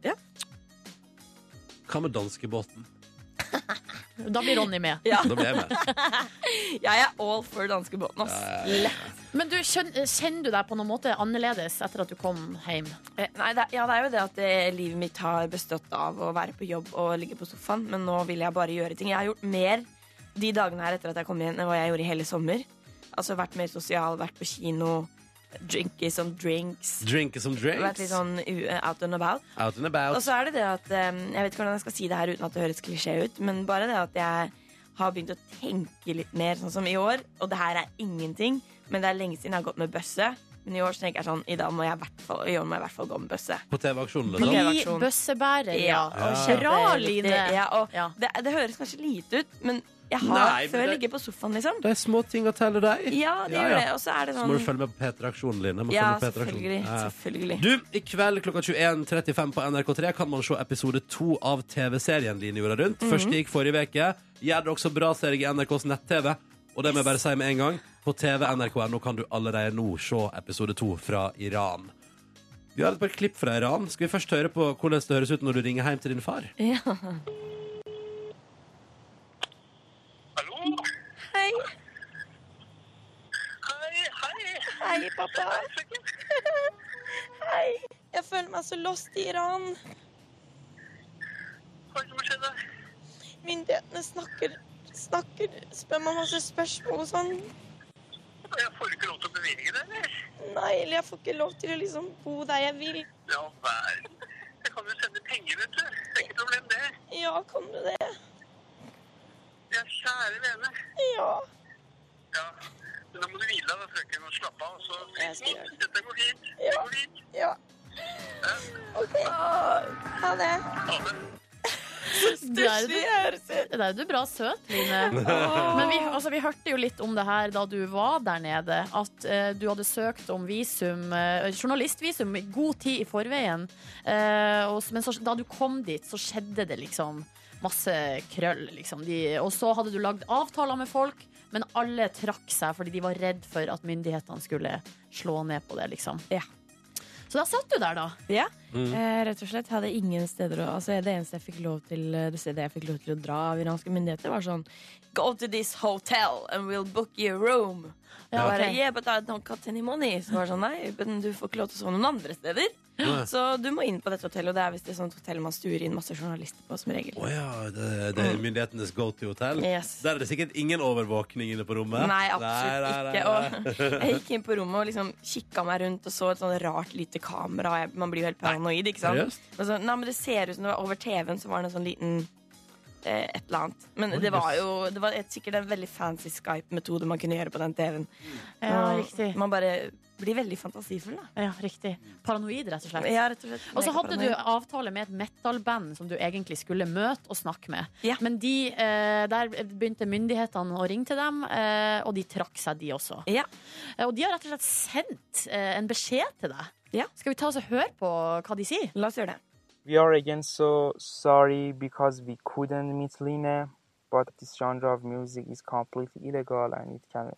[SPEAKER 2] Hva med danskebåten?
[SPEAKER 3] Da blir Ronny med.
[SPEAKER 11] Ja,
[SPEAKER 2] Da blir jeg med.
[SPEAKER 11] jeg er all for danskebåten, ass.
[SPEAKER 3] Men du, skjøn, eh, kjenner du deg på noen måte annerledes etter at du kom hjem?
[SPEAKER 11] Eh, Nei, det, ja, det er jo det at eh, livet mitt har bestått av å være på jobb og ligge på sofaen, men nå vil jeg bare gjøre ting. Jeg har gjort mer de dagene her etter at jeg kom igjen enn hva jeg gjorde i hele sommer. Altså vært mer sosial, vært på kino, drinky som drinks.
[SPEAKER 2] Drink som
[SPEAKER 11] Vært
[SPEAKER 2] drinks.
[SPEAKER 11] litt sånn u- out and about.
[SPEAKER 2] Out and
[SPEAKER 11] Og
[SPEAKER 2] about.
[SPEAKER 11] så er det det at eh, Jeg vet ikke hvordan jeg skal si det her uten at det høres klisjé ut, men bare det at jeg har begynt å tenke litt mer, sånn som i år. Og det her er ingenting, men det er lenge siden jeg har gått med bøsse. Men i år så tenker jeg sånn I, dag må jeg i hvert fall, i år må jeg i hvert fall gå med bøsse. Sånn.
[SPEAKER 2] På TV-aksjonen, liksom.
[SPEAKER 3] Bli
[SPEAKER 11] Redaksjon.
[SPEAKER 3] bøssebærer, ja.
[SPEAKER 11] og
[SPEAKER 3] Bra,
[SPEAKER 11] kjempeviktig.
[SPEAKER 3] Line.
[SPEAKER 11] Ja, og
[SPEAKER 3] Ja.
[SPEAKER 11] Det, det høres kanskje lite ut, men jeg har
[SPEAKER 2] Nei, men
[SPEAKER 11] før
[SPEAKER 2] det-
[SPEAKER 11] ligget på sofaen, liksom.
[SPEAKER 2] Det er små ting å telle deg.
[SPEAKER 11] Ja, det gjør det. Og så er det
[SPEAKER 2] Så må du
[SPEAKER 11] sånn
[SPEAKER 2] følge med på P3-aksjonen, Line. Må
[SPEAKER 11] Ja,
[SPEAKER 2] følge med på P3-aksjonen.
[SPEAKER 11] selvfølgelig.
[SPEAKER 2] Ja, ja.
[SPEAKER 11] Selvfølgelig.
[SPEAKER 2] Du, i kveld klokka 21.35 på NRK3 kan man se episode 2 av TV-serien Line jorda rundt.
[SPEAKER 11] Mhm.
[SPEAKER 2] Første gikk forrige veke. Gjør det også bra serie i NRKs nett-TV. Og det må jeg bare si med en gang. På TV NRK.no kan du allerede nå se episode 2 fra Iran. Vi har et par klipp fra Iran. Skal vi først høre på hvordan det høres ut når du ringer hjem til din far?
[SPEAKER 1] Hallo?
[SPEAKER 11] Hei,
[SPEAKER 1] Hei, hei.
[SPEAKER 11] hei, pappa. Hei. Jeg føler meg så lost i Iran.
[SPEAKER 1] Hva er det som har skjedd?
[SPEAKER 11] Myndighetene snakker, snakker, spør meg masse spørsmål og sånn.
[SPEAKER 1] Jeg får ikke lov til å bevege deg, eller?
[SPEAKER 11] Nei, eller jeg får ikke lov til å liksom bo der jeg vil.
[SPEAKER 1] Ja, verden. Jeg kan jo sende penger, vet du. Det er ikke problem, det.
[SPEAKER 11] Ja, kan du det?
[SPEAKER 1] Jeg er kjære vene.
[SPEAKER 11] Ja.
[SPEAKER 1] Ja. Men da må du hvile deg, da, frøken, og slappe av. Så
[SPEAKER 11] Jeg skal gjøre det.
[SPEAKER 1] Dette går fint. Det
[SPEAKER 11] Ja.
[SPEAKER 1] går fint.
[SPEAKER 11] Ja. OK. Ha det.
[SPEAKER 1] Ha det.
[SPEAKER 3] er du, der er du bra søt, Line.
[SPEAKER 12] Åh.
[SPEAKER 3] Men vi, altså, vi hørte jo litt om det her da du var der nede. At eh, du hadde søkt om visum, eh, journalistvisum i god tid i forveien. Eh, og, s- men så, da du kom dit, så skjedde det liksom masse krøll. Liksom. De, og så hadde du lagd avtaler med folk, men alle trakk seg fordi de var redd for at myndighetene skulle slå ned på det. Liksom. Så da satt du der, da.
[SPEAKER 11] Ja,
[SPEAKER 3] Mm.
[SPEAKER 11] eh, rett og slett. Hadde ingen steder å altså, Det eneste jeg fikk lov til eh, Det stedet jeg fikk lov til å dra av iranske myndigheter, var sånn Go to this hotel and we'll book you a room. Og
[SPEAKER 3] Ja,
[SPEAKER 11] jeg bare,
[SPEAKER 3] ok.
[SPEAKER 11] yeah, but I don't got any money. Så var det sånn, nei, men du får ikke lov til å sove noen andre steder.
[SPEAKER 2] Nei.
[SPEAKER 11] Så du må inn på dette hotellet, og det er visst et sånt hotell man stuer inn masse journalister på, som regel.
[SPEAKER 2] Å ja, det, det er myndighetenes go to hotell.
[SPEAKER 11] Mm. Yes.
[SPEAKER 2] Der er det sikkert ingen overvåkning inne på rommet.
[SPEAKER 11] Nei, absolutt
[SPEAKER 2] Nei, nei, nei.
[SPEAKER 11] ikke. Og jeg gikk inn på rommet og liksom kikka meg rundt og så et sånn rart lite kamera. Jeg- Man blir jo helt paranoid, ikke sant?
[SPEAKER 2] seriøst?
[SPEAKER 11] Og så, nei, men det ser ut som det var over TV-en, så var det en sånn liten eh, et eller annet. Men
[SPEAKER 3] Oi,
[SPEAKER 11] det var
[SPEAKER 3] jøss.
[SPEAKER 11] jo det var et, sikkert en veldig fancy Skype-metode man kunne gjøre på den TV-en.
[SPEAKER 3] Ja,
[SPEAKER 11] Og
[SPEAKER 3] riktig.
[SPEAKER 11] Man bare blir veldig fantasifull, da.
[SPEAKER 3] Ja, riktig. Paranoid, rett og slett.
[SPEAKER 11] Ja, rett og slett.
[SPEAKER 3] Og så hadde du
[SPEAKER 11] Megaparanoid.
[SPEAKER 3] avtale med et metal-band som du egentlig skulle møte og snakke med. Men de, eh, der begynte myndighetene å ringe til dem, eh, og de trakk seg, de også. Eh, Og de har rett og slett sendt eh, en beskjed til deg. Skal vi ta oss og høre på hva de sier?
[SPEAKER 11] La oss gjøre det.
[SPEAKER 13] We are again so sorry because we couldn't meet Lina, but this genre of music is completely illegal and it can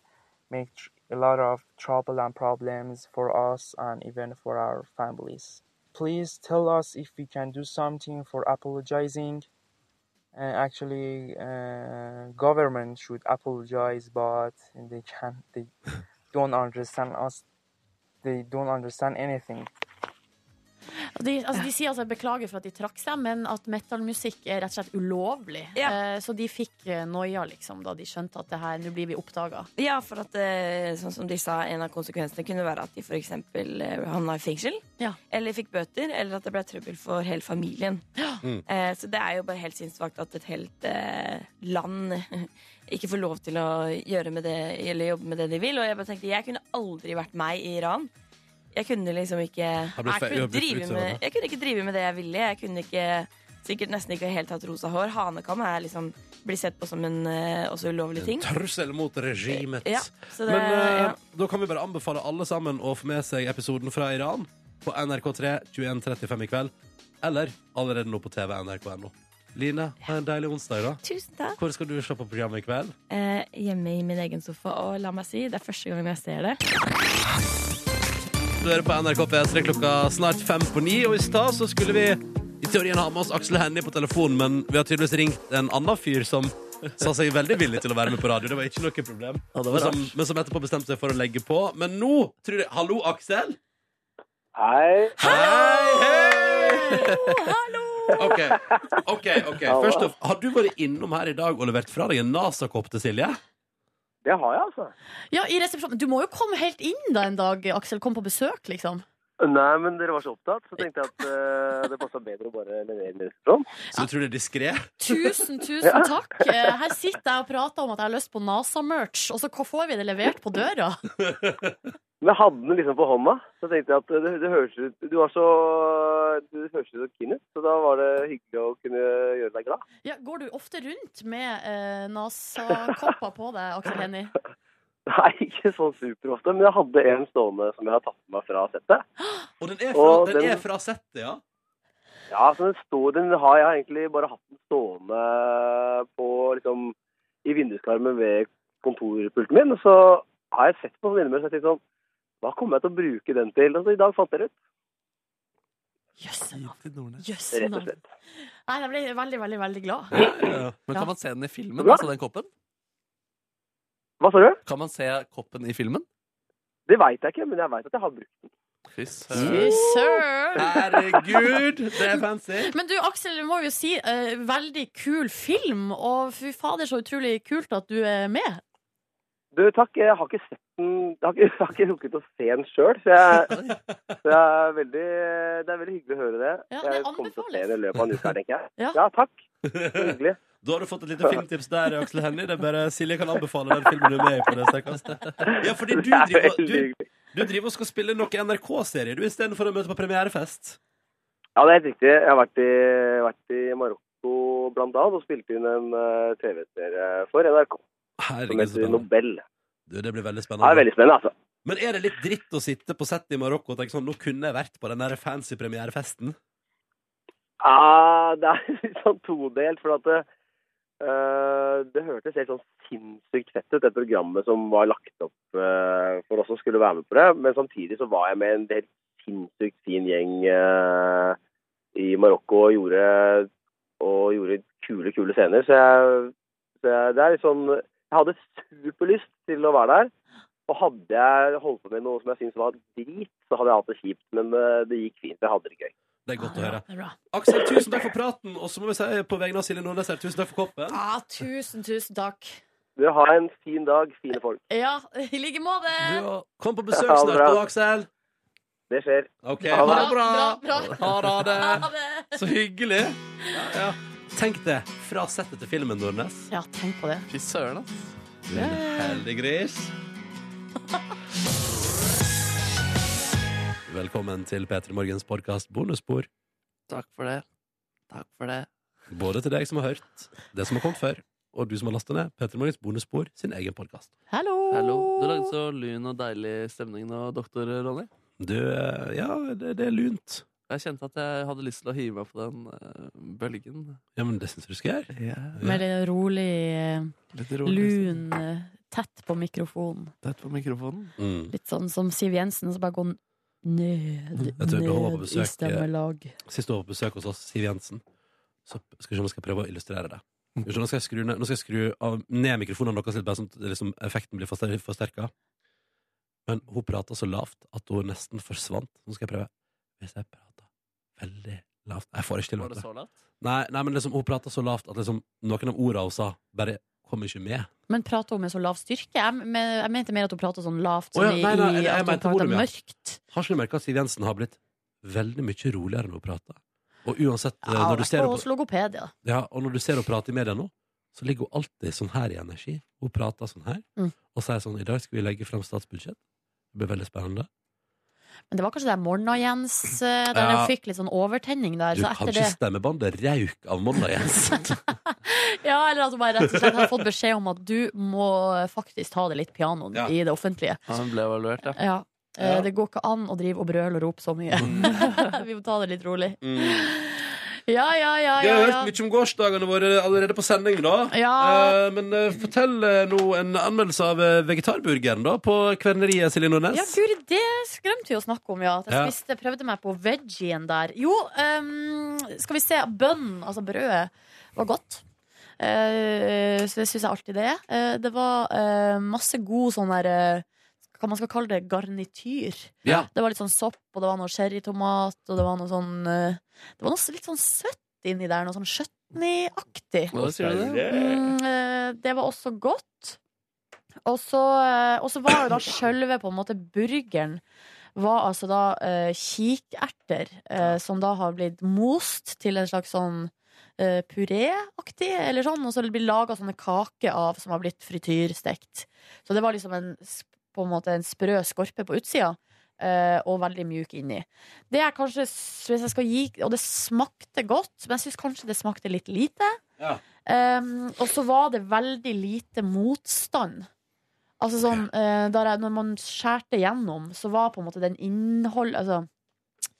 [SPEAKER 13] make tr- a lot of trouble and problems for us and even for our families. Please tell us if we can do something for apologizing. Uh, actually, uh, government should apologize, but they can't. They don't understand us. They don't understand anything.
[SPEAKER 3] Og De, altså, de sier altså beklager for at de trakk seg, men at metal-musikk er rett og slett ulovlig. Eh, så de fikk eh, noia liksom, da de skjønte at det her, nå blir vi oppdaga.
[SPEAKER 11] Ja, for at eh, sånn som de sa, en av konsekvensene kunne være at de f.eks. havna i fengsel. Eller fikk bøter, eller at det ble trøbbel for hele familien.
[SPEAKER 12] Mm.
[SPEAKER 11] Eh, så det er jo bare helt sinnssvakt at et helt eh, land ikke får lov til å gjøre med det, eller jobbe med det de vil. Og jeg bare tenkte, jeg kunne aldri vært meg i Iran. Jeg kunne liksom ikke
[SPEAKER 12] Har blitt fe-
[SPEAKER 11] jeg, kunne
[SPEAKER 12] blitt
[SPEAKER 11] drive
[SPEAKER 12] utøvende.
[SPEAKER 11] med, jeg kunne ikke drive med det jeg ville. Jeg kunne ikke, sikkert nesten ikke helt hatt rosa hår. Hanekam er liksom blir sett på som en eh, også ulovlig ting.
[SPEAKER 2] Trussel mot regimet.
[SPEAKER 11] Ja, så det-
[SPEAKER 2] Men eh,
[SPEAKER 11] ja.
[SPEAKER 2] da kan vi bare anbefale alle sammen å få med seg episoden fra Iran på NRK3 21.35 i kveld. Eller allerede nå på TV nrk.no. Line, ha en deilig onsdag i dag.
[SPEAKER 11] Tusen takk.
[SPEAKER 2] Hvor skal du se på programmet i kveld?
[SPEAKER 11] eh, hjemme i min egen sofa. Og la meg si, det er første gang jeg ser det.
[SPEAKER 2] Du hører på NRK P3 klokka snart fem på ni, og i stad så skulle vi i teorien ha med oss Aksel Hennie på telefon, men vi har tydeligvis ringt en annen fyr som sa seg veldig villig til å være med på radio. Det var ikke noe problem.
[SPEAKER 4] det var
[SPEAKER 2] men, som,
[SPEAKER 4] rart.
[SPEAKER 2] men som etterpå bestemte seg for å legge på. Men nå tror jeg Hallo, Aksel!
[SPEAKER 1] Hei.
[SPEAKER 2] Hei! OK. ok, ok Først av, Har du vært innom her i dag og levert fra deg en NASA-kopp til Silje?
[SPEAKER 1] Det har jeg, altså.
[SPEAKER 3] Ja, i resepsjonen. Du må jo komme helt inn da en dag, Aksel. Kom på besøk, liksom.
[SPEAKER 14] Nei, men dere var så opptatt, så tenkte jeg at eh, det passa bedre å bare levere den i restaurant.
[SPEAKER 2] Så du tror det er diskré?
[SPEAKER 3] Tusen, tusen
[SPEAKER 14] Ja.
[SPEAKER 3] takk. Eh, Her sitter jeg og prater om at jeg har lyst på NASA-merch, og så hva får vi det levert på døra.
[SPEAKER 14] Men jeg hadde den liksom på hånda, så tenkte jeg at det, det høres ut Du var så Du høres ut som Kenneth, så da var det hyggelig å kunne gjøre deg glad.
[SPEAKER 3] Ja, går du ofte rundt med eh, NASA-kopper på deg, Aksel Hennie?
[SPEAKER 14] Nei, ikke sånn superofte, men jeg hadde en stående som jeg har tatt med meg fra settet.
[SPEAKER 2] Og den er fra,
[SPEAKER 14] Og
[SPEAKER 2] den
[SPEAKER 14] den-
[SPEAKER 2] er fra settet, ja?
[SPEAKER 14] Ja, så den, står, den har jeg egentlig bare hatt den stående på liksom i vinduskarmen ved kontorpulten min. Og så har jeg sett på den innimellom og tenkt sånn Hva kommer jeg til å bruke den til? Altså, I dag fant jeg det ut.
[SPEAKER 3] Jøsse
[SPEAKER 14] Rett og
[SPEAKER 3] navn. Nei, jeg ble veldig, veldig, veldig glad.
[SPEAKER 4] Men
[SPEAKER 3] Ja.
[SPEAKER 4] kan man se den i filmen, altså den koppen?
[SPEAKER 14] Hva sa du?
[SPEAKER 4] Kan man se koppen i filmen?
[SPEAKER 14] Det veit jeg ikke, men jeg veit at jeg har brukt den.
[SPEAKER 4] Fy
[SPEAKER 3] Fy søren!
[SPEAKER 2] Herregud, det er fancy.
[SPEAKER 3] Men du, Aksel, må vi jo si eh, veldig kul film, og fy fader, så utrolig kult at du er med.
[SPEAKER 14] Du, takk. Jeg har ikke sett den Jeg har ikke, jeg har ikke rukket å se den sjøl, så jeg, så jeg er veldig Det er veldig hyggelig å høre det.
[SPEAKER 3] Ja, det
[SPEAKER 14] jeg kommer til å se
[SPEAKER 3] anbefales.
[SPEAKER 14] det i løpet av en uke, her, tenker jeg.
[SPEAKER 3] Ja.
[SPEAKER 14] takk.
[SPEAKER 2] Hyggelig. Da har du fått et lite filmtips der, Aksel Hennie. Det er bare Silje kan anbefale den filmen du er med i på det sterkeste. Ja, fordi du driver, du, du driver og skal spille noe NRK-serie du istedenfor å møte på premierefest.
[SPEAKER 14] Ja, det er helt riktig. Jeg har vært i, vært i Marokko blant annet og spilte inn en eh, TV-serie for NRK. Som
[SPEAKER 2] Herregud, så
[SPEAKER 14] heter
[SPEAKER 2] spennende.
[SPEAKER 14] Nobel.
[SPEAKER 2] Du, det blir veldig spennende.
[SPEAKER 14] Det er veldig spennende, altså.
[SPEAKER 2] Men er det litt dritt å sitte på settet i Marokko og tenke sånn Nå kunne jeg vært på den der fancy premierefesten?
[SPEAKER 14] Ja, det er litt sånn todelt, for at det, eh, det hørtes helt sånn sinnssykt fett ut, det programmet som var lagt opp eh, for oss som skulle være med på det. Men samtidig så var jeg med en del sinnssykt fin gjeng eh, i Marokko og gjorde, og gjorde kule, kule scener. Så, jeg, så jeg, det er litt sånn Jeg hadde superlyst til å være der. Og hadde jeg holdt på med noe som jeg syntes var drit, så hadde jeg hatt det kjipt. Men eh, det gikk fint. Jeg hadde det gøy.
[SPEAKER 2] Det er godt å høre. Aksel, tusen takk for praten, og så må vi si på vegne av Silje Nordnes her, tusen takk for koppen.
[SPEAKER 3] Ja, tusen, Ah, tusen takk.
[SPEAKER 14] Du har en fin dag, fine folk.
[SPEAKER 3] Ja, i like måte!
[SPEAKER 2] Kom på
[SPEAKER 14] besøk snart, du,
[SPEAKER 2] Aksel.
[SPEAKER 14] Det skjer.
[SPEAKER 2] Ok,
[SPEAKER 14] Ha det.
[SPEAKER 2] ha det bra.
[SPEAKER 3] Bra, bra.
[SPEAKER 2] Ha det.
[SPEAKER 3] Ha det.
[SPEAKER 2] Så hyggelig. Ja, ja. Tenk det. Fra settet til filmen, Nordnes.
[SPEAKER 3] Ja, tenk på det.
[SPEAKER 4] Fy søren, ass.
[SPEAKER 2] Din heldige gris. Velkommen til P3 Morgens podkast Bonusspor.
[SPEAKER 4] Takk for det. Takk for det.
[SPEAKER 2] Både til deg som har hørt det som har kommet før, og du som har lasta ned P3 Morgens Bonusspor sin egen podkast.
[SPEAKER 3] Hallo.
[SPEAKER 4] Du lagde så lun og deilig stemning nå, doktor Ronny.
[SPEAKER 2] Du, eh, ja, det, det er lunt.
[SPEAKER 4] Jeg kjente at jeg hadde lyst til å hive meg på den eh, bølgen.
[SPEAKER 2] Ja, men det syns du skal gjøre.
[SPEAKER 3] Mer rolig, eh,
[SPEAKER 4] Litt rolig.
[SPEAKER 3] lun, eh, tett på mikrofonen.
[SPEAKER 4] Tett på mikrofonen.
[SPEAKER 2] Mm.
[SPEAKER 3] Litt sånn som Siv Jensen, som bare går ned,
[SPEAKER 2] Jeg tror da hun var på
[SPEAKER 3] ned i
[SPEAKER 2] besøk,
[SPEAKER 3] stemmelag.
[SPEAKER 2] Sist hun var på besøk hos oss, Siv Jensen Så skal vi se om jeg skal prøve å illustrere det Skal vi se, Nå skal jeg skru, ned, nå skal jeg skru av, ned mikrofonene deres litt Bare sånn at liksom, effekten blir forster- forsterket Men hun pratet så lavt At hun nesten forsvant Nå skal jeg prøve Hvis jeg prater veldig lavt Jeg får ikke til
[SPEAKER 4] Var
[SPEAKER 2] vet
[SPEAKER 4] det
[SPEAKER 2] du.
[SPEAKER 4] så lavt?
[SPEAKER 2] Nei, nei, men liksom, hun pratet så lavt At liksom, noen av ordene hun sa Bare kom ikke med
[SPEAKER 3] Men prater hun med så lav styrke? Jeg, men, jeg mente mer at hun prater sånn lavt.
[SPEAKER 2] Å ja,
[SPEAKER 3] sånn i-
[SPEAKER 2] nei, nei, jeg-
[SPEAKER 3] i-
[SPEAKER 2] jeg
[SPEAKER 3] at hun
[SPEAKER 2] mente
[SPEAKER 3] prater
[SPEAKER 2] volum, ja.
[SPEAKER 3] mørkt.
[SPEAKER 2] Har ikke du merket at Siv Jensen har blitt Veldig mye roligere når hun prater Og uansett eh,
[SPEAKER 3] Ja,
[SPEAKER 2] når du
[SPEAKER 3] det
[SPEAKER 2] ser
[SPEAKER 3] er
[SPEAKER 2] henne på-
[SPEAKER 3] hos logoped, ja.
[SPEAKER 2] Ja, og når du ser henne prate i media nå, så ligger hun alltid sånn her i energi. Hun prater sånn her,
[SPEAKER 3] Mm.
[SPEAKER 2] og sier sånn I dag skal vi legge frem statsbudsjett. Det blir veldig spennende.
[SPEAKER 3] Men det var kanskje det Morna-Jens eh, der
[SPEAKER 2] Ja.
[SPEAKER 3] jeg fikk litt sånn overtenning der.
[SPEAKER 2] Du
[SPEAKER 3] Så
[SPEAKER 2] kan
[SPEAKER 3] etter
[SPEAKER 2] ikke
[SPEAKER 3] det
[SPEAKER 2] stemmebåndet rauk av Monna Jens.
[SPEAKER 3] Ja, eller at hun bare rett og slett har fått beskjed om at du må eh, faktisk ta det litt pianoen
[SPEAKER 4] Ja.
[SPEAKER 3] i det offentlige.
[SPEAKER 4] Han ble evaluert, ja.
[SPEAKER 3] Ja. Eh,
[SPEAKER 4] Ja.
[SPEAKER 3] Det går ikke an å drive og brøle og rope så mye. Vi må ta det litt rolig. Ja, ja, ja.
[SPEAKER 2] Vi
[SPEAKER 3] ja,
[SPEAKER 2] har
[SPEAKER 3] ja.
[SPEAKER 2] hørt mye om gårsdagene våre allerede på sending, da.
[SPEAKER 3] Ja.
[SPEAKER 2] Eh, men eh, fortell eh, nå en anmeldelse av eh, vegetarburgeren da, på Kverneriet, Silje Nordnes.
[SPEAKER 3] Ja, guri, det skremte jo å snakke om, ja. At jeg
[SPEAKER 2] Ja.
[SPEAKER 3] spiste, prøvde meg på veggien der. Jo, ehm, skal vi se. Bønn, altså brødet, var godt. Eh, så det syns jeg alltid det er. Eh, det var eh, masse god sånn der eh, Hva man skal kalle det? Garnityr.
[SPEAKER 2] Ja.
[SPEAKER 3] Det var litt sånn sopp, og det var noe sherrytomat, og det var noe sånn eh, Det var noe litt sånn søtt inni der. Noe sånn chutney-aktig.
[SPEAKER 4] Hva sier du det?
[SPEAKER 3] Mm, eh, det var også godt. Og så, eh, og så var det da sjølve på en måte burgeren var altså da eh, kikerter eh, som da har blitt most til en slags sånn eh, puréaktig, eller sånn, og så blir laga sånne kaker av som har blitt frityrstekt. Så det var liksom en, s- på en måte en sprø skorpe på utsida. eh, og veldig mjuk inni. Det er kanskje, s- hvis jeg skal gi Og det smakte godt, men jeg syns kanskje det smakte litt lite.
[SPEAKER 2] Ja.
[SPEAKER 3] Um, og så var det veldig lite motstand. Altså sånn, eh, der jeg, Når man skjærte gjennom, så var på en måte den innhold altså,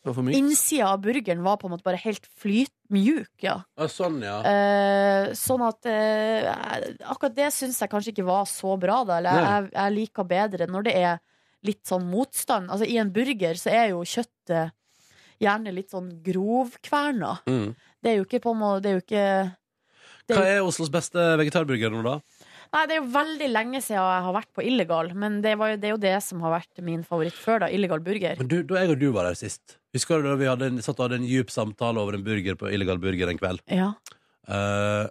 [SPEAKER 4] Det var for mykt.
[SPEAKER 3] Innsida av burgeren var på en måte bare helt flyt mjuk. Ja.
[SPEAKER 2] Ah, sånn, ja.
[SPEAKER 3] Eh, sånn at eh, akkurat det syns jeg kanskje ikke var så bra, da. Eller jeg, jeg, jeg liker bedre når det er litt sånn motstand. Altså I en burger så er jo kjøttet gjerne litt sånn grovkverna.
[SPEAKER 2] Mm.
[SPEAKER 3] Det er jo ikke på en måte Det er jo ikke
[SPEAKER 2] Hva er Oslos beste vegetarburger nå, da?
[SPEAKER 3] Nei, det er jo veldig lenge siden jeg har vært på Illegal, men det, var jo, det er jo det som har vært min favoritt før, da. Illegal burger.
[SPEAKER 2] Men du, da jeg og du var der sist Husker du da vi hadde en, satt og hadde en djup samtale over en burger på illegal burger en kveld?
[SPEAKER 3] Ja.
[SPEAKER 2] Eh,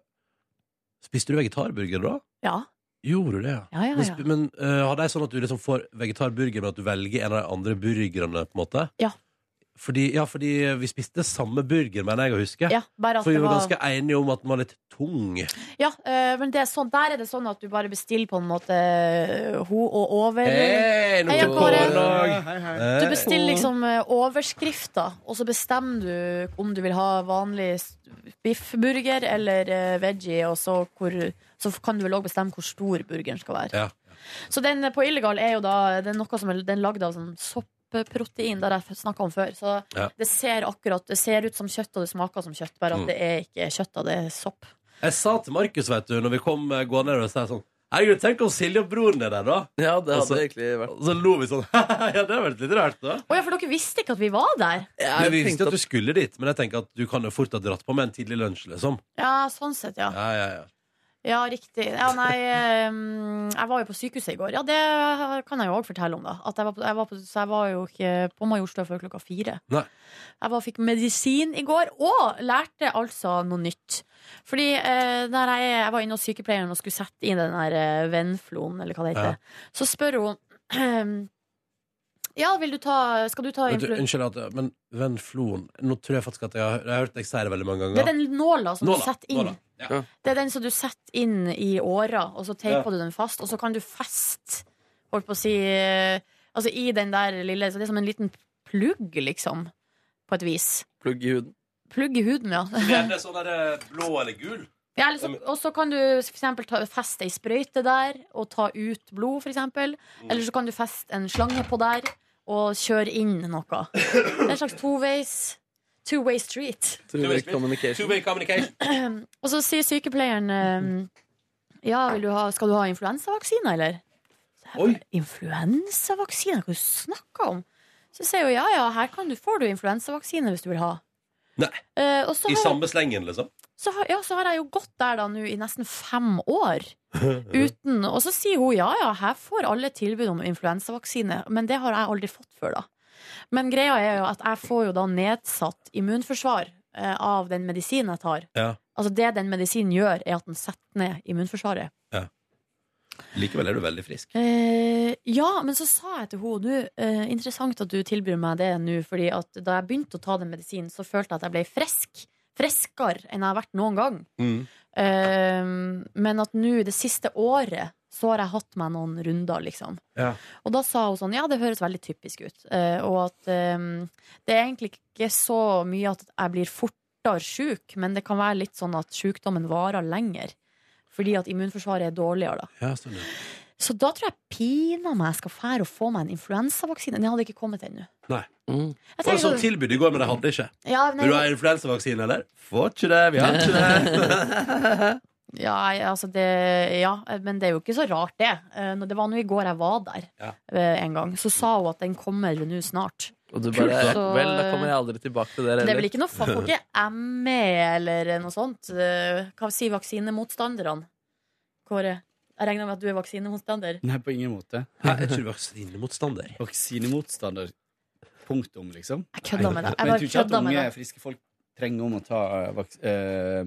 [SPEAKER 2] spiste du vegetarburger da?
[SPEAKER 3] Ja.
[SPEAKER 2] Gjorde du det,
[SPEAKER 3] Ja, ja,
[SPEAKER 2] Men,
[SPEAKER 3] ja.
[SPEAKER 2] sp- men eh, hadde jeg sånn at du liksom får vegetarburger, men at du velger en av de andre burgerne, på en måte?
[SPEAKER 3] Ja.
[SPEAKER 2] Fordi, ja, fordi vi spiste samme burger, mener jeg å huske.
[SPEAKER 3] Ja, bare at
[SPEAKER 2] For vi
[SPEAKER 3] det
[SPEAKER 2] var
[SPEAKER 3] var-
[SPEAKER 2] ganske enige om at den var litt tung.
[SPEAKER 3] Ja, eh, men det er sånn, der er det sånn at du bare bestiller på en måte eh, ho og over.
[SPEAKER 2] Hei, nå
[SPEAKER 3] Heia,
[SPEAKER 2] kommer
[SPEAKER 3] Kåre.
[SPEAKER 2] Kåre.
[SPEAKER 12] Hei, hei.
[SPEAKER 3] Du bestiller liksom eh, overskrifter, og så bestemmer du om du vil ha vanlig s- biffburger eller eh, veggie, og så, hvor, så kan du vel òg bestemme hvor stor burgeren skal være.
[SPEAKER 2] Ja.
[SPEAKER 3] Så den på Illegal er jo da det er noe som er, den er lagd av sånn soppprotein, det har jeg snakka om før. Så
[SPEAKER 2] Ja.
[SPEAKER 3] det ser akkurat Det ser ut som kjøtt, og det smaker som kjøtt, bare at
[SPEAKER 2] Mm.
[SPEAKER 3] det er ikke kjøtt, da, det er sopp.
[SPEAKER 2] Jeg sa til Markus, vet du, når vi kom eh, gående her, og sa jeg sånn Herregud, tenk om Silje og broren er der, da!
[SPEAKER 4] Ja, det
[SPEAKER 2] Og så-
[SPEAKER 4] hadde egentlig vært
[SPEAKER 2] Og så lo vi sånn. ja, det hadde vært litt rart, da.
[SPEAKER 3] Å ja, for dere visste ikke at vi var der?
[SPEAKER 2] Men vi visste at du skulle dit, men jeg tenker at du kan jo fort ha dratt på med en tidlig lunsj, liksom.
[SPEAKER 3] Ja, sånn sett, ja.
[SPEAKER 2] Ja, ja, ja.
[SPEAKER 3] Ja, riktig. Ja, nei, ehm, jeg var jo på sykehuset i går. Ja, det kan jeg jo òg fortelle om, da. At jeg var på, jeg var på, så jeg var jo ikke på Majorstua før klokka fire.
[SPEAKER 2] Nei.
[SPEAKER 3] Jeg var, fikk medisin i går, og lærte altså noe nytt. Fordi eh, der jeg, jeg var inne hos sykepleieren og skulle sette inn den der eh, Venfloen, eller hva det heter, så spør hun Ja, vil du ta Skal du ta
[SPEAKER 2] Vet du,
[SPEAKER 3] influ...
[SPEAKER 2] unnskyld, at, men Venflon Nå tror jeg faktisk at jeg har, jeg har hørt deg si det veldig mange
[SPEAKER 3] Det
[SPEAKER 2] ganger.
[SPEAKER 3] er den nåla som
[SPEAKER 2] Nåla,
[SPEAKER 3] du setter inn.
[SPEAKER 2] nåla, ja.
[SPEAKER 3] Det er den som du setter inn i åra, og så
[SPEAKER 2] Ja.
[SPEAKER 3] teiper du den fast, og så kan du feste holdt på å si, eh, altså i den der lille Så det er som en liten plugg, liksom, på et vis.
[SPEAKER 4] plugg i huden.
[SPEAKER 3] Plugg i huden, ja.
[SPEAKER 2] Gjerne sånn der blå eller gul.
[SPEAKER 3] ja eller så, og så liksom- kan du for eksempel ta, feste ei sprøyte der, og ta ut blod, for eksempel.
[SPEAKER 2] Mm.
[SPEAKER 3] Eller så kan du feste en slange på der, og kjøre inn noe. Det er en slags toveis two-way street.
[SPEAKER 4] Two-way communication.
[SPEAKER 2] Two-way communication.
[SPEAKER 3] Og så sier sykepleieren ehm, Ja, vil du ha, skal du ha influensavaksine, eller? Så jeg bare, Influensavaksine? Hva er det du snakker om? Så sier hun ja, ja, her kan du, får du influensavaksine hvis du vil ha.
[SPEAKER 2] Nei.
[SPEAKER 3] Eh, og så
[SPEAKER 2] I
[SPEAKER 3] har,
[SPEAKER 2] samme slengen, liksom.
[SPEAKER 3] så, har, ja, så har jeg jo gått der da nå i nesten fem år.
[SPEAKER 2] liksom.
[SPEAKER 3] Uten, og så sier hun ja, ja, her får alle tilbud om influensavaksine, men det har jeg aldri fått før, da. Men greia er jo at jeg får jo da nedsatt immunforsvar eh, av den medisinen jeg tar.
[SPEAKER 2] Ja.
[SPEAKER 3] Altså Det den medisinen gjør, er at den setter ned immunforsvaret.
[SPEAKER 2] Likevel er du veldig frisk.
[SPEAKER 3] Eh, ja, men så sa jeg til henne nå eh, Interessant at du tilbyr meg det nå, fordi at da jeg begynte å ta den medisinen, så følte jeg at jeg ble frisk. Friskere enn jeg har vært noen gang. Eh, men at nå, det siste året, så har jeg hatt meg noen runder, liksom.
[SPEAKER 2] Ja.
[SPEAKER 3] Og da sa hun sånn, ja, det høres veldig typisk ut. eh, og at eh, det er egentlig ikke så mye at jeg blir fortere syk, men det kan være litt sånn at sykdommen varer lenger. Fordi at immunforsvaret er dårligere da.
[SPEAKER 2] Ja, sånn, ja.
[SPEAKER 3] Så da tror jeg pina meg jeg skal fære og få meg en influensavaksine. Den hadde ikke kommet ennå.
[SPEAKER 2] Nei.
[SPEAKER 3] Mm. Jeg
[SPEAKER 2] Var det sånn
[SPEAKER 3] tenker-
[SPEAKER 2] tilbud i går, men de hadde ikke?
[SPEAKER 3] Ja, nei-
[SPEAKER 2] Vil du ha influensavaksine, eller? Får ikke det. Vi har ikke det.
[SPEAKER 3] Ja, jeg- altså det, ja, men det er jo ikke så rart, det. Eh, når- Det var nå i går jeg var der
[SPEAKER 2] Ja.
[SPEAKER 3] eh, en gang. Så sa hun at den kommer nå snart.
[SPEAKER 4] Og du bare
[SPEAKER 3] Kult, så-
[SPEAKER 4] Vel, da kommer jeg aldri tilbake til dere
[SPEAKER 3] Det er vel ikke noe fa- Får ikke ME E eller noe sånt. Eh, Hva sier vaksinemotstanderne? Kåre, jeg regner med at du er vaksinemotstander.
[SPEAKER 12] Nei, på ingen måte.
[SPEAKER 2] Nei, jeg tror vaksinemotstander.
[SPEAKER 12] Vaksinemotstander. Punktum, liksom. Jeg
[SPEAKER 3] kødder med deg. Jeg
[SPEAKER 12] Men jeg
[SPEAKER 3] bare
[SPEAKER 12] tror ikke at
[SPEAKER 3] kødder med
[SPEAKER 12] unge,
[SPEAKER 3] deg.
[SPEAKER 12] friske folk trenger om å ta eh, vaks eh,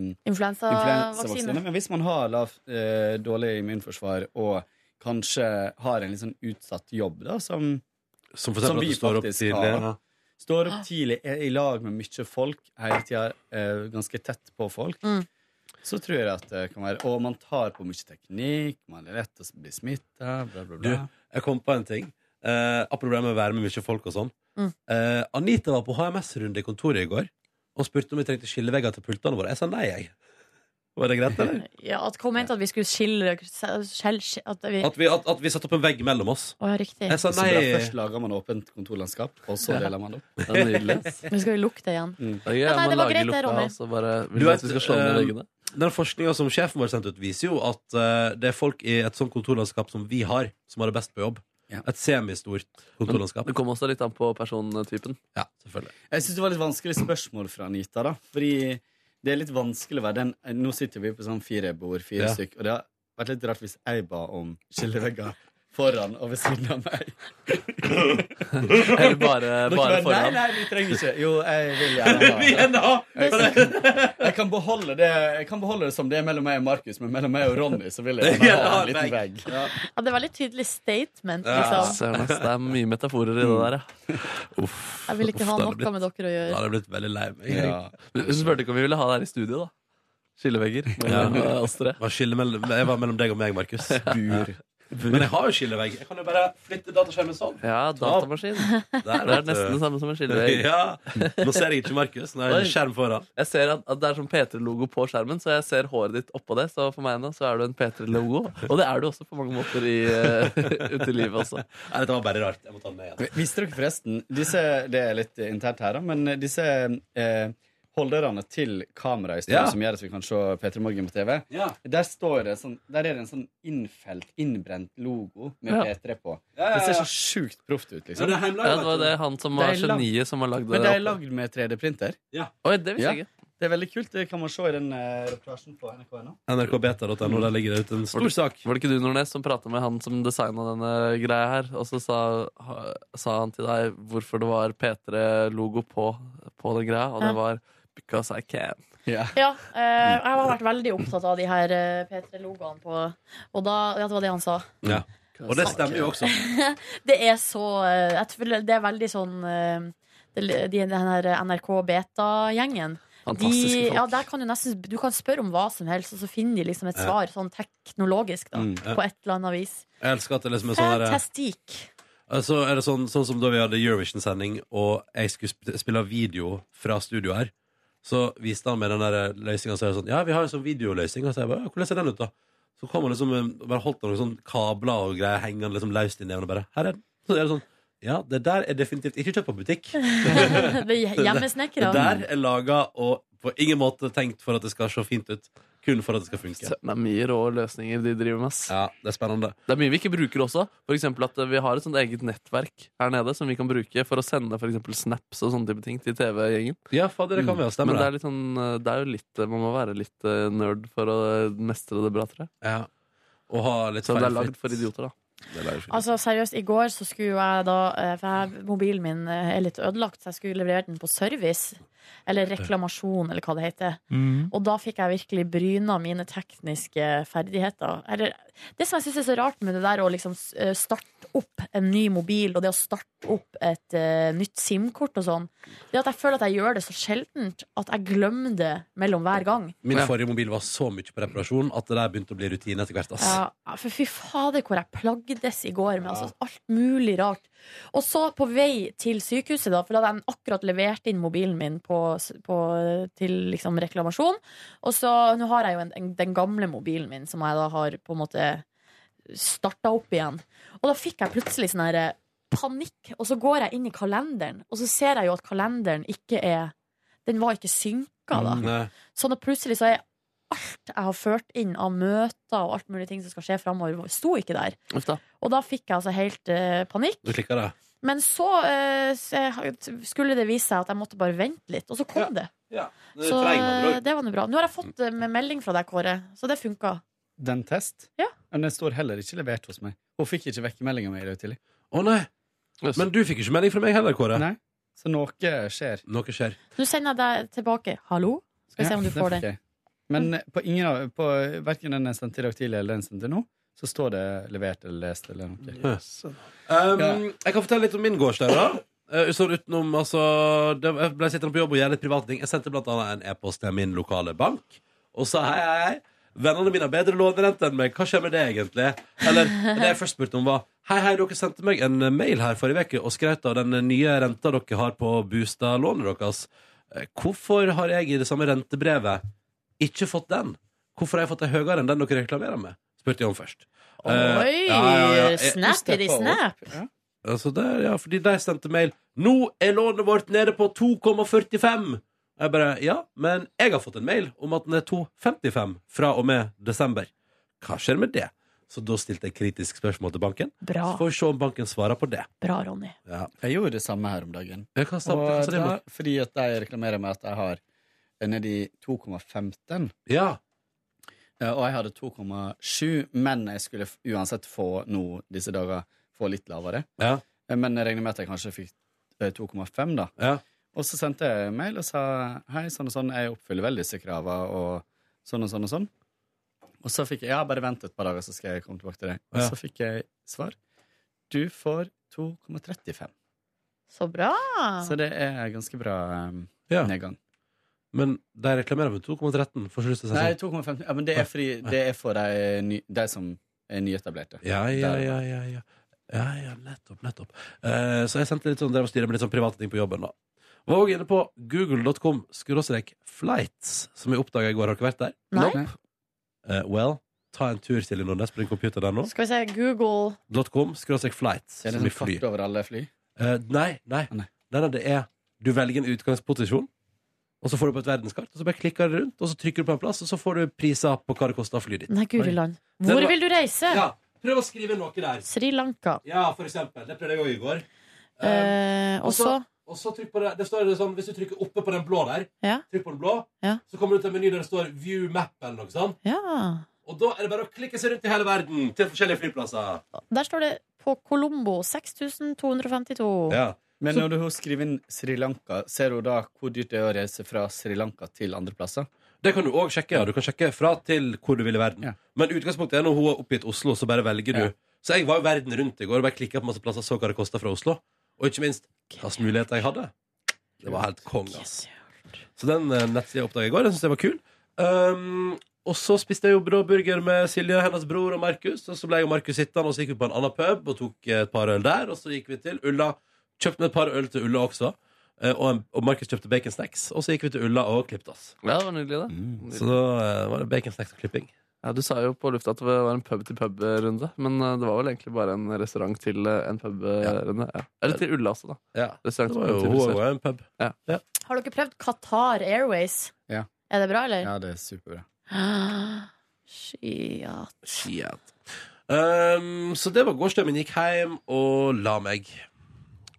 [SPEAKER 3] Influensavaksine.
[SPEAKER 12] influensavaksine. Men hvis man har lav, eh, dårlig immunforsvar og kanskje har en litt sånn utsatt jobb, da, som,
[SPEAKER 2] Som for eksempel at du står opp
[SPEAKER 12] faktisk
[SPEAKER 2] tidlig,
[SPEAKER 12] har.
[SPEAKER 2] ja.
[SPEAKER 12] Står opp tidlig, er i lag med mye folk, hele tida eh, ganske tett på folk.
[SPEAKER 3] Mm.
[SPEAKER 12] Så tror jeg at det kan være Og man tar på mye teknikk, man er lett å bli smitta, bla, bla,
[SPEAKER 2] Du,
[SPEAKER 12] bla.
[SPEAKER 2] jeg kom på en ting. Eh, apropos det med å være med mye folk og sånn.
[SPEAKER 3] Mm.
[SPEAKER 2] Eh, Anita var på HMS-runde i kontoret i går og spurte om vi trengte skillevegger til pultene våre. Jeg sa nei, jeg. Var det greit, eller?
[SPEAKER 3] Ja, at kom hent at vi skulle skille skjell, at vi,
[SPEAKER 2] At vi, at, at vi satte opp en vegg mellom oss.
[SPEAKER 3] Å, ja, riktig.
[SPEAKER 2] Jeg sa
[SPEAKER 12] Så bra,
[SPEAKER 2] nei.
[SPEAKER 12] først lager man åpent kontorlandskap, og så
[SPEAKER 2] Ja.
[SPEAKER 12] deler man det opp. Det er nydelig.
[SPEAKER 3] Nå skal vi lukte igjen.
[SPEAKER 2] Mm.
[SPEAKER 4] Ja,
[SPEAKER 3] Ja, nei,
[SPEAKER 4] man
[SPEAKER 3] det var
[SPEAKER 4] lager
[SPEAKER 3] greit det,
[SPEAKER 4] lukta, altså.
[SPEAKER 3] Ronny.
[SPEAKER 4] og så bare- vil du at vi skal slå ned
[SPEAKER 2] eh,
[SPEAKER 4] veggene?
[SPEAKER 2] Den forskninga som sjefen vår sendte ut, viser jo at eh, det er folk i et sånt kontorlandskap som vi har, som har det best på jobb. Et semistort kontorlandskap.
[SPEAKER 4] Det kommer også litt an på persontypen.
[SPEAKER 2] Ja, selvfølgelig.
[SPEAKER 12] Jeg syns det var litt vanskelig spørsmål fra Anita, da. Fordi det er litt vanskelig å være den Nå sitter vi på sånn fire bord, fire
[SPEAKER 2] Ja.
[SPEAKER 12] stykk, og det har vært litt rart hvis jeg ba om skillevegger. foran og ved siden av meg.
[SPEAKER 4] Eller bare-
[SPEAKER 12] Dere
[SPEAKER 4] bare
[SPEAKER 12] Nei,
[SPEAKER 4] foran.
[SPEAKER 12] nei, vi trenger ikke. Jo, jeg vil gjerne
[SPEAKER 4] Vi er da.
[SPEAKER 12] Jeg, kan- jeg, kan beholde det, jeg kan beholde det som det er mellom meg og Markus, men mellom meg og Ronny så vil jeg gjerne ha en liten vegg.
[SPEAKER 3] Ja, det er veldig tydelig statement,
[SPEAKER 4] Ja.
[SPEAKER 3] liksom.
[SPEAKER 4] Søren, ass, Det er mye metaforer i det der, ja.
[SPEAKER 2] Mm.
[SPEAKER 4] Uff.
[SPEAKER 3] Jeg vil ikke ha noe med dere å gjøre.
[SPEAKER 2] blitt veldig lei meg.
[SPEAKER 4] Hun spurte ikke om vi ville ha det her i studio, da. Skillevegger.
[SPEAKER 2] Ja.
[SPEAKER 4] mellom, eh, oss tre.
[SPEAKER 2] Hva skiller mellom, jeg var mellom deg og meg, Markus. Bur. Men jeg har jo skillevegg. Jeg kan jo bare flytte dataskjermen sånn.
[SPEAKER 4] Ja, datamaskin. det er
[SPEAKER 2] vet du.
[SPEAKER 4] nesten det samme som en skillevegg.
[SPEAKER 2] eh, Ja. Nå ser jeg ikke Markus. Nå er det
[SPEAKER 4] Oi.
[SPEAKER 2] en skjerm foran.
[SPEAKER 4] Jeg ser at, at det er sånn P3-logo på skjermen, så jeg ser håret ditt oppå det. Så for meg nå så er du en P3-logo. Og det er du også på mange måter i, eh, ute i livet også.
[SPEAKER 2] Nei, dette var bare rart. Jeg må ta den med igjen.
[SPEAKER 12] Visste dere forresten disse, Det er litt internt her, da, men disse eh, holderne til kamera i studio
[SPEAKER 2] Ja.
[SPEAKER 12] som gjør at vi kan se P3 Morgen på TV,
[SPEAKER 2] Ja.
[SPEAKER 12] der, står det sånn, der er det en sånn innfelt, innbrent logo med
[SPEAKER 4] Ja.
[SPEAKER 12] P3 på.
[SPEAKER 4] Ja, ja, ja.
[SPEAKER 12] Det ser så sjukt proft ut, liksom.
[SPEAKER 4] Ja, det er heimlaga, Ja, det var det han som var
[SPEAKER 12] Det er lag-
[SPEAKER 4] geniet som har lagd det
[SPEAKER 12] Men det er
[SPEAKER 4] opp.
[SPEAKER 12] lagd med 3D-printer.
[SPEAKER 2] Ja.
[SPEAKER 4] Oi, det visste jeg ikke.
[SPEAKER 12] Det er veldig kult. Det kan man se i den eh, reportasjen på NRK nå.
[SPEAKER 2] nrkbeta.no. Der ligger det ute en
[SPEAKER 4] Var
[SPEAKER 2] stor
[SPEAKER 4] det-
[SPEAKER 2] sak.
[SPEAKER 4] Var det ikke du, Nordnes, som prata med han som designa denne greia her? Og så sa, ha- sa han til deg hvorfor det var P3-logo på, på den greia, og
[SPEAKER 3] Ja.
[SPEAKER 4] det var because I can.
[SPEAKER 3] Ja, eh, jeg har vært veldig opptatt av de her eh, P3-logoene på Og da, ja, det var det han sa.
[SPEAKER 2] Ja. Og det stemmer jo også.
[SPEAKER 3] det er så eh, jeg føler Det er veldig sånn eh, det, de, Den her NRK Beta-gjengen.
[SPEAKER 4] Fantastiske folk.
[SPEAKER 3] ja, der kan du, nesten, du kan spørre om hva som helst, og så finner de liksom et
[SPEAKER 2] Ja.
[SPEAKER 3] svar sånn teknologisk, da,
[SPEAKER 2] Mm, ja.
[SPEAKER 3] på et eller annet vis.
[SPEAKER 2] Jeg elsker at det liksom er sånn der,
[SPEAKER 3] Fantastikk.
[SPEAKER 2] Så er det sånn, sånn som da vi hadde Eurovision-sending, og jeg skulle sp spille video fra studio her. Så viste han meg den der løsninga, så er det sånn Ja, vi har en sånn videoløsning. Og så jeg bare «Ja, Hvordan ser den ut, da? Så kom han liksom eh, bare holdt noen sånn kabler og greier hengende liksom løst inni den, og bare Her er den. Så er det sånn Ja, det der er definitivt ikke kjøpt på butikk.
[SPEAKER 3] Det er hjemmesnekra.
[SPEAKER 2] Det der er laga og på ingen måte tenkt for at det skal se fint ut. Kun for at det skal funke.
[SPEAKER 4] Det er mye rå løsninger de driver med.
[SPEAKER 2] Ja, Det er spennende
[SPEAKER 4] Det er mye vi ikke bruker også. For eksempel at eh, Vi har et sånt eget nettverk her nede som vi kan bruke for å sende for eksempel snaps og sånne type ting til TV-gjengen.
[SPEAKER 2] Ja, fader, det kan vi ha,
[SPEAKER 4] Men det
[SPEAKER 2] stemmer det.
[SPEAKER 4] er, litt sånn, eh, det er jo litt eh, Man må være litt eh, nerd for å mestre det bra, tror jeg.
[SPEAKER 2] Ja. Og ha litt
[SPEAKER 4] Så det er
[SPEAKER 2] feilfritt.
[SPEAKER 4] lagd for idioter, da.
[SPEAKER 3] Altså seriøst, i går så skulle jeg da eh, For jeg, mobilen min eh, er litt ødelagt, så jeg skulle levere den på service. Eller reklamasjon, eller hva det heter.
[SPEAKER 2] Mm.
[SPEAKER 11] Mm.
[SPEAKER 15] Mhm.
[SPEAKER 3] Og da fikk jeg virkelig bryna mine tekniske ferdigheter. Eller, det som jeg syns er så rart med det der å liksom s- eh, starte opp en ny mobil, og det å starte opp et eh, nytt SIM-kort og sånn, det er at jeg føler at jeg gjør det så sjeldent at jeg glemmer det mellom hver gang.
[SPEAKER 2] Min forrige mobil var så mye på reparasjon at det der begynte å bli rutine etter hvert. Ass.
[SPEAKER 3] Ja, for fy fader hvor jeg plagdes i går med altså, alt mulig rart. Og så på vei til sykehuset, da, for da hadde jeg akkurat levert inn mobilen min på, på, til liksom, reklamasjon. Og så nå har jeg jo en, en, den gamle mobilen min, som jeg da har på en måte starta opp igjen. Og da fikk jeg plutselig sånn her eh, panikk, og så går jeg inn i kalenderen, og så ser jeg jo at kalenderen ikke er Den var ikke synka,
[SPEAKER 9] Mm,
[SPEAKER 3] da.
[SPEAKER 2] Nei.
[SPEAKER 3] Sånn at plutselig så er alt jeg har ført inn av møter og alt mulig ting som skal skje framover, sto ikke der.
[SPEAKER 4] Uff da.
[SPEAKER 3] Og da fikk jeg altså helt eh, panikk.
[SPEAKER 2] Du klikka det?
[SPEAKER 3] Men så eh, s- eh, skulle det vise seg at jeg måtte bare vente litt, og så kom det.
[SPEAKER 2] Det er
[SPEAKER 3] Så
[SPEAKER 2] treig, med andre ord.
[SPEAKER 3] eh, det var nå bra. Nå har jeg fått eh, med melding fra deg, Kåre, så det funka.
[SPEAKER 12] Den test?
[SPEAKER 3] Ja.
[SPEAKER 12] Men den står heller ikke levert hos meg. Hun fikk ikke vekkemeldinga mi i dag tidlig.
[SPEAKER 2] Å nei. Men du fikk ikke melding fra meg heller, Kåre.
[SPEAKER 12] Nei. Så noe skjer.
[SPEAKER 2] Noe skjer.
[SPEAKER 3] Nå sender jeg deg tilbake. Hallo? Skal vi se om du får
[SPEAKER 12] fikk
[SPEAKER 3] den.
[SPEAKER 12] jeg. Men eh, på ingen av, på verken den jeg sendte i dag tidlig eller den jeg sendte nå, så står det levert eller lest eller noe.
[SPEAKER 2] Um, Jeg kan fortelle litt om min gårsdag. da Eh, Sånn utenom, altså det, Jeg ble sittende på jobb og gjøre litt private ting. Jeg sendte blant annet en e-post til min lokale bank og sa hei, hei, hei. Vennene mine har bedre lånerente enn meg. Hva skjer med det, egentlig? Eller det jeg først spurte om, var Hei, hei, dere sendte meg en mail her forrige uke og skrøt av den nye renta dere har på bostadlånet deres. Eh, Hvorfor har jeg i det samme rentebrevet ikke fått den? Hvorfor har jeg fått den høyere enn den dere reklamerer med? Spurte jeg om først.
[SPEAKER 3] Oi!
[SPEAKER 2] Eh, ja, ja, ja. Jeg-
[SPEAKER 3] Snap i de snap.
[SPEAKER 2] Altså der, ja, fordi de sendte mail Nå er lånet vårt nede på 2,45 Jeg bare, ja, men jeg har fått en mail Om at den er 2,55 Fra og med desember Hva skjer med det? Så da stilte jeg kritisk spørsmål til banken
[SPEAKER 3] Bra.
[SPEAKER 2] Så får vi se om banken svarer på det
[SPEAKER 3] Bra, Ronny.
[SPEAKER 2] ja.
[SPEAKER 12] Jeg gjorde det samme her om dagen.
[SPEAKER 2] Ja, hva sa-
[SPEAKER 12] og
[SPEAKER 2] hva sa de om
[SPEAKER 12] da,
[SPEAKER 2] det?
[SPEAKER 12] fordi at de reklamerer med at jeg har nedi 2,15.
[SPEAKER 2] Ja.
[SPEAKER 12] Eh, Og jeg hadde 2,7, men jeg skulle f- uansett få nå disse dager få litt lavere. Eh, Men jeg regner med at jeg kanskje fikk eh, 2,5, da. Og så sendte jeg mail og sa hei, sånn og sånn, jeg oppfyller vel disse krava, og sånn og sånn og sånn. Og så fikk jeg ja, bare vent et par dager, så skal jeg komme tilbake til deg. Og
[SPEAKER 2] Ja.
[SPEAKER 12] så fikk jeg svar. Du får 2,35.
[SPEAKER 3] Så bra!
[SPEAKER 12] Så det er ganske bra eh, nedgang.
[SPEAKER 2] Men de reklamerer med 2,13. Får ikke lyst til å si
[SPEAKER 12] Nei,
[SPEAKER 2] sånn.
[SPEAKER 12] 2,15. Ja, men det er, fordi, det er for de, ny, de som er nyetablerte.
[SPEAKER 2] Ja, ja,
[SPEAKER 12] Der-
[SPEAKER 2] ja, ja, ja. ja, ja nettopp, nettopp. Eh, så jeg sendte litt sånn, drev og styrer med litt sånn private ting på jobben, da. Var også inne på google.com skråstrek flights, som jeg oppdaga i går. Har dere vært der?
[SPEAKER 3] Nei.
[SPEAKER 2] Nope. Eh, well, ta en tur til Nordnes på din computer der nå.
[SPEAKER 3] Skal vi se, Google
[SPEAKER 2] .com skråstrek flights.
[SPEAKER 12] Er det
[SPEAKER 2] som i
[SPEAKER 12] sånn kart over alle fly?
[SPEAKER 2] Eh, nei, nei. Nei, nei, det er Du velger en utgangsposisjon, og så får du på et verdenskart, og så bare klikker du rundt, og så trykker du på en plass, og så får du priser på hva det koster å fly dit.
[SPEAKER 3] Nei, guri
[SPEAKER 2] Oi.
[SPEAKER 3] land.
[SPEAKER 2] Den
[SPEAKER 3] Hvor
[SPEAKER 2] var-
[SPEAKER 3] vil du reise?
[SPEAKER 2] Ja, prøv å skrive noe der.
[SPEAKER 3] Sri Lanka.
[SPEAKER 2] Ja, for eksempel. Det prøvde jeg òg i går.
[SPEAKER 3] Eh,
[SPEAKER 2] Um,
[SPEAKER 3] og så-
[SPEAKER 2] og så trykk på det, det står det sånn, Hvis du trykker oppe på den blå der,
[SPEAKER 3] Ja.
[SPEAKER 2] trykk på den blå,
[SPEAKER 3] Ja.
[SPEAKER 2] så kommer du til en meny der det står 'view map' eller noe sånt.
[SPEAKER 3] Ja.
[SPEAKER 2] Og da er det bare å klikke seg rundt i hele verden til forskjellige flyplasser.
[SPEAKER 3] Der står det på Colombo 6252.
[SPEAKER 12] Men når du skriver inn Sri Lanka, ser du da hvor dyrt det er å reise fra Sri Lanka til andre plasser?
[SPEAKER 2] Det kan du òg sjekke. ja. Du kan sjekke fra til hvor du vil i verden. Men utgangspunktet er når hun har oppgitt Oslo, så bare velger du.
[SPEAKER 12] Ja.
[SPEAKER 2] Så jeg var jo verden rundt i går og bare klikka på masse plasser, så hva det kosta fra Oslo. Og ikke minst hva slags muligheter jeg hadde. Det var helt konge, ass. Så den eh, nettsida oppdaga jeg i går. Den syns jeg var kul. Um, og så spiste jeg jo brå burger med Silje, hennes bror og Markus. Og så ble jeg og Markus sittende, og så gikk vi på en annen pub og tok eh, et par øl der. Og så gikk vi til Ulla. Kjøpte et par øl til Ulla også. Eh, Og, en- og Markus kjøpte bacon snacks. Og så gikk vi til Ulla og klippet oss.
[SPEAKER 4] Ja, det var nydelig, det.
[SPEAKER 2] Så da eh, var det bacon snacks og klipping.
[SPEAKER 4] Ja, Du sa jo på lufta at det var en pub-til-pub-runde, men eh, det var vel egentlig bare en restaurant til eh, en pub-runde. Ja. Eller til Ulla også, da.
[SPEAKER 2] Ja.
[SPEAKER 4] Restaurant
[SPEAKER 2] Det var
[SPEAKER 4] til pub
[SPEAKER 2] jo-
[SPEAKER 4] til
[SPEAKER 2] hun
[SPEAKER 4] dessert.
[SPEAKER 2] var jo en pub.
[SPEAKER 4] Ja.
[SPEAKER 3] Har dere prøvd Qatar Airways?
[SPEAKER 12] Ja.
[SPEAKER 3] Er det bra, eller?
[SPEAKER 12] Ja, det er superbra.
[SPEAKER 3] Ah, Skiat.
[SPEAKER 2] Shit. Um, så det var gårsdagen. Gikk hjem og la meg.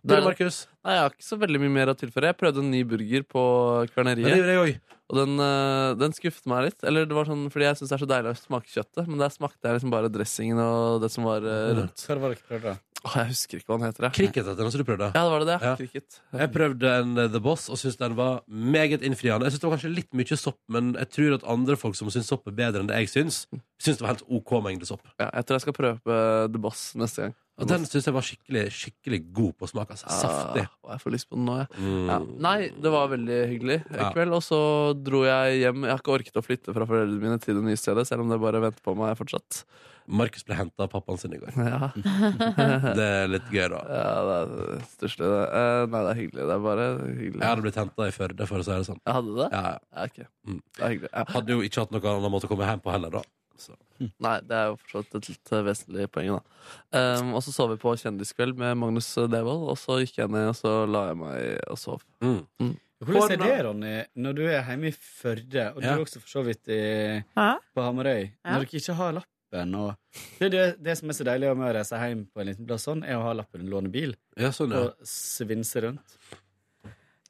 [SPEAKER 2] Du,
[SPEAKER 4] Der-
[SPEAKER 2] Markus?
[SPEAKER 4] Nei, Jeg har ikke så veldig mye mer å tilføre. Jeg prøvde en ny burger på
[SPEAKER 2] Ja,
[SPEAKER 4] Kverneriet.
[SPEAKER 2] det gjorde
[SPEAKER 4] og den, eh, den skuffet meg litt. Eller det var sånn, Fordi jeg syns det er så deilig å smake kjøttet, men der smakte jeg liksom bare dressingen og det som var eh, rundt.
[SPEAKER 12] Hva var det dere prøvde, da?
[SPEAKER 4] Åh, jeg husker ikke hva den Ah, heter. jeg.
[SPEAKER 2] Cricket heter den, så du prøvde?
[SPEAKER 4] Ja, det var det. det.
[SPEAKER 2] Ja.
[SPEAKER 4] Cricket.
[SPEAKER 2] Jeg prøvde en eh, The Boss og syntes den var meget innfriende. Jeg synes det var kanskje litt mye sopp, men jeg tror at andre folk som syns sopp er bedre enn det jeg syns, syns det var helt OK mengde sopp.
[SPEAKER 4] Ja, jeg tror jeg skal prøve eh, The Boss neste gang.
[SPEAKER 2] Og den syns jeg var skikkelig skikkelig god på smak. Altså. Saftig. Mm.
[SPEAKER 4] Ah, og jeg får lyst på den nå, jeg. Ja. Nei, det var veldig hyggelig i
[SPEAKER 2] Ja.
[SPEAKER 4] kveld. Og så dro jeg hjem. Jeg har ikke orket å flytte fra foreldrene mine til det nye stedet, selv om det bare venter på meg fortsatt.
[SPEAKER 2] Markus ble henta av pappaen sin i går.
[SPEAKER 4] Ja.
[SPEAKER 2] det er litt gøy, da.
[SPEAKER 4] Ja, det er stusslig. det. Eh, Nei, det er hyggelig. Det er bare hyggelig.
[SPEAKER 2] Jeg hadde blitt henta i Førde, for å si det sånn.
[SPEAKER 4] Jeg hadde det?
[SPEAKER 2] Ja, Mm.
[SPEAKER 4] ja. ok. Det er hyggelig. Ja.
[SPEAKER 2] Hadde jo ikke hatt noen annen måte å komme hjem på heller, da. Så.
[SPEAKER 4] Nei, det er jo fortsatt et litt eh, vesentlig poeng, da. Ehm, og så sov vi på Kjendiskveld med Magnus eh, Devold, og så gikk jeg ned, og så la jeg meg og sov. Mm.
[SPEAKER 12] Hvordan er det, Ronny, når du er hjemme i Førde, og du
[SPEAKER 4] Ja.
[SPEAKER 12] er også for så vidt i,
[SPEAKER 3] Ja.
[SPEAKER 12] på Hamarøy,
[SPEAKER 3] Ja.
[SPEAKER 12] når dere ikke har lappen og det, er det, det som er så deilig med å reise hjem på en liten plass sånn, er å ha lappen og låne bil.
[SPEAKER 2] Ja, sånn, ja.
[SPEAKER 12] Og svinse rundt.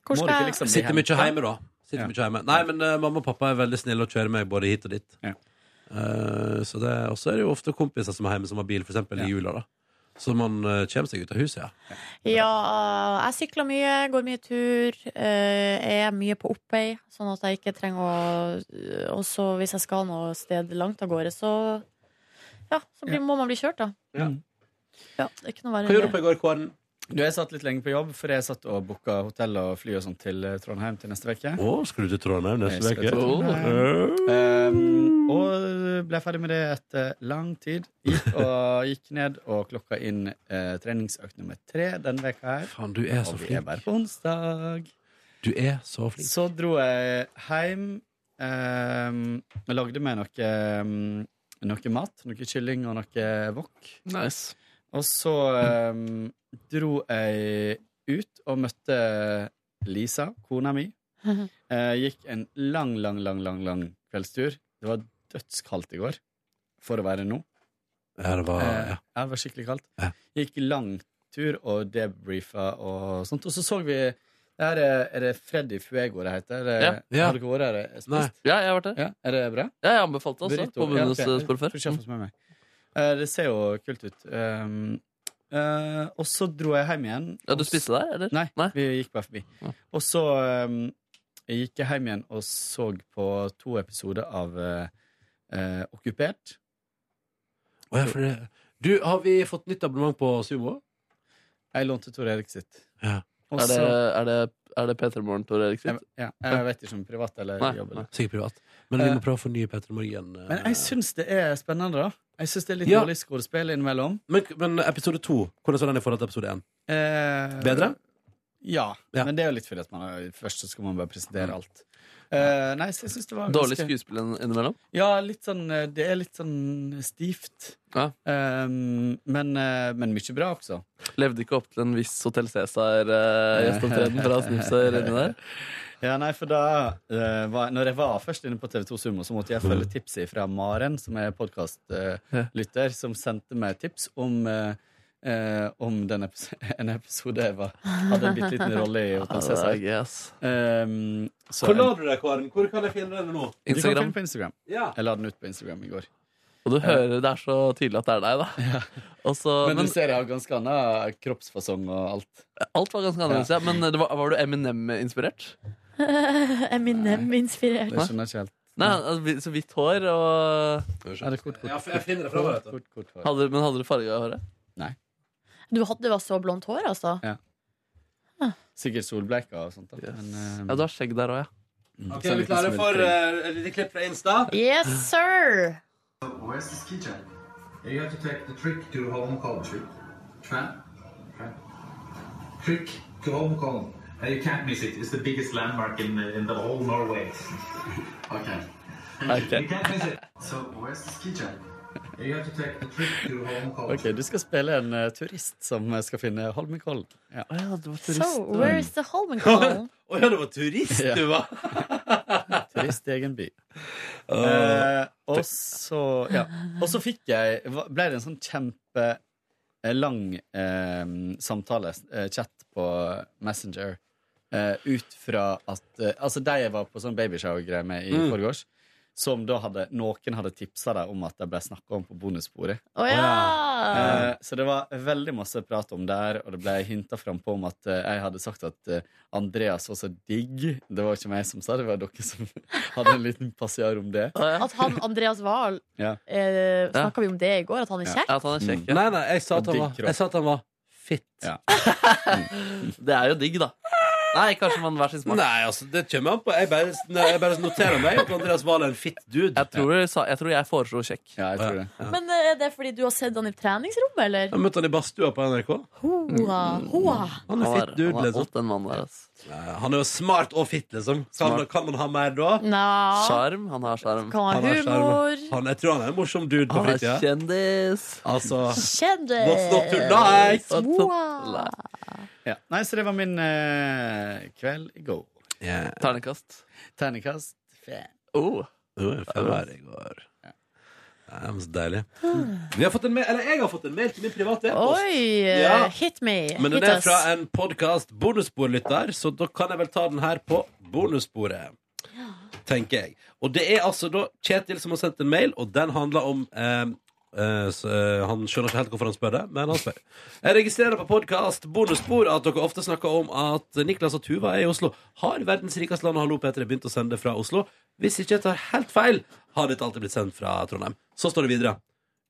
[SPEAKER 2] Hvor
[SPEAKER 12] Må
[SPEAKER 2] skal
[SPEAKER 12] du ikke
[SPEAKER 2] jeg-
[SPEAKER 12] liksom bli
[SPEAKER 2] Sitter mye
[SPEAKER 12] hentet?
[SPEAKER 2] hjemme, da. Sitter mye hjemme. Nei, men eh, mamma og pappa er veldig snille og kjører meg både hit og dit. Eh, så det, og så er det jo ofte kompiser som er hjemme som har bil, for eksempel i jula. da Så man eh, kommer seg ut av huset, ja.
[SPEAKER 3] Ja, jeg sykler mye, går mye tur, eh, er mye på oppvei, sånn at jeg ikke trenger å eh, Og så hvis jeg skal noe sted langt av gårde, så Ja, så blir, må man bli kjørt, da.
[SPEAKER 2] Mm.
[SPEAKER 3] Ja, det er ikke noe verre enn det.
[SPEAKER 2] i går, Kåren?
[SPEAKER 12] Du, Jeg satt litt lenge på jobb, for jeg satt og booka hotell og fly og sånt til eh, Trondheim til neste uke.
[SPEAKER 2] Å, skal du til Trondheim neste uke?
[SPEAKER 12] Jeg skal til
[SPEAKER 2] Eh,
[SPEAKER 12] Trondheim. Um, og ble ferdig med det etter lang tid. Gikk, og gikk ned og klokka inn eh, treningsøkt nummer tre denne veka her.
[SPEAKER 2] Faen, du er så
[SPEAKER 12] og vi
[SPEAKER 2] flink.
[SPEAKER 12] er bare på onsdag.
[SPEAKER 2] Du er så flink.
[SPEAKER 12] Så dro jeg hjem ehm, og lagde meg noe, ehm, noe mat. Noe kylling og noe wok.
[SPEAKER 4] Nice.
[SPEAKER 12] Og så ehm, dro jeg ut og møtte Lisa, kona mi. Eh, gikk en lang, lang, lang, lang, lang kveldstur. Det var dødskaldt i går, for å være nå.
[SPEAKER 2] Ja, det var-
[SPEAKER 12] Eh,
[SPEAKER 2] ja.
[SPEAKER 12] ja, det var skikkelig kaldt. Gikk lang tur og debrifa og sånt. Og så så vi Det her er, er det Freddy Fuego det heter? Er
[SPEAKER 4] Ja.
[SPEAKER 12] det-
[SPEAKER 4] Ja.
[SPEAKER 12] Har dere vært her og
[SPEAKER 4] Nei.
[SPEAKER 12] spist?
[SPEAKER 4] Ja, jeg har vært der.
[SPEAKER 12] Ja, er det bra?
[SPEAKER 4] Ja, jeg anbefalte det også,
[SPEAKER 12] Burrito.
[SPEAKER 4] på Bunnhus,
[SPEAKER 12] ok.
[SPEAKER 4] eh, spor før.
[SPEAKER 12] Får ikke jeg få med meg. Eh, Det ser jo kult ut. Um, eh, og så dro jeg hjem igjen.
[SPEAKER 4] Ja, du
[SPEAKER 12] og s-
[SPEAKER 4] spiste der, eller?
[SPEAKER 12] Nei, vi gikk bare forbi. Og så um, jeg gikk jeg hjem igjen og så på to episoder av eh, eh, Okkupert.
[SPEAKER 2] Å, ja, for det- Du, har vi fått nytt abonnement på Sumo?
[SPEAKER 12] Jeg lånte Tor Erik sitt.
[SPEAKER 2] Ja.
[SPEAKER 12] Og
[SPEAKER 4] Er det,
[SPEAKER 12] så-
[SPEAKER 4] er det, er det P3 Morgen, Tor Erik? sitt?
[SPEAKER 12] Ja, jeg vet ikke om privat eller
[SPEAKER 4] Nei,
[SPEAKER 12] jobb. Eller.
[SPEAKER 4] nei.
[SPEAKER 2] Sikkert privat. Men vi må prøve å fornye Petter Morgen. eh.
[SPEAKER 12] Men jeg syns det er spennende, da. Jeg syns det er litt
[SPEAKER 2] Ja.
[SPEAKER 12] dårlig skuespill innimellom.
[SPEAKER 2] Men, men episode to, hvordan var den i forhold til episode én?
[SPEAKER 12] Eh,
[SPEAKER 2] Bedre?
[SPEAKER 12] Ja, men det er jo litt fordi at man er, først så skal man bare presentere alt. Eh, nei, så jeg syns det var
[SPEAKER 4] Dårlig
[SPEAKER 12] ganske-
[SPEAKER 4] skuespill inn- innimellom?
[SPEAKER 12] Ja, litt sånn, eh, det er litt sånn stivt. Eh, men, eh, men mye bra også.
[SPEAKER 4] Levde ikke opp til en viss eh, Hotell Cæsar-gjesteopptreden fra Snipser inni der?
[SPEAKER 12] Ja, nei, for da eh, var, Når jeg var først inne på TV2 Sumo, så måtte jeg følge
[SPEAKER 4] Mm.
[SPEAKER 12] tipset fra Maren, som er
[SPEAKER 4] Ja.
[SPEAKER 12] podkastlytter, som sendte meg tips om eh, eh, om den epis- en episode jeg var, hadde en bitte liten rolle i.
[SPEAKER 4] Ja,
[SPEAKER 12] Hotell
[SPEAKER 4] Ah, det er
[SPEAKER 12] Cæsar.
[SPEAKER 4] gøy, ass.
[SPEAKER 12] Ehm, så
[SPEAKER 2] Hvor
[SPEAKER 12] en-
[SPEAKER 2] la du deg, Karen? Hvor kan jeg finne den nå?
[SPEAKER 12] Du kan finne den på Instagram.
[SPEAKER 2] Ja.
[SPEAKER 12] Jeg la den ut på Instagram i går.
[SPEAKER 4] Og du hører det er så tydelig at det er deg, da. Og så-
[SPEAKER 12] men,
[SPEAKER 4] men-
[SPEAKER 12] du ser jeg har ganske annen kroppsfasong og alt.
[SPEAKER 4] Alt var ganske annerledes, ja. Men eh, det var, var du Eminem-inspirert?
[SPEAKER 3] Eminem-inspirert.
[SPEAKER 12] Det skjønner jeg ikke helt.
[SPEAKER 4] Nei, altså, vi- så hvitt hår og
[SPEAKER 12] Er det kort, kort,
[SPEAKER 2] Ja, for jeg finner det fra meg, vet du.
[SPEAKER 12] Kort, kort, kort.
[SPEAKER 4] hadde, Men hadde du farge av håret?
[SPEAKER 3] Du hadde det var så blondt hår, altså.
[SPEAKER 12] Ja. Sikkert solbleika og sånt. Da. Men, eh, Mm.
[SPEAKER 4] Ja, du har skjegg der òg, ja.
[SPEAKER 2] Ok, er vi klare for eh, et lite klipp fra Insta?
[SPEAKER 3] Yes, sir!
[SPEAKER 15] Where's the ski jump? You have to take the trick to home column. Trick. Tran? Tran. Trick to home column. Uh, you can't miss it. It's the biggest landmark in, uh, in the whole Norway. okay.
[SPEAKER 12] Okay.
[SPEAKER 15] You can't miss it. So where's the ski jump? You have to take the trick to home column.
[SPEAKER 12] Ok, Du skal spille en eh, turist som eh, skal finne Holmenkollen. Ja.
[SPEAKER 3] So, where is the Holmenkollen?
[SPEAKER 2] Å ja, det var turist
[SPEAKER 12] Ja.
[SPEAKER 2] du var!
[SPEAKER 12] turist i egen by.
[SPEAKER 2] Åh.
[SPEAKER 12] Eh, og så ja. Og så fikk jeg Ble det en sånn kjempe eh, lang eh, samtale, eh, chat på Messenger, eh, ut fra at eh, Altså, de jeg var på sånn babyshower-greie med i
[SPEAKER 4] Mm.
[SPEAKER 12] forgårs, som da hadde Noen hadde tipsa dem om at de ble snakka om på bonussporet.
[SPEAKER 3] Å ja!
[SPEAKER 12] Eh, Så det var veldig masse prat om der, og det ble hinta frampå om at eh, jeg hadde sagt at eh, Andreas var så digg. Det var ikke meg som sa det, det var dere som hadde en liten passiar om det.
[SPEAKER 3] At han Andreas Wahl
[SPEAKER 12] Ja.
[SPEAKER 3] eh, Snakka vi om det i går? At han er kjekk?
[SPEAKER 12] Mm.
[SPEAKER 2] Nei, nei, jeg sa at han var, jeg sa at han var fitt.
[SPEAKER 4] Det er jo digg, da. Nei, kanskje man hver sin smak.
[SPEAKER 2] Nei, altså, det kommer an på. Jeg bare, jeg bare noterer meg at Andreas Wahl er en fitt dude.
[SPEAKER 4] Jeg tror jeg, sa- jeg, tror jeg foreslo kjekk.
[SPEAKER 12] Ja, jeg tror det.
[SPEAKER 3] Men eh, er det fordi du har sett han i treningsrommet, eller?
[SPEAKER 2] Jeg møtte han i badstua på NRK.
[SPEAKER 3] Hoa, hoa.
[SPEAKER 2] Mm. Han er fitt dude, liksom.
[SPEAKER 4] Den mannen der, ass.
[SPEAKER 2] Nei, Han er jo smart og fitt, liksom. Kan,
[SPEAKER 4] Smart.
[SPEAKER 2] kan man ha mer da?
[SPEAKER 3] Nei.
[SPEAKER 4] Sjarm. Han har sjarm.
[SPEAKER 3] Kan ha
[SPEAKER 2] Han har sjarm.
[SPEAKER 3] humor.
[SPEAKER 2] Han, jeg tror han er en morsom dude på
[SPEAKER 4] Han er
[SPEAKER 2] fritida.
[SPEAKER 4] kjendis.
[SPEAKER 2] Altså
[SPEAKER 3] Kjendis.
[SPEAKER 2] What's not to like?
[SPEAKER 3] Hoa.
[SPEAKER 12] Ja. Nei, så det var min eh, kveld i går.
[SPEAKER 4] Ternekast.
[SPEAKER 12] Terningkast fem.
[SPEAKER 4] Oh.
[SPEAKER 2] Jo, jeg føler det i går. Nei, men så deilig. Vi har fått en mail, eller jeg har fått en mail til min private e-post.
[SPEAKER 3] Oi! eh,
[SPEAKER 2] Ja.
[SPEAKER 3] Hit me.
[SPEAKER 2] Men den
[SPEAKER 3] hit
[SPEAKER 2] er
[SPEAKER 3] us.
[SPEAKER 2] fra en podkast bonussporlytter, så da kan jeg vel ta den her på bonussporet. Tenker jeg. Og det er altså da Kjetil som har sendt en mail, og den handler om eh, eh, s- eh, Han skjønner ikke helt hvorfor han spør det, men han spør. Jeg registrerer på podkast bonusspor at dere ofte snakker om at Niklas og Tuva er i Oslo. Har verdens rikeste land og Hallo P3 begynt å sende fra Oslo? Hvis ikke jeg tar helt feil, har dette alltid blitt sendt fra Trondheim. Så står det videre.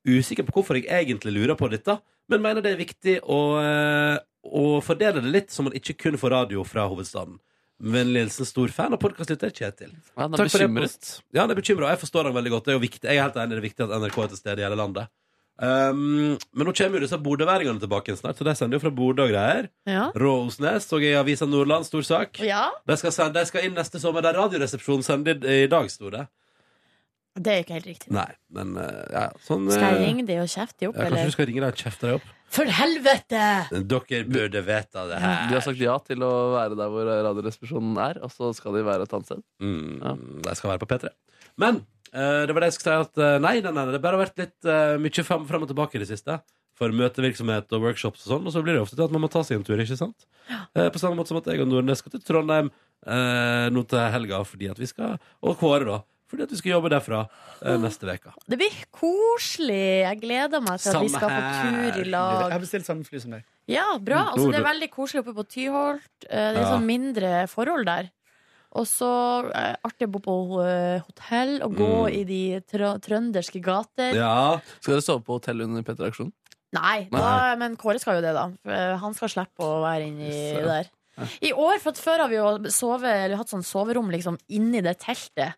[SPEAKER 2] Usikker på hvorfor jeg egentlig lurer på dette, men mener det er viktig å, eh, å fordele det litt, så man ikke kun får radio fra hovedstaden. Vennlig hilsen stor fan av podkastlytter Kjetil.
[SPEAKER 4] Ja, han er
[SPEAKER 2] Takk for
[SPEAKER 4] bekymret.
[SPEAKER 2] e-post. Ja, han er bekymret, og jeg forstår han veldig godt. Det er jo viktig. Jeg er helt enig, det er viktig at NRK er til stede i hele landet. Um, men nå kommer jo disse bodøværingene tilbake igjen snart, så de sender jo fra Bodø og greier.
[SPEAKER 3] Ja.
[SPEAKER 2] Råosnes så jeg i Avisa Nordland, stor sak.
[SPEAKER 3] ja.
[SPEAKER 2] De skal, sende, de skal inn neste sommer. Der Radioresepsjonen sender i, i dag, sto det.
[SPEAKER 3] Det er ikke helt riktig.
[SPEAKER 2] Nei, men eh, ja, sånn
[SPEAKER 3] Skal jeg
[SPEAKER 2] eh,
[SPEAKER 3] ringe de og kjefte de opp,
[SPEAKER 2] ja, Kanskje
[SPEAKER 3] eller?
[SPEAKER 2] du skal ringe deg og kjefte deg opp?
[SPEAKER 3] For helvete!
[SPEAKER 2] Dere burde vite det her.
[SPEAKER 4] De har sagt ja til å være der hvor Radioresepsjonen er, og så skal de være et annet sted.
[SPEAKER 2] Mm, De skal være på P3. Men eh, det var det jeg skulle si, at eh, nei, nei, nei, det bare har vært litt eh, mye fram, fram og tilbake i det siste. for møtevirksomhet og workshops og sånn, og så blir det ofte til at man må ta seg en tur, ikke sant? Eh, På samme måte som at jeg og Nordnes skal til Trondheim eh, nå til helga, fordi at vi skal, og Kåre da, fordi at vi skal jobbe derfra eh, neste veka.
[SPEAKER 3] Det blir koselig. Jeg gleder meg til at vi
[SPEAKER 2] Samme
[SPEAKER 3] skal på
[SPEAKER 2] her.
[SPEAKER 3] tur i
[SPEAKER 12] Jeg
[SPEAKER 3] lag.
[SPEAKER 12] har bestilt samme fly som deg.
[SPEAKER 3] Ja, bra.
[SPEAKER 12] Mm,
[SPEAKER 3] Altså, det er
[SPEAKER 12] Nord-
[SPEAKER 3] veldig koselig oppe på Tyholt. Eh, Det er
[SPEAKER 12] Ja.
[SPEAKER 3] sånn mindre forhold der. Og så eh, artig å bo på eh, hotell og gå
[SPEAKER 4] Mm.
[SPEAKER 3] i de trø trønderske gater.
[SPEAKER 4] Skal dere sove på hotell under P3-aksjonen?
[SPEAKER 3] Nei, da, men Kåre skal jo det, da. Eh, Han skal slippe å være inni
[SPEAKER 4] Yes, ja.
[SPEAKER 3] der. I år, for at Før har vi jo sove, eller hatt sånn soverom liksom, inni det teltet.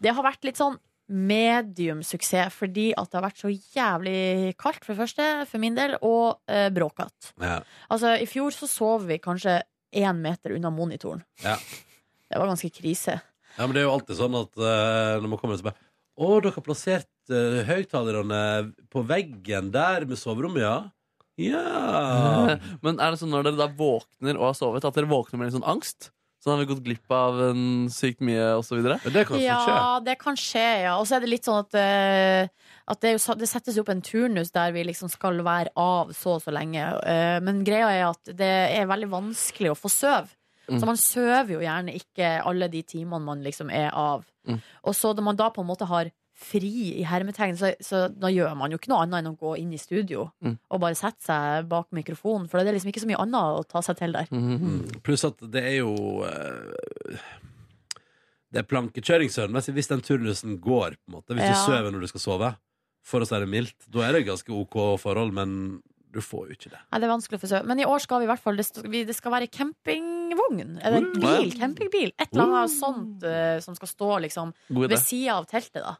[SPEAKER 3] Det har vært litt sånn medium suksess, fordi at det har vært så jævlig kaldt, for det første, for min del, og eh, bråkete.
[SPEAKER 2] Ja.
[SPEAKER 3] Altså, I fjor så sov vi kanskje én meter unna monitoren.
[SPEAKER 2] Ja.
[SPEAKER 3] Det var ganske krise.
[SPEAKER 2] Ja, men det er jo alltid sånn at eh, når man kommer så bare Å, dere har plassert eh, høyttalerne på veggen der med soverommet, ja? Ja.
[SPEAKER 4] Men er det sånn når dere da våkner og har sovet, at dere våkner med litt sånn angst? Sånn har vi gått glipp av en sykt mye, og så videre?
[SPEAKER 2] Det
[SPEAKER 3] Ja, det kan skje, ja. Og så er det litt sånn at, eh, at det, er jo, sa- det settes jo opp en turnus der vi liksom skal være av så og så lenge. Eh, men greia er at det er veldig vanskelig å få søv.
[SPEAKER 16] Mm.
[SPEAKER 3] Så man søver jo gjerne ikke alle de timene man liksom er av.
[SPEAKER 16] Mm.
[SPEAKER 3] Og så når man da på en måte har fri i hermetegn, så, så da gjør man jo ikke noe annet enn å gå inn i studio
[SPEAKER 4] Mm.
[SPEAKER 3] og bare sette seg bak mikrofonen. For det er liksom ikke så mye annet å ta seg til der.
[SPEAKER 2] Mm. Pluss at det er jo eh, Det er plankekjøring søvnmessig hvis den turnusen går, på en måte. Hvis
[SPEAKER 3] Ja.
[SPEAKER 2] du sover når du skal sove, for å si det mildt. Da er det ganske OK forhold, men du får jo ikke det.
[SPEAKER 3] Nei, det er vanskelig å få søv. Men i år skal vi i hvert fall Det skal, vi, det skal være campingvogn. Er det en
[SPEAKER 2] Mm.
[SPEAKER 3] bil? Campingbil. Et eller annet sånt eh, som skal stå liksom
[SPEAKER 4] God idé.
[SPEAKER 3] ved sida av teltet, da.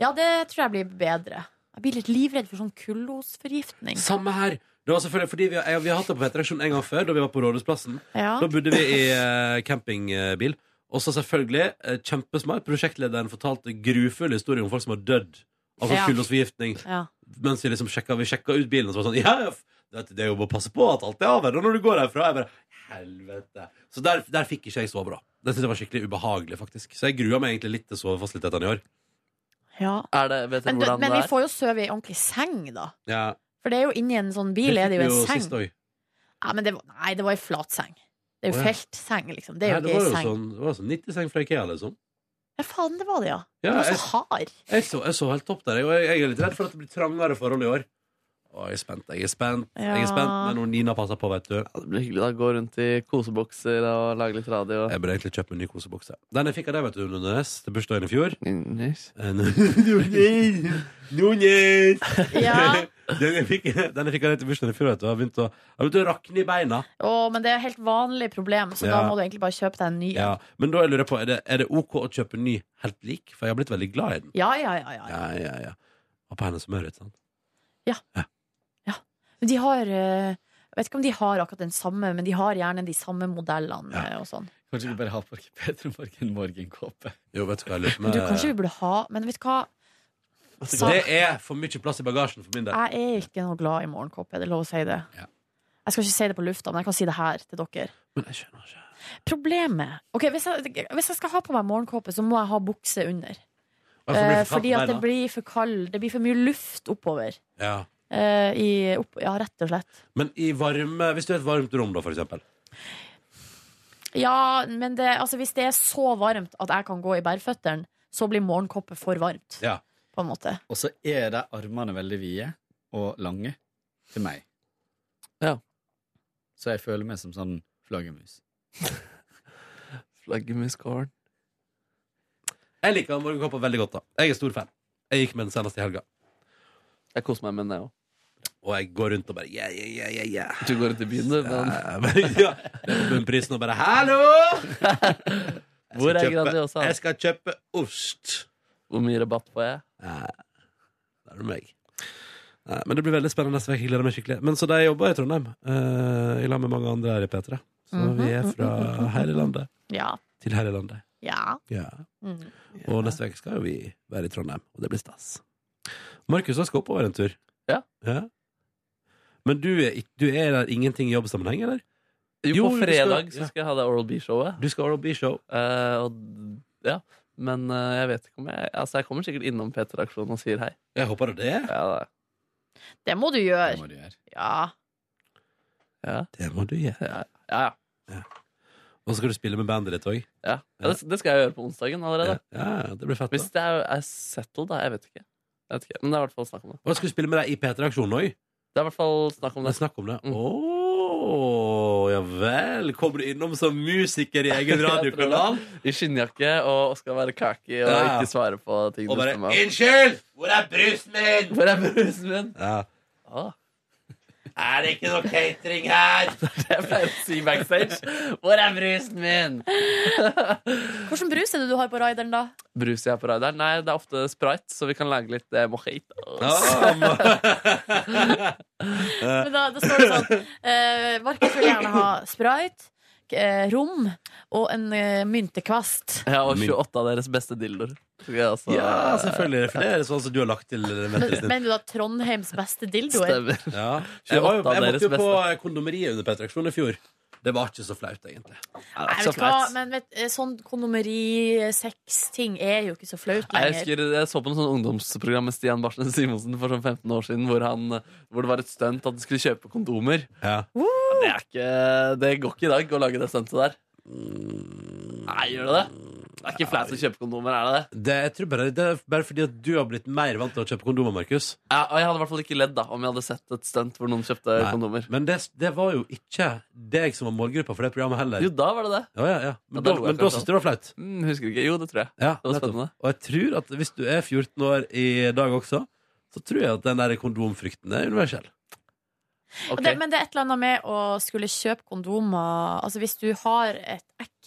[SPEAKER 3] Ja, det tror jeg blir bedre. Jeg blir litt livredd for sånn kullosforgiftning.
[SPEAKER 2] Samme her. Det var selvfølgelig fordi Vi har, jeg- vi har hatt det på P-traksjon en gang før, da vi var på Rådhusplassen.
[SPEAKER 3] Ja.
[SPEAKER 2] Da bodde vi i eh, campingbil. Og så selvfølgelig, eh, kjempesmart, prosjektlederen fortalte grufulle historier om folk som har dødd. Altså
[SPEAKER 3] Ja.
[SPEAKER 2] kullosforgiftning.
[SPEAKER 3] Ja.
[SPEAKER 2] Mens vi liksom sjekka, vi sjekka ut bilen, og så var det sånn Ja, ja, f- vet du, det er jo bare å passe på at alt er av her og når du går herfra. Jeg bare, Helvete. Så der, der fikk ikke jeg sove, da. Det synes jeg var skikkelig ubehagelig, faktisk. Så jeg grua meg egentlig litt til sovefasilitetene i år.
[SPEAKER 3] Ja.
[SPEAKER 4] Er det, vet dere
[SPEAKER 3] Men, du-
[SPEAKER 4] hvordan
[SPEAKER 3] men
[SPEAKER 4] det
[SPEAKER 3] vi
[SPEAKER 4] er?
[SPEAKER 3] får jo sove i ei ordentlig seng, da.
[SPEAKER 2] Ja.
[SPEAKER 3] For det er jo inni en sånn bil er det jo en seng.
[SPEAKER 2] sist òg.
[SPEAKER 3] Nei, men det var, nei, det var ei flatseng. Det
[SPEAKER 2] Å,
[SPEAKER 3] er jo
[SPEAKER 2] ja.
[SPEAKER 3] feltseng, liksom. Det
[SPEAKER 2] Det,
[SPEAKER 3] er jo
[SPEAKER 2] det
[SPEAKER 3] ikke
[SPEAKER 2] var
[SPEAKER 3] ei
[SPEAKER 2] jo
[SPEAKER 3] seng.
[SPEAKER 2] sånn, det var sånn 90-seng fra Ikea, liksom.
[SPEAKER 3] Ja, faen, det var det, ja.
[SPEAKER 2] Ja,
[SPEAKER 3] Den var
[SPEAKER 2] jeg-
[SPEAKER 3] så hard.
[SPEAKER 2] Jeg så, jeg så helt topp der, jeg, og jeg, jeg er litt redd for at det blir trangere forhold i år. Å, jeg er spent, jeg er spent. Jeg
[SPEAKER 3] Ja.
[SPEAKER 2] er spent, Men når Nina passer på, vet du ja,
[SPEAKER 4] Det blir hyggelig da, gå rundt i kosebokser og lage litt radio.
[SPEAKER 2] Jeg burde egentlig kjøpe en ny kosebokse. Den jeg fikk av deg, vet du, Nunes, til bursdagen i fjor. Eh,
[SPEAKER 4] Nunes?
[SPEAKER 2] Nunes!
[SPEAKER 3] Ja.
[SPEAKER 2] Den jeg fikk den jeg fikk av deg til bursdagen i fjor, vet du, har begynt å, har begynt å rakne i beina.
[SPEAKER 3] Å, men det er helt vanlig problem, så da
[SPEAKER 2] Ja.
[SPEAKER 3] må du egentlig bare kjøpe deg en ny.
[SPEAKER 2] Ja, men da jeg lurer jeg på, er det, er det OK å kjøpe ny helt lik? For jeg har blitt veldig glad i den.
[SPEAKER 3] Ja, ja, ja, ja.
[SPEAKER 2] Ja, ja, ja. Og på hennes humør, ikke sant?
[SPEAKER 3] Men De har eh, Jeg vet ikke om de har akkurat den samme, men de har gjerne de samme modellene eh, og sånn.
[SPEAKER 12] Kanskje vi bare har på Petromarken morgenkåpe.
[SPEAKER 2] Jo, vet du hva jeg lurer på
[SPEAKER 3] Men du, kanskje vi burde ha Men vet du hva? Sa-
[SPEAKER 2] Det er for mye plass i bagasjen for min del.
[SPEAKER 3] Jeg er ikke noe glad i morgenkåpe, er det lov å si det? Jeg skal ikke si det på lufta, men jeg kan si det her til dere.
[SPEAKER 2] Men jeg skjønner ikke
[SPEAKER 3] Problemet Ok, hvis jeg, hvis jeg skal ha på meg morgenkåpe, så må jeg ha bukse under.
[SPEAKER 2] Ja, for det blir for kaldt
[SPEAKER 3] Eh, fordi
[SPEAKER 2] på
[SPEAKER 3] at det
[SPEAKER 2] beina.
[SPEAKER 3] blir for kald Det blir for mye luft oppover.
[SPEAKER 2] Ja.
[SPEAKER 3] Eh, i, opp, ja, rett og slett.
[SPEAKER 2] Men i varme, hvis du har et varmt rom, da, for eksempel.
[SPEAKER 3] Ja, men det, altså, hvis det er så varmt at jeg kan gå i bærføttene, så blir morgenkåpe for varmt,
[SPEAKER 2] Ja.
[SPEAKER 3] på en måte.
[SPEAKER 12] Og så er de armene veldig vide og lange til meg.
[SPEAKER 4] Ja.
[SPEAKER 12] Så jeg føler meg som sånn flaggermus.
[SPEAKER 4] Flaggermuskåren.
[SPEAKER 2] Jeg liker morgenkåpa veldig godt, da. Jeg er stor fan. Jeg gikk med den senest i helga.
[SPEAKER 4] Jeg koser meg med den, jeg òg.
[SPEAKER 2] Og jeg går rundt og bare yeah, yeah, yeah, yeah, yeah.
[SPEAKER 4] Du går ut i byen, du.
[SPEAKER 2] Men... ja, jeg får bunnprisen og bare Hallo! Jeg
[SPEAKER 4] Hvor
[SPEAKER 2] skal
[SPEAKER 4] er
[SPEAKER 2] kjøpe-
[SPEAKER 4] Grandiosa?
[SPEAKER 2] Jeg skal kjøpe ost.
[SPEAKER 4] Hvor mye rabatt får jeg?
[SPEAKER 2] Det er du meg. Nei, Men det blir veldig spennende neste uke. Jeg gleder meg skikkelig. Men så da jeg jobba i Trondheim, eh, i lag med mange andre her i P3 Så vi er fra hele landet
[SPEAKER 3] Mhm. Ja.
[SPEAKER 2] til hele landet.
[SPEAKER 3] Ja.
[SPEAKER 2] Ja.
[SPEAKER 3] Mm.
[SPEAKER 2] Og neste uke skal jo vi være i Trondheim, og det blir stas. Markus, du skal oppover en tur.
[SPEAKER 4] Ja.
[SPEAKER 2] Men du er, ikk- du er der ingenting i jobbsammenheng, eller?
[SPEAKER 4] Jo, på
[SPEAKER 2] Jo, du skal-
[SPEAKER 4] fredag
[SPEAKER 2] ja.
[SPEAKER 4] så skal jeg ha det Oral B-showet. Eh,
[SPEAKER 2] Du skal ha Oral B-show.
[SPEAKER 4] ja. Men eh, jeg vet ikke om jeg Altså, jeg kommer sikkert innom P3-aksjonen og sier hei.
[SPEAKER 2] Jeg håper det.
[SPEAKER 4] Ja, da.
[SPEAKER 3] Det må du gjøre.
[SPEAKER 12] Det må du gjøre.
[SPEAKER 3] Ja.
[SPEAKER 2] Det må du gjøre.
[SPEAKER 4] Ja, ja.
[SPEAKER 2] Og så skal du spille med bandet ditt òg.
[SPEAKER 4] Ja, det, det skal jeg gjøre på onsdagen allerede.
[SPEAKER 2] Ja, det blir fett, da.
[SPEAKER 4] Hvis det er, er settled, da. Jeg vet ikke. Jeg vet ikke. Men det er i hvert fall snakk om det.
[SPEAKER 2] Og skal du spille med deg i P3-aksjonen òg?
[SPEAKER 4] Det er i hvert fall snakk om det. Mm.
[SPEAKER 2] Snakk om det. Åh, ja vel. Kommer du innom som musiker i egen radiokanal?
[SPEAKER 4] I skinnjakke og skal være cocky og
[SPEAKER 2] Ja.
[SPEAKER 4] ikke svare på ting
[SPEAKER 2] Og bare,
[SPEAKER 4] spør meg om.
[SPEAKER 2] «Unnskyld, hvor er brusen min?»
[SPEAKER 4] Hvor er brusen min?
[SPEAKER 2] Ja.
[SPEAKER 4] Ah.
[SPEAKER 2] Er det ikke noe catering her?
[SPEAKER 4] Jeg pleier å si backstage. Hvor er brusen min?
[SPEAKER 3] Hvordan brus er det du har på rideren, da?
[SPEAKER 4] Brus jeg har på radaren? Nei, det er ofte sprite, så vi kan lage litt eh, mojitos.
[SPEAKER 2] Ah.
[SPEAKER 3] Men da, da står det sånn eh, Markus vil gjerne ha sprite, eh, rom og en eh, myntekvast.
[SPEAKER 4] Ja, og 28 av deres beste dildoer. Så jeg også-
[SPEAKER 2] Ja, selvfølgelig. For det er sånn som du har lagt til
[SPEAKER 3] Men,
[SPEAKER 2] mentet
[SPEAKER 3] men du da Trondheims beste dildoer?
[SPEAKER 2] Ja. Jeg, var, jo-
[SPEAKER 4] 28 av
[SPEAKER 2] jeg
[SPEAKER 4] deres
[SPEAKER 2] måtte jo på
[SPEAKER 4] beste.
[SPEAKER 2] kondomeriet under P3-aksjonen i fjor. Det var ikke så flaut, egentlig.
[SPEAKER 3] Nei, vet du hva? Men vet, eh, sånn kondomeri-sex-ting er jo ikke så flaut
[SPEAKER 4] Nei, Jeg
[SPEAKER 3] lenger.
[SPEAKER 4] husker jeg så på noe sånn ungdomsprogram med Stian Barsnes Simonsen for sånn 15 år siden, hvor, han, hvor det var et stunt at han skulle kjøpe kondomer. Ja, Det, er ikke, det går ikke i dag å lage det stuntet der. Nei, gjør det det? Det er ikke flaut å kjøpe kondomer, er det det?
[SPEAKER 2] Det, jeg tror bare, det er bare fordi at du har blitt mer vant til å kjøpe kondomer, Markus.
[SPEAKER 4] Ja, og jeg hadde i hvert fall ikke ledd da om jeg hadde sett et stunt hvor noen kjøpte
[SPEAKER 2] Nei.
[SPEAKER 4] kondomer.
[SPEAKER 2] Men det, det var jo ikke deg som var målgruppa for det programmet heller.
[SPEAKER 4] Jo, da var det det.
[SPEAKER 2] Ja, ja, ja.
[SPEAKER 4] Ja, da
[SPEAKER 2] Men, da,
[SPEAKER 4] lo jeg
[SPEAKER 2] men da
[SPEAKER 4] kanskje.
[SPEAKER 2] syntes du det var flaut?
[SPEAKER 4] Mm, husker ikke. Jo, det tror jeg. det
[SPEAKER 2] Ja,
[SPEAKER 4] var
[SPEAKER 2] nettopp.
[SPEAKER 4] spennende.
[SPEAKER 2] Og jeg tror at hvis du er 14 år i dag også, så tror jeg at den der kondomfrykten er universell.
[SPEAKER 3] Og Det, men det er et eller annet med å skulle kjøpe kondomer Altså hvis du har et ekte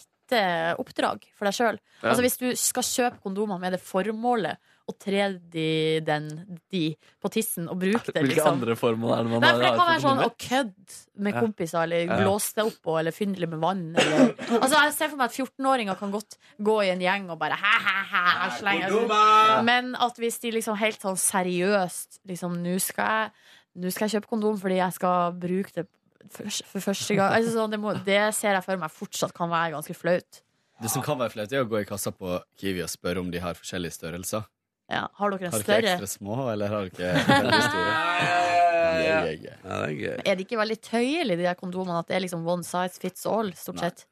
[SPEAKER 3] oppdrag for deg sjøl.
[SPEAKER 2] Ja.
[SPEAKER 3] Altså hvis du skal kjøpe kondomer med det formålet å tre de, den, de på tissen og bruke det,
[SPEAKER 4] Hvilke
[SPEAKER 3] liksom.
[SPEAKER 4] andre formål er det man
[SPEAKER 3] Nei, for det
[SPEAKER 4] har
[SPEAKER 3] kan
[SPEAKER 4] for
[SPEAKER 3] være sånn å
[SPEAKER 4] kondomer?
[SPEAKER 3] kødde med
[SPEAKER 4] Ja.
[SPEAKER 3] kompiser, eller
[SPEAKER 4] Ja.
[SPEAKER 3] blåse det opp og, eller fylle det med vann. Eller. Altså, jeg ser for meg at 14-åringer kan godt gå i en gjeng og bare hæ, hæ, hæ, slenge
[SPEAKER 2] kondomer!
[SPEAKER 3] Men at hvis de liksom helt sånn seriøst liksom Nå skal jeg, nå skal jeg kjøpe kondom fordi jeg skal bruke det for, for første gang. Altså, sånn, det, må, det ser jeg for meg fortsatt kan være ganske flaut.
[SPEAKER 12] Det som kan være flaut, er å gå i kassa på Kiwi og spørre om de har forskjellige størrelser.
[SPEAKER 3] Ja, har dere en
[SPEAKER 12] Har dere
[SPEAKER 3] større?
[SPEAKER 12] ekstra små, eller har dere veldig store? Det er gøy, gøy.
[SPEAKER 3] Men Er det ikke veldig tøyelig, de der kondomene, at det er liksom one size fits all, stort sett?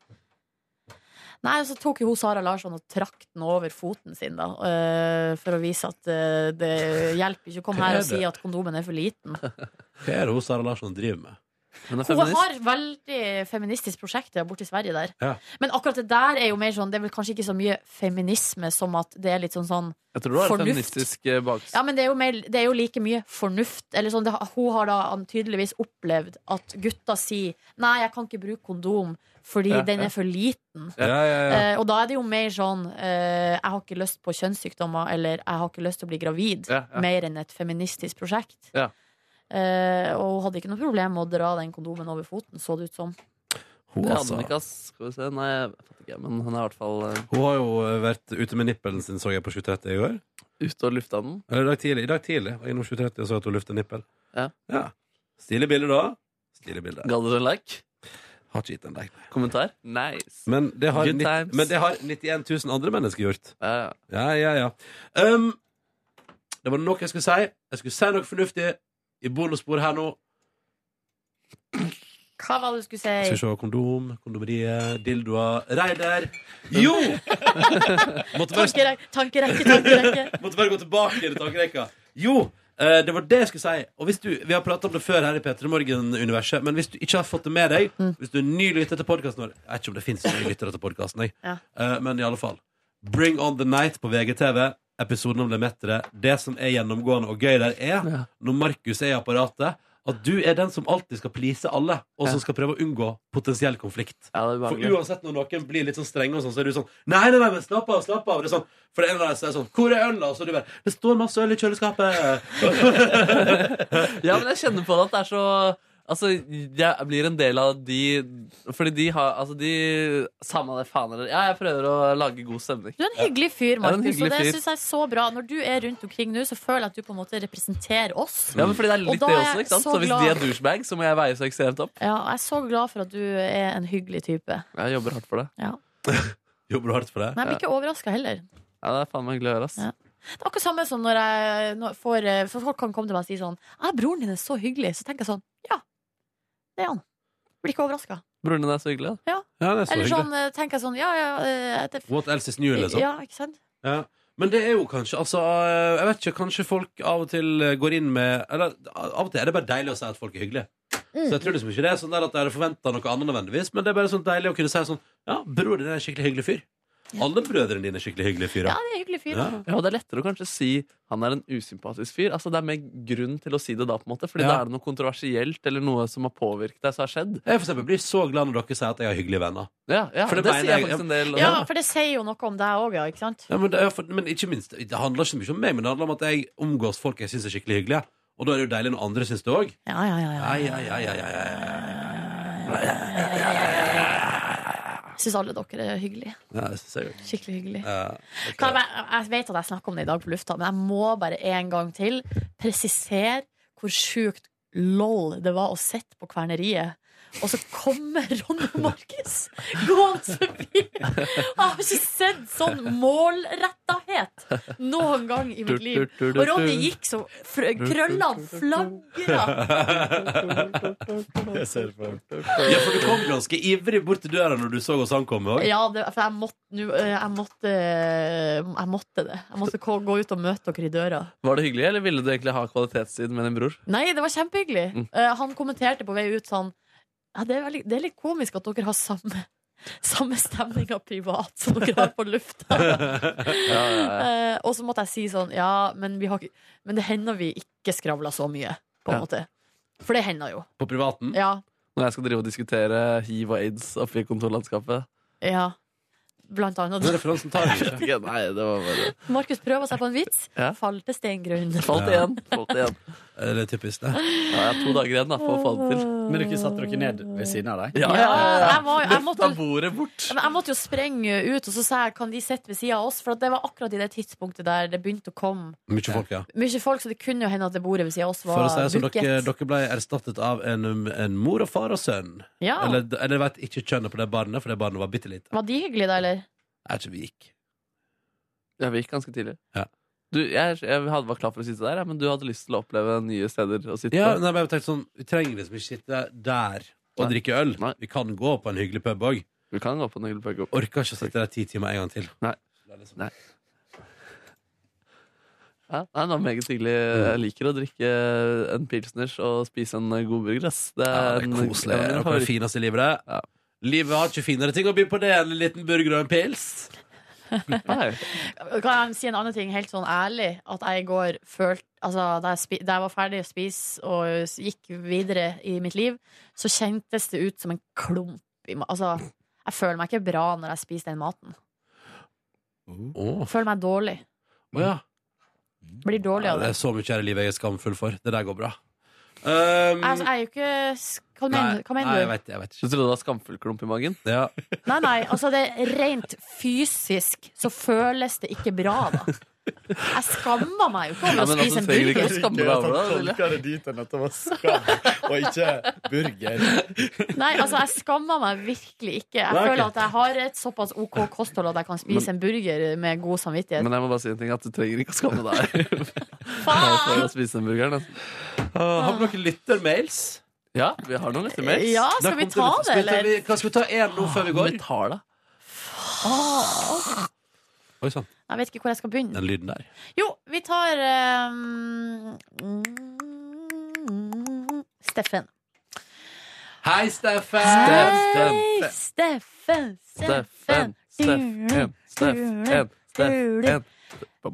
[SPEAKER 3] Nei, og så tok jo hun Sara Larsson og trakk den over foten sin, da, øh, for å vise at øh, det hjelper ikke å komme
[SPEAKER 2] Hva er
[SPEAKER 3] her og si
[SPEAKER 2] det?
[SPEAKER 3] at kondomen er for liten.
[SPEAKER 2] Hva er det hun Sara Larsson driver med?
[SPEAKER 4] Hun
[SPEAKER 3] Hun har veldig feministisk prosjekt der borte i Sverige der.
[SPEAKER 2] Ja.
[SPEAKER 3] Men akkurat det der er jo mer sånn, det er vel kanskje ikke så mye feminisme som at det er litt sånn sånn
[SPEAKER 4] Jeg tror du har et
[SPEAKER 3] fornuft.
[SPEAKER 4] feministisk eh, baks...
[SPEAKER 3] Ja, men det er jo, mer, det er jo like mye fornuft. Eller sånn, det, hun har da an- tydeligvis opplevd at gutta sier 'nei, jeg kan ikke bruke kondom fordi
[SPEAKER 16] Ja,
[SPEAKER 3] den
[SPEAKER 16] ja.
[SPEAKER 3] er for liten'.
[SPEAKER 16] Ja, ja, ja.
[SPEAKER 3] Eh, og da er det jo mer sånn eh, 'jeg har ikke lyst på kjønnssykdommer' eller 'jeg har ikke lyst til å bli gravid',
[SPEAKER 16] Ja, ja.
[SPEAKER 3] mer enn et feministisk prosjekt.
[SPEAKER 4] Ja.
[SPEAKER 3] Eh, og hun hadde ikke noe problem med å dra den kondomen over foten, så det ut som.
[SPEAKER 2] Hun,
[SPEAKER 4] det hadde
[SPEAKER 2] altså.
[SPEAKER 4] hun ikke, ass. Skal vi se. Nei, jeg vet ikke, men hun er i hvert fall eh,
[SPEAKER 2] Hun har jo vært ute med nippelen sin, så jeg, på 7.30 i går.
[SPEAKER 4] ute og lufta den.
[SPEAKER 2] Eller i dag tidlig. I dag tidlig var jeg innom 7.30 og så at hun lufta nippel.
[SPEAKER 4] Ja.
[SPEAKER 2] Ja. Stilig bilde, da. Stilig bilde.
[SPEAKER 4] Ga dere en like?
[SPEAKER 2] Har ikke gitt en like.
[SPEAKER 4] Kommentar? Nice.
[SPEAKER 2] Men det har,
[SPEAKER 4] Good
[SPEAKER 2] nitt-
[SPEAKER 4] times.
[SPEAKER 2] men det har 91 000 andre mennesker gjort.
[SPEAKER 4] Ja,
[SPEAKER 2] ja, ja. Um, det var noe jeg skulle si. Jeg skulle si noe fornuftig i bonussporet her nå.
[SPEAKER 3] Hva var det du skulle
[SPEAKER 2] Skal vi
[SPEAKER 3] si?
[SPEAKER 2] se kondom, kondomeriet, dildoer Reidar. Jo! Måtte bare
[SPEAKER 3] Tankerekke, tankerekke, tankerekke.
[SPEAKER 2] Måtte bare gå tilbake i tankerekka. Jo, eh, det var det jeg skulle si. Og hvis du, Vi har pratet om det før her i P3 Morgen-universet, men hvis du ikke har fått det med deg
[SPEAKER 3] Mm.
[SPEAKER 2] Hvis du er ny lytter til podkasten vår Jeg vet ikke om det finnes nye lyttere til podkasten,
[SPEAKER 3] Ja.
[SPEAKER 2] Eh, men i alle fall. Bring on the night på VGTV. Episoden om Lemaitre. Det som er gjennomgående og gøy der, er når Markus er i apparatet, at du er den som alltid skal please alle, og som skal prøve å unngå potensiell konflikt. For
[SPEAKER 4] ubehagelig.
[SPEAKER 2] uansett når noen blir litt sånn strenge, og sånn, så er du sånn Nei, nei, nei, men slapp av, slapp av. Det er sånn, for det er en av dem som er sånn Hvor er øla? Og så er du bare Det står masse øl i kjøleskapet.
[SPEAKER 4] Ja, men jeg kjenner på det at det er så Altså, jeg blir en del av de Fordi de har Altså, de Samme det, faen eller Ja, jeg prøver å lage god stemning.
[SPEAKER 3] Du er en hyggelig fyr,
[SPEAKER 4] Ja, du er en
[SPEAKER 3] Markus, og
[SPEAKER 4] hyggelig
[SPEAKER 3] det
[SPEAKER 4] fyr.
[SPEAKER 3] syns jeg er så bra. Når du er rundt omkring nå, så føler jeg at du på en måte representerer oss.
[SPEAKER 4] Ja, men fordi det er
[SPEAKER 3] Og
[SPEAKER 4] litt
[SPEAKER 3] da
[SPEAKER 4] det
[SPEAKER 3] er
[SPEAKER 4] også,
[SPEAKER 3] jeg
[SPEAKER 4] ikke sant?
[SPEAKER 3] så
[SPEAKER 4] Så hvis
[SPEAKER 3] glad.
[SPEAKER 4] de er douchebag, så må jeg veie så ekstremt opp.
[SPEAKER 3] Ja, jeg er så glad for at du er en hyggelig type.
[SPEAKER 4] Jeg jobber hardt for det.
[SPEAKER 3] Ja.
[SPEAKER 2] Jobber du hardt for det?
[SPEAKER 3] Men jeg blir ikke overraska heller.
[SPEAKER 4] Ja, det er faen meg hyggelig å høre, ass.
[SPEAKER 3] Det er akkurat samme som når jeg når jeg får eh, For folk kan komme til meg og si sånn «Ja, 'Broren din er så hyggelig.' Så tenker jeg sånn Ja, det er han. Blir ikke overraska.
[SPEAKER 4] Broren din er så hyggelig,
[SPEAKER 3] Ja.
[SPEAKER 2] Ja, det er så
[SPEAKER 3] Eller
[SPEAKER 2] hyggelig.
[SPEAKER 3] sånn eh, tenker jeg sånn Ja, ja eh, det-
[SPEAKER 2] What else is new,
[SPEAKER 4] sånn?
[SPEAKER 2] liksom?
[SPEAKER 3] Ja, ikke sant?
[SPEAKER 2] Ja. Men det er jo kanskje altså, Jeg vet ikke, kanskje folk av og til eh, går inn med Eller av og til er det bare deilig å si at folk er hyggelige.
[SPEAKER 3] Mm.
[SPEAKER 2] Så jeg tror liksom ikke det er sånn der at jeg hadde forventa noe annet nødvendigvis, men det er bare sånn deilig å kunne si sånn Ja, bror din er en skikkelig hyggelig fyr. Alle brødrene dine er skikkelig hyggelige fyrer.
[SPEAKER 3] det er hyggelig fyr.
[SPEAKER 4] Ja. og det er lettere å kanskje si han er en usympatisk fyr. Altså Det er mer grunn til å si det da, på en måte Fordi
[SPEAKER 2] Ja.
[SPEAKER 4] da er det noe kontroversielt eller noe som har påvirket deg, som har skjedd.
[SPEAKER 2] Jeg for eksempel blir så glad når dere sier at jeg har hyggelige venner.
[SPEAKER 4] Ja, ja,
[SPEAKER 2] For det
[SPEAKER 4] det
[SPEAKER 2] mener
[SPEAKER 4] sier jeg
[SPEAKER 2] jeg-
[SPEAKER 4] faktisk en del.
[SPEAKER 3] Ja, for det sier jo noe om deg òg, ja. Ikke sant?
[SPEAKER 2] Ja, men, det, er for, men ikke minst, det handler ikke så mye om meg, men det handler om at jeg omgås folk jeg syns er skikkelig hyggelige. Og da er det jo deilig når andre syns det òg.
[SPEAKER 3] Ja, ja, ja.
[SPEAKER 2] Ja, ja, ja, ja, ja,
[SPEAKER 3] Syns alle dere er hyggelige.
[SPEAKER 2] ja, det synes jeg jo.
[SPEAKER 3] Skikkelig hyggelig.
[SPEAKER 2] Ja.
[SPEAKER 3] Kan jeg, bare- jeg vet at jeg snakker om det i dag på lufta, men jeg må bare en gang til presisere hvor sjukt lol det var å sitte på kverneriet. Og så kommer Ronny og Markus gående forbi! Jeg har ikke sett sånn målrettethet noen gang i mitt liv. Og Ronny gikk så fr- Krøllene flagra!
[SPEAKER 2] Jeg ser på Ja, for du kom ganske ivrig bort til døra når du så oss ankomme òg.
[SPEAKER 3] Ja, det, for jeg måtte, nå- eh, jeg, måtte, eh, jeg måtte det. Jeg måtte gå gå ut og møte dere i døra.
[SPEAKER 4] Var det hyggelig, eller ville du egentlig ha kvalitetstid med din bror?
[SPEAKER 3] Nei, det var kjempehyggelig.
[SPEAKER 4] Mm.
[SPEAKER 3] Eh, han kommenterte på vei ut sånn ja, det, er veldig, det er litt komisk at dere har samme, samme stemninga privat som dere har på lufta. Eh, og så måtte jeg si sånn Ja, men, vi har, ikke- men det hender vi ikke skravler så mye, på
[SPEAKER 4] Ja.
[SPEAKER 3] en
[SPEAKER 4] Mm.
[SPEAKER 3] måte. For det hender jo.
[SPEAKER 2] På privaten?
[SPEAKER 3] Ja.
[SPEAKER 4] Når jeg skal drive og diskutere hiv og aids oppe i kontorlandskapet.
[SPEAKER 3] ja. Blant annet.
[SPEAKER 4] Jeg vet ikke, Nei, det var bare
[SPEAKER 3] Markus prøver seg på en vits.
[SPEAKER 4] Ja.
[SPEAKER 3] Fall til steingrunn.
[SPEAKER 4] Falt igjen. Falt igjen.
[SPEAKER 2] Det er typisk, det.
[SPEAKER 4] Ja, jeg har to dager igjen da, for å få det til.
[SPEAKER 12] Men dere satte dere ned ved siden av deg?
[SPEAKER 4] Ja,
[SPEAKER 3] Ja, jeg, var, jeg, måtte,
[SPEAKER 4] bordet bort.
[SPEAKER 3] Ja, men jeg måtte jo sprenge ut, og så sa jeg kan de sitte ved sida av oss? For at det var akkurat i det tidspunktet der det begynte å komme
[SPEAKER 2] Mye folk, ja.
[SPEAKER 3] mye folk, så det kunne jo hende at det bordet ved siden av oss
[SPEAKER 2] For å
[SPEAKER 3] var
[SPEAKER 2] si det sånn,
[SPEAKER 3] booket.
[SPEAKER 2] dere, dere ble erstattet av en, um, en mor og far og sønn.
[SPEAKER 3] Ja.
[SPEAKER 2] Eller, eller jeg vet ikke kjønnet på det barnet, for det barnet var bitte lite.
[SPEAKER 3] Var de hyggelige, da, eller?
[SPEAKER 2] Jeg tror vi gikk.
[SPEAKER 4] Ja, vi gikk ganske tidlig.
[SPEAKER 2] Ja.
[SPEAKER 4] Du, jeg, jeg hadde vært klar for å sitte der, ja, men du hadde lyst til å oppleve nye steder å sitte
[SPEAKER 2] Ja,
[SPEAKER 4] på.
[SPEAKER 2] nei, men jeg tenkte sånn, Vi trenger liksom ikke sitte der og drikke øl. Vi kan gå på en hyggelig pub òg.
[SPEAKER 4] Vi kan gå på en hyggelig pub
[SPEAKER 2] Orker ikke å sitte der ti timer en gang til.
[SPEAKER 4] Nei. Nei. Ja, nei, det var meget hyggelig. Jeg
[SPEAKER 2] Mm.
[SPEAKER 4] liker å drikke en pilsners og spise en god burger. Ass. Det
[SPEAKER 2] Ja, det er
[SPEAKER 4] en- en av
[SPEAKER 2] koselig.
[SPEAKER 4] mine
[SPEAKER 2] Dere er
[SPEAKER 4] favoritter.
[SPEAKER 2] det fineste i livet, det. Livet har ikke finere ting å by på det enn en liten burger og en pils.
[SPEAKER 3] Kan jeg si en annen ting, helt sånn ærlig? At jeg i går følte Altså, da jeg, spi, da jeg var ferdig å spise og s- gikk videre i mitt liv, så kjentes det ut som en klump i ma... Altså, jeg føler meg ikke bra når jeg spiser den maten.
[SPEAKER 2] Åh.
[SPEAKER 3] Jeg føler meg dårlig.
[SPEAKER 2] Å ja.
[SPEAKER 3] Blir dårlig
[SPEAKER 2] Ja,
[SPEAKER 3] av
[SPEAKER 2] det
[SPEAKER 3] det.
[SPEAKER 2] er så mye her i livet jeg er skamfull for. Det der går bra. Um,
[SPEAKER 3] Altså, jeg er jo ikke s- Hva mener, hva mener
[SPEAKER 2] nei,
[SPEAKER 3] du?
[SPEAKER 2] jeg vet, jeg vet ikke.
[SPEAKER 4] Du trodde det var skamfull klump i magen?
[SPEAKER 2] Ja.
[SPEAKER 3] Nei, nei, altså det er rent fysisk så føles det ikke bra, da. Jeg skammer meg jo altså,
[SPEAKER 2] altså,
[SPEAKER 3] ikke over å spise en burger.
[SPEAKER 2] sånn.
[SPEAKER 12] Tolker det dit enn at det var skam, og ikke burger.
[SPEAKER 3] Nei, altså jeg skammer meg virkelig ikke. Jeg
[SPEAKER 4] Nei, ok.
[SPEAKER 3] føler at jeg har et såpass OK kosthold at jeg kan spise
[SPEAKER 4] Men-
[SPEAKER 3] en burger med god samvittighet.
[SPEAKER 4] Men jeg må bare si en ting, at du trenger ikke å skamme deg for å spise den burgeren. ass.
[SPEAKER 2] Ah, har vi noen lyttermails?
[SPEAKER 4] altså. Ja, vi har noen lyttermails.
[SPEAKER 3] Ja, skal vi ta det, eller?
[SPEAKER 2] Hva skal vi ta én nå før vi går?
[SPEAKER 4] Vi tar det.
[SPEAKER 3] Ah,
[SPEAKER 2] Oi sann,
[SPEAKER 3] jeg vet ikke hvor jeg skal begynne.
[SPEAKER 2] den lyden der.
[SPEAKER 3] Jo, vi tar ehm, mm, Steffen.
[SPEAKER 2] Hei, Steffen!
[SPEAKER 3] Hei, Steffen, Steffen.
[SPEAKER 4] Steffen, Steffen, Steffen, Steffen.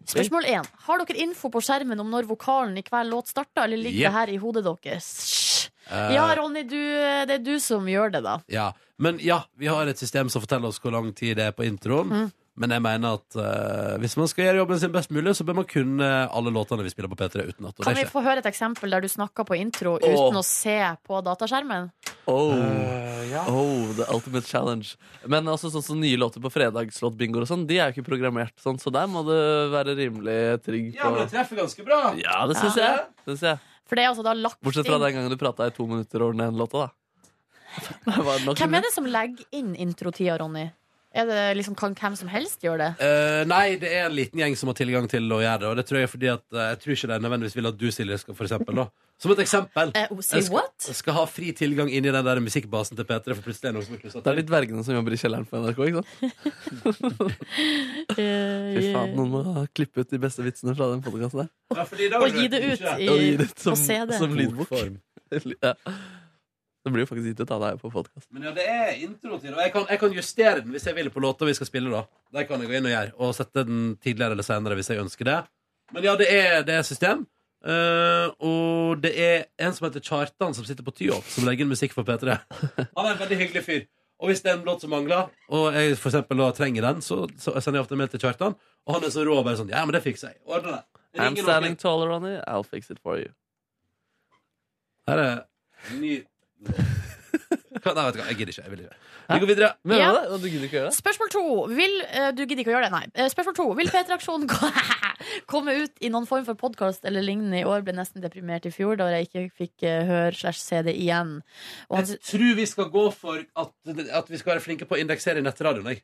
[SPEAKER 3] Spørsmål 1. Har dere info på skjermen om når vokalen i hver låt starta, eller ligger
[SPEAKER 2] Yep.
[SPEAKER 3] det her i hodet deres? Hysj.
[SPEAKER 2] Eh.
[SPEAKER 3] Ja, Ronny, du, eh, det er du som gjør det, da.
[SPEAKER 2] Ja, men ja, vi har et system som forteller oss hvor lang tid det er på introen.
[SPEAKER 3] Mm.
[SPEAKER 2] Men jeg mener at eh, hvis man skal gjøre jobben sin best mulig, så bør man kunne alle låtene vi spiller på P3 utenat. og
[SPEAKER 3] Kan
[SPEAKER 2] det
[SPEAKER 3] vi
[SPEAKER 2] skjer.
[SPEAKER 3] få høre et eksempel der du snakka på intro
[SPEAKER 2] Åh.
[SPEAKER 3] uten å se på dataskjermen?
[SPEAKER 4] Oh. oh, the ultimate challenge. Men også sånn som nye låter på fredagslåtbingoer og sånn, de er jo ikke programmert sånn, så der må du være rimelig trygg på
[SPEAKER 2] treffer ganske bra.
[SPEAKER 4] Ja, det syns
[SPEAKER 3] Ja.
[SPEAKER 4] jeg. Synes jeg.
[SPEAKER 3] For det er altså da lagt
[SPEAKER 4] Bortsett fra
[SPEAKER 3] inn
[SPEAKER 4] den gangen du prata i to minutter over den ene låta, da. Det var nok-
[SPEAKER 3] Hvem er det som legger inn introtida, Ronny? Er det liksom, kan hvem som helst gjøre det?
[SPEAKER 2] Eh, nei, det er en liten gjeng som har tilgang til å gjøre det. Og det tror jeg er fordi at eh, jeg tror ikke de nødvendigvis vil at du, Silje, skal for eksempel, da. Som et eksempel.
[SPEAKER 3] Eh, oh, say
[SPEAKER 2] Jeg skal, skal ha fri tilgang inn i den der musikkbasen til P3, for plutselig er det noen som er klussa
[SPEAKER 4] Det er de dvergene som jobber i kjelleren på NRK, ikke sant? Fy faen, noen må klippe ut de beste vitsene fra den podkasten der.
[SPEAKER 3] Og gi det ut i,
[SPEAKER 4] Og gi det ut som,
[SPEAKER 3] på CD.
[SPEAKER 4] som lydbok. ja. Det blir jo faktisk gitt ut av deg på podkast.
[SPEAKER 2] Men ja, det er intro til Og jeg kan, jeg kan justere den hvis jeg vil på låta vi skal spille, da. Der kan jeg gå inn og gjøre. Og sette den tidligere eller senere hvis jeg ønsker det. Men ja, det er, det er system. Eh, og det er en som heter Kjartan, som sitter på Tyholt, som legger inn musikk for P3. Han er en veldig hyggelig fyr. Og hvis det er en låt som mangler, og jeg for eksempel da trenger den, så, så sender jeg ofte en mail til Kjartan, og han er så rå og bare sånn Ja, men det fikser jeg. Ordner det.
[SPEAKER 4] I'm
[SPEAKER 2] Ringer
[SPEAKER 4] standing taller, Ronny. I'll fix it for you.
[SPEAKER 2] Her er ny Hva- Nei, vet du hva, jeg gidder ikke. Jeg vil ikke. Vi går videre.
[SPEAKER 3] Mener du Ja. det?
[SPEAKER 4] Du gidder ikke gjøre
[SPEAKER 3] Spørsmål to. Vil, eh, du gidder ikke å gjøre det, nei. Eh, Spørsmål to. Vil P3-aksjonen gå- komme ut i noen form for podkast eller lignende i år? Ble nesten deprimert i fjor da jeg ikke fikk eh, høre slash se det igjen. Og han,
[SPEAKER 2] Jeg tror vi skal gå for at, at vi skal være flinke på å indeksere i nettradioen. Jeg.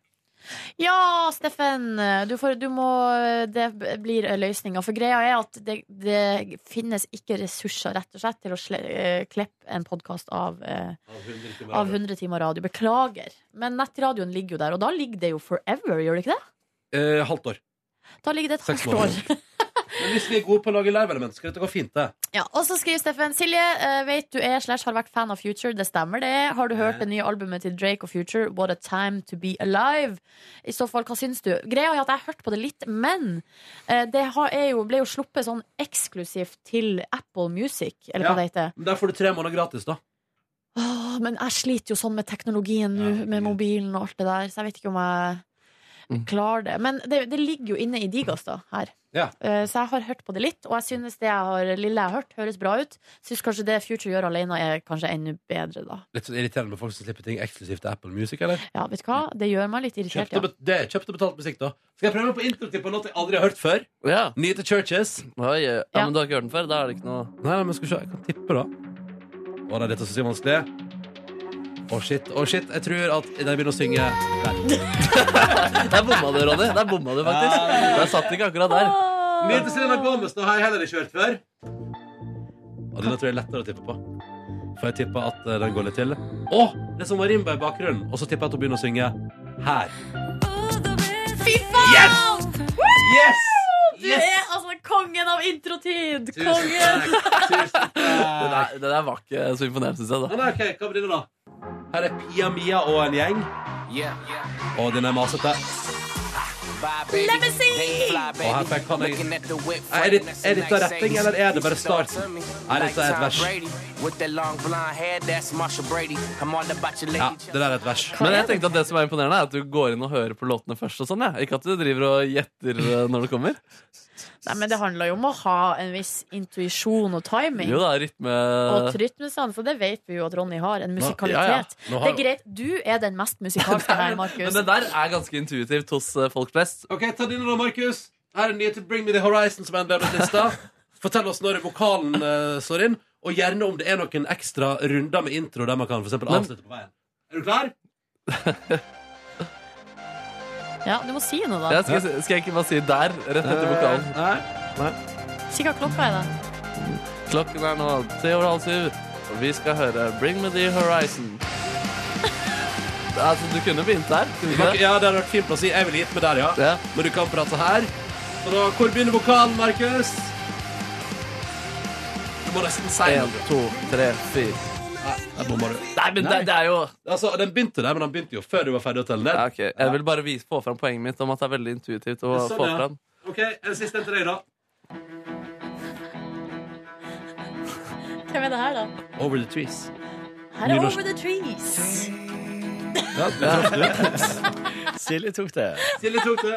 [SPEAKER 3] Ja, Steffen! Du får, du må, eh, det blir løsninga. For greia er at det, det finnes ikke ressurser, rett og slett, til å sle, eh, klippe en podkast av, eh, av 100 timer radio. Beklager. Men nettradioen ligger jo der, og da ligger det jo forever, gjør det ikke det?
[SPEAKER 2] Eh, halvt år.
[SPEAKER 3] Da ligger det et
[SPEAKER 2] Seks
[SPEAKER 3] halvt år.
[SPEAKER 2] måneder. Men hvis vi er gode på å lage live-element, skal dette gå fint, det.
[SPEAKER 3] Ja, og så skriver Steffen Silje, eh, vet du er slash har vært fan av Future. Det stemmer, det. Har du hørt det nye albumet til Drake og Future, What a Time to Be Alive? I så fall, hva syns du? Greia er at jeg har hørt på det litt, men eh, det har, er jo, ble jo sluppet sånn eksklusivt til Apple Music, eller hva det heter.
[SPEAKER 2] Men Der får du tre måneder gratis, da.
[SPEAKER 3] Åh, men jeg sliter jo sånn med teknologien nå, med mobilen og alt det der, så jeg vet ikke om jeg klarer det. Men det, det ligger jo inne i Digas, da, her.
[SPEAKER 2] Ja.
[SPEAKER 3] Eh, Så jeg har hørt på det litt, og jeg synes det jeg har, lille jeg har hørt, høres bra ut. Syns kanskje det Future gjør alene, er kanskje enda bedre, da.
[SPEAKER 2] Litt sånn irriterende med folk som slipper ting eksklusivt til Apple Music, eller?
[SPEAKER 3] Ja, vet du hva? Det gjør meg litt irritert,
[SPEAKER 2] Kjøpt og,
[SPEAKER 3] ja.
[SPEAKER 2] bet det, er kjøpt og betalt musikk, da. Skal jeg prøve på introtid på en låt jeg aldri har hørt før?
[SPEAKER 4] Ja.
[SPEAKER 2] Nye til Churches.
[SPEAKER 4] Oi, ja, Men du har ikke hørt den før? Da er det ikke noe
[SPEAKER 2] Nei, men skal vi se. Jeg kan tippe, da. Å, det er dette som er vanskelig. Å, shit. Å, shit. Jeg tror at de begynner å synge
[SPEAKER 4] Der bomma du, Ronny. Der bomma du faktisk. Der satt den ikke akkurat der.
[SPEAKER 2] Mye til Selena Gomez, da har jeg heller ikke hørt før. Og denne tror jeg er lettere å tippe på. For jeg tipper at eh, den går litt til. Å! Det er som marimba i bakgrunnen. Og så tipper jeg at hun begynner å synge her.
[SPEAKER 3] Fy faen!
[SPEAKER 2] Yes! Yes!
[SPEAKER 3] Du er altså kongen av introtid!
[SPEAKER 4] Tusen
[SPEAKER 3] Kongen!
[SPEAKER 4] Det der, det der var ikke så imponerende, syns jeg.
[SPEAKER 2] Men ok, hva blir det da? Her er Pia Mia og en gjeng. Og den er masete.
[SPEAKER 3] Let me see!
[SPEAKER 2] Og her fikk han jeg... Er det- er dette retting, eller er det bare starten? Nei, dette er et vers.
[SPEAKER 4] Ja,
[SPEAKER 2] det der er et vers.
[SPEAKER 4] Men jeg tenkte at det som er imponerende, er at du går inn og hører på låtene først. og sånn, ja. Ikke at du driver og gjetter eh, når det kommer.
[SPEAKER 3] Nei, men det handler jo om å ha en viss intuisjon og timing.
[SPEAKER 4] Jo da, rytme
[SPEAKER 3] Og et rytmesans, og det vet vi jo at Ronny har. En musikalitet.
[SPEAKER 4] ja, ja. Nå
[SPEAKER 3] Det
[SPEAKER 4] har-
[SPEAKER 3] er greit. Du er den mest musikalske her, Markus.
[SPEAKER 4] Men det der er ganske intuitivt hos eh, folk flest.
[SPEAKER 2] Ok, ta dine da, Markus. Her er den nye til Bring Me The Horizon som er en del av lista. Fortell oss når vokalen eh, slår inn, og gjerne om det er noen ekstra runder med intro der man kan for eksempel
[SPEAKER 4] Men-
[SPEAKER 2] avslutte på veien. Er du klar?
[SPEAKER 3] Ja, du må si noe, da.
[SPEAKER 4] Ja, skal, jeg, si- skal jeg ikke bare si der, rett etter vokalen?
[SPEAKER 2] Eh, Nei.
[SPEAKER 3] Si hva klokka er, da.
[SPEAKER 4] Klokken er nå tre over halv syv, og vi skal høre Bring Me The Horizon. Altså, du kunne begynt der. Kunne
[SPEAKER 2] Du
[SPEAKER 4] du ikke
[SPEAKER 2] kan ikke-
[SPEAKER 4] det?
[SPEAKER 2] Ja, det hadde vært fint å si. Jeg vil hit med der, ja. Men du kan prate her. Så da, hvor begynner vokalen, Markus? Du må nesten si
[SPEAKER 4] En,
[SPEAKER 2] noe.
[SPEAKER 4] to, tre, fire.
[SPEAKER 2] Nei, der bomma du.
[SPEAKER 4] Nei, men det, det er jo
[SPEAKER 2] Altså, Den begynte der, men den begynte jo før du var ferdig å telle ned.
[SPEAKER 4] Ja, ok. Jeg vil bare vise, få fram poenget mitt om at det er veldig intuitivt å
[SPEAKER 2] Sånn,
[SPEAKER 4] få
[SPEAKER 2] ja.
[SPEAKER 4] fram.
[SPEAKER 2] OK, en siste en til deg, da.
[SPEAKER 3] Hvem er det her, da?
[SPEAKER 2] Over the trees.
[SPEAKER 3] Her er
[SPEAKER 2] Nynorsk.
[SPEAKER 3] Over the Trees.
[SPEAKER 2] Ja, du traff det.
[SPEAKER 12] Silje tok det.
[SPEAKER 2] Silje tok det.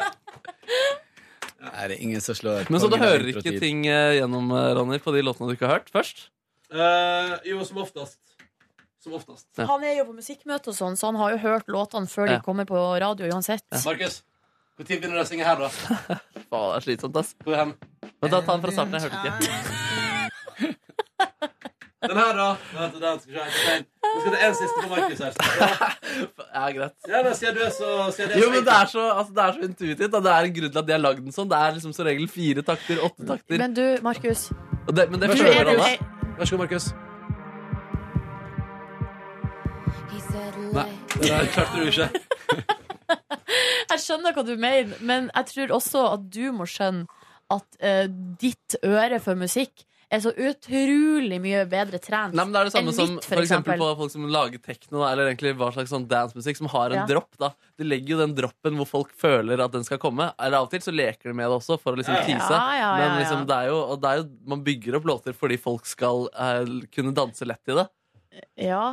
[SPEAKER 12] Er det ingen som slår
[SPEAKER 4] Men så du
[SPEAKER 12] kongen av
[SPEAKER 4] hører ikke
[SPEAKER 12] improtid?
[SPEAKER 4] ting eh, gjennom, eh, Ronny, på de låtene du ikke har hørt først?
[SPEAKER 2] Eh, jo, som oftest. Som oftest.
[SPEAKER 3] Han er jo på musikkmøte og sånn, så han har jo hørt låtene før
[SPEAKER 4] Ja.
[SPEAKER 3] de kommer på radio uansett.
[SPEAKER 2] Markus, når begynner du å synge her, da?
[SPEAKER 4] Faen, det er slitsomt, ass.
[SPEAKER 2] Hvor hen?
[SPEAKER 4] Men da ta den fra starten. Jeg hørte ikke.
[SPEAKER 2] Den her, da? Vent, den skal vi se. Vi skal ta en siste på Markus her.
[SPEAKER 4] Ja, greit.
[SPEAKER 2] Ja, da, siden du er så siden jeg er
[SPEAKER 4] Jo,
[SPEAKER 2] så
[SPEAKER 4] men det er så, altså, det er så intuitivt. Da. Det er en grunn til at de har lagd den sånn. Det er liksom som regel fire takter, åtte takter.
[SPEAKER 3] Men du, Markus.
[SPEAKER 4] Og det, men det
[SPEAKER 3] Vær så god,
[SPEAKER 4] føler alle.
[SPEAKER 3] Markus.
[SPEAKER 2] Vær så god, Markus.
[SPEAKER 4] Nei, det der klarte du ikke.
[SPEAKER 3] Jeg skjønner hva du mener, men jeg tror også at du må skjønne at eh, ditt øre for musikk er så utrolig mye bedre trent
[SPEAKER 4] Nei, men det er det samme
[SPEAKER 3] enn
[SPEAKER 4] som
[SPEAKER 3] mitt,
[SPEAKER 4] for eksempel på folk som lager tekno, da, eller egentlig hva slags sånn dancemusikk, som har en
[SPEAKER 3] Ja.
[SPEAKER 4] dropp. da. Du legger jo den droppen hvor folk føler at den skal komme. Eller av og til så leker de med det også, for å liksom
[SPEAKER 3] Ja, ja.
[SPEAKER 4] tease.
[SPEAKER 3] Ja, ja, ja,
[SPEAKER 4] Men liksom,
[SPEAKER 3] ja.
[SPEAKER 4] det er jo, og det er jo, man bygger opp låter fordi folk skal eh, kunne danse lett til det.
[SPEAKER 3] Ja.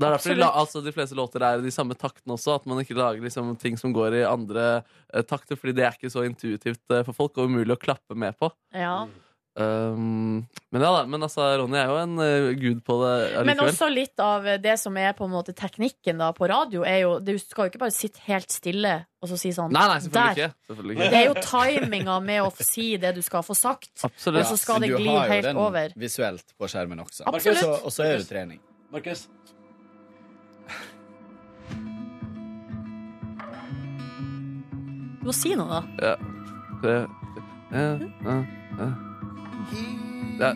[SPEAKER 4] Det er derfor de, la-
[SPEAKER 3] Absolutt.
[SPEAKER 4] altså, de fleste låter er i de samme taktene også, at man ikke lager liksom, ting som går i andre eh, takter, fordi det er ikke så intuitivt eh, for folk, og umulig å klappe med på.
[SPEAKER 3] ja.
[SPEAKER 4] Um, men ja da, men altså, Ronny er jo en eh, gud på det
[SPEAKER 3] Men
[SPEAKER 4] allikevel.
[SPEAKER 3] også litt av det som er på en måte teknikken da på radio, er jo Du skal jo ikke bare sitte helt stille og så si sånn
[SPEAKER 4] Nei, nei, selvfølgelig
[SPEAKER 3] «Der».
[SPEAKER 4] ikke. Selvfølgelig ikke.
[SPEAKER 3] Det er jo timinga med å si det du skal få sagt. Og så skal det
[SPEAKER 12] Men du
[SPEAKER 3] gli
[SPEAKER 12] har jo
[SPEAKER 3] helt
[SPEAKER 12] den
[SPEAKER 3] over.
[SPEAKER 12] visuelt på skjermen også.
[SPEAKER 3] Absolutt.
[SPEAKER 12] Og så- Og så er det trening.
[SPEAKER 2] Markus.
[SPEAKER 3] Du må si noe, da.
[SPEAKER 4] Ja. Det, ja, ja, ja. Ja.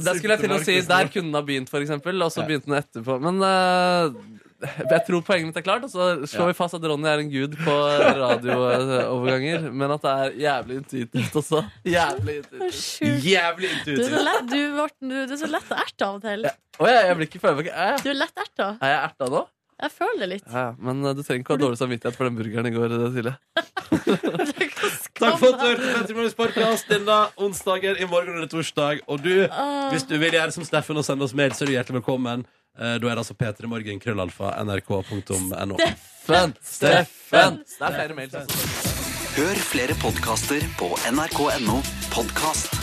[SPEAKER 4] Der skulle jeg til å si Der kunne den ha begynt, for eksempel, og så begynte den etterpå. Men eh, jeg tror poenget mitt er klart, og så slår
[SPEAKER 12] Ja.
[SPEAKER 4] vi fast at Ronny er en gud på radiooverganger, men at det er jævlig intuitivt også. Jævlig intuitivt. Jævlig
[SPEAKER 3] Du er så lett, du, Morten, du, du er så lett å erte av og til.
[SPEAKER 4] Å ja, jeg blir ikke føler meg ikke eh,
[SPEAKER 3] Du er lett erta.
[SPEAKER 4] Er jeg erta nå?
[SPEAKER 3] Jeg føler det litt.
[SPEAKER 4] Ja, ja, men eh, du trenger ikke ha dårlig samvittighet for den burgeren i går, eh, Silje.
[SPEAKER 2] Takk for at du hørte på Petter Morgens podcast denne onsdagen. I morgen er det torsdag. Og du,
[SPEAKER 3] Ah.
[SPEAKER 2] hvis du vil gjøre som Steffen og sende oss mail, så er du hjertelig velkommen. Eh, Da er det altså p3morgen, krøllalfa, nrk.no.
[SPEAKER 4] Steffen!
[SPEAKER 2] Steffen!
[SPEAKER 4] altså. Det er flere mails også.
[SPEAKER 10] Hør flere podkaster på nrk.no podkast.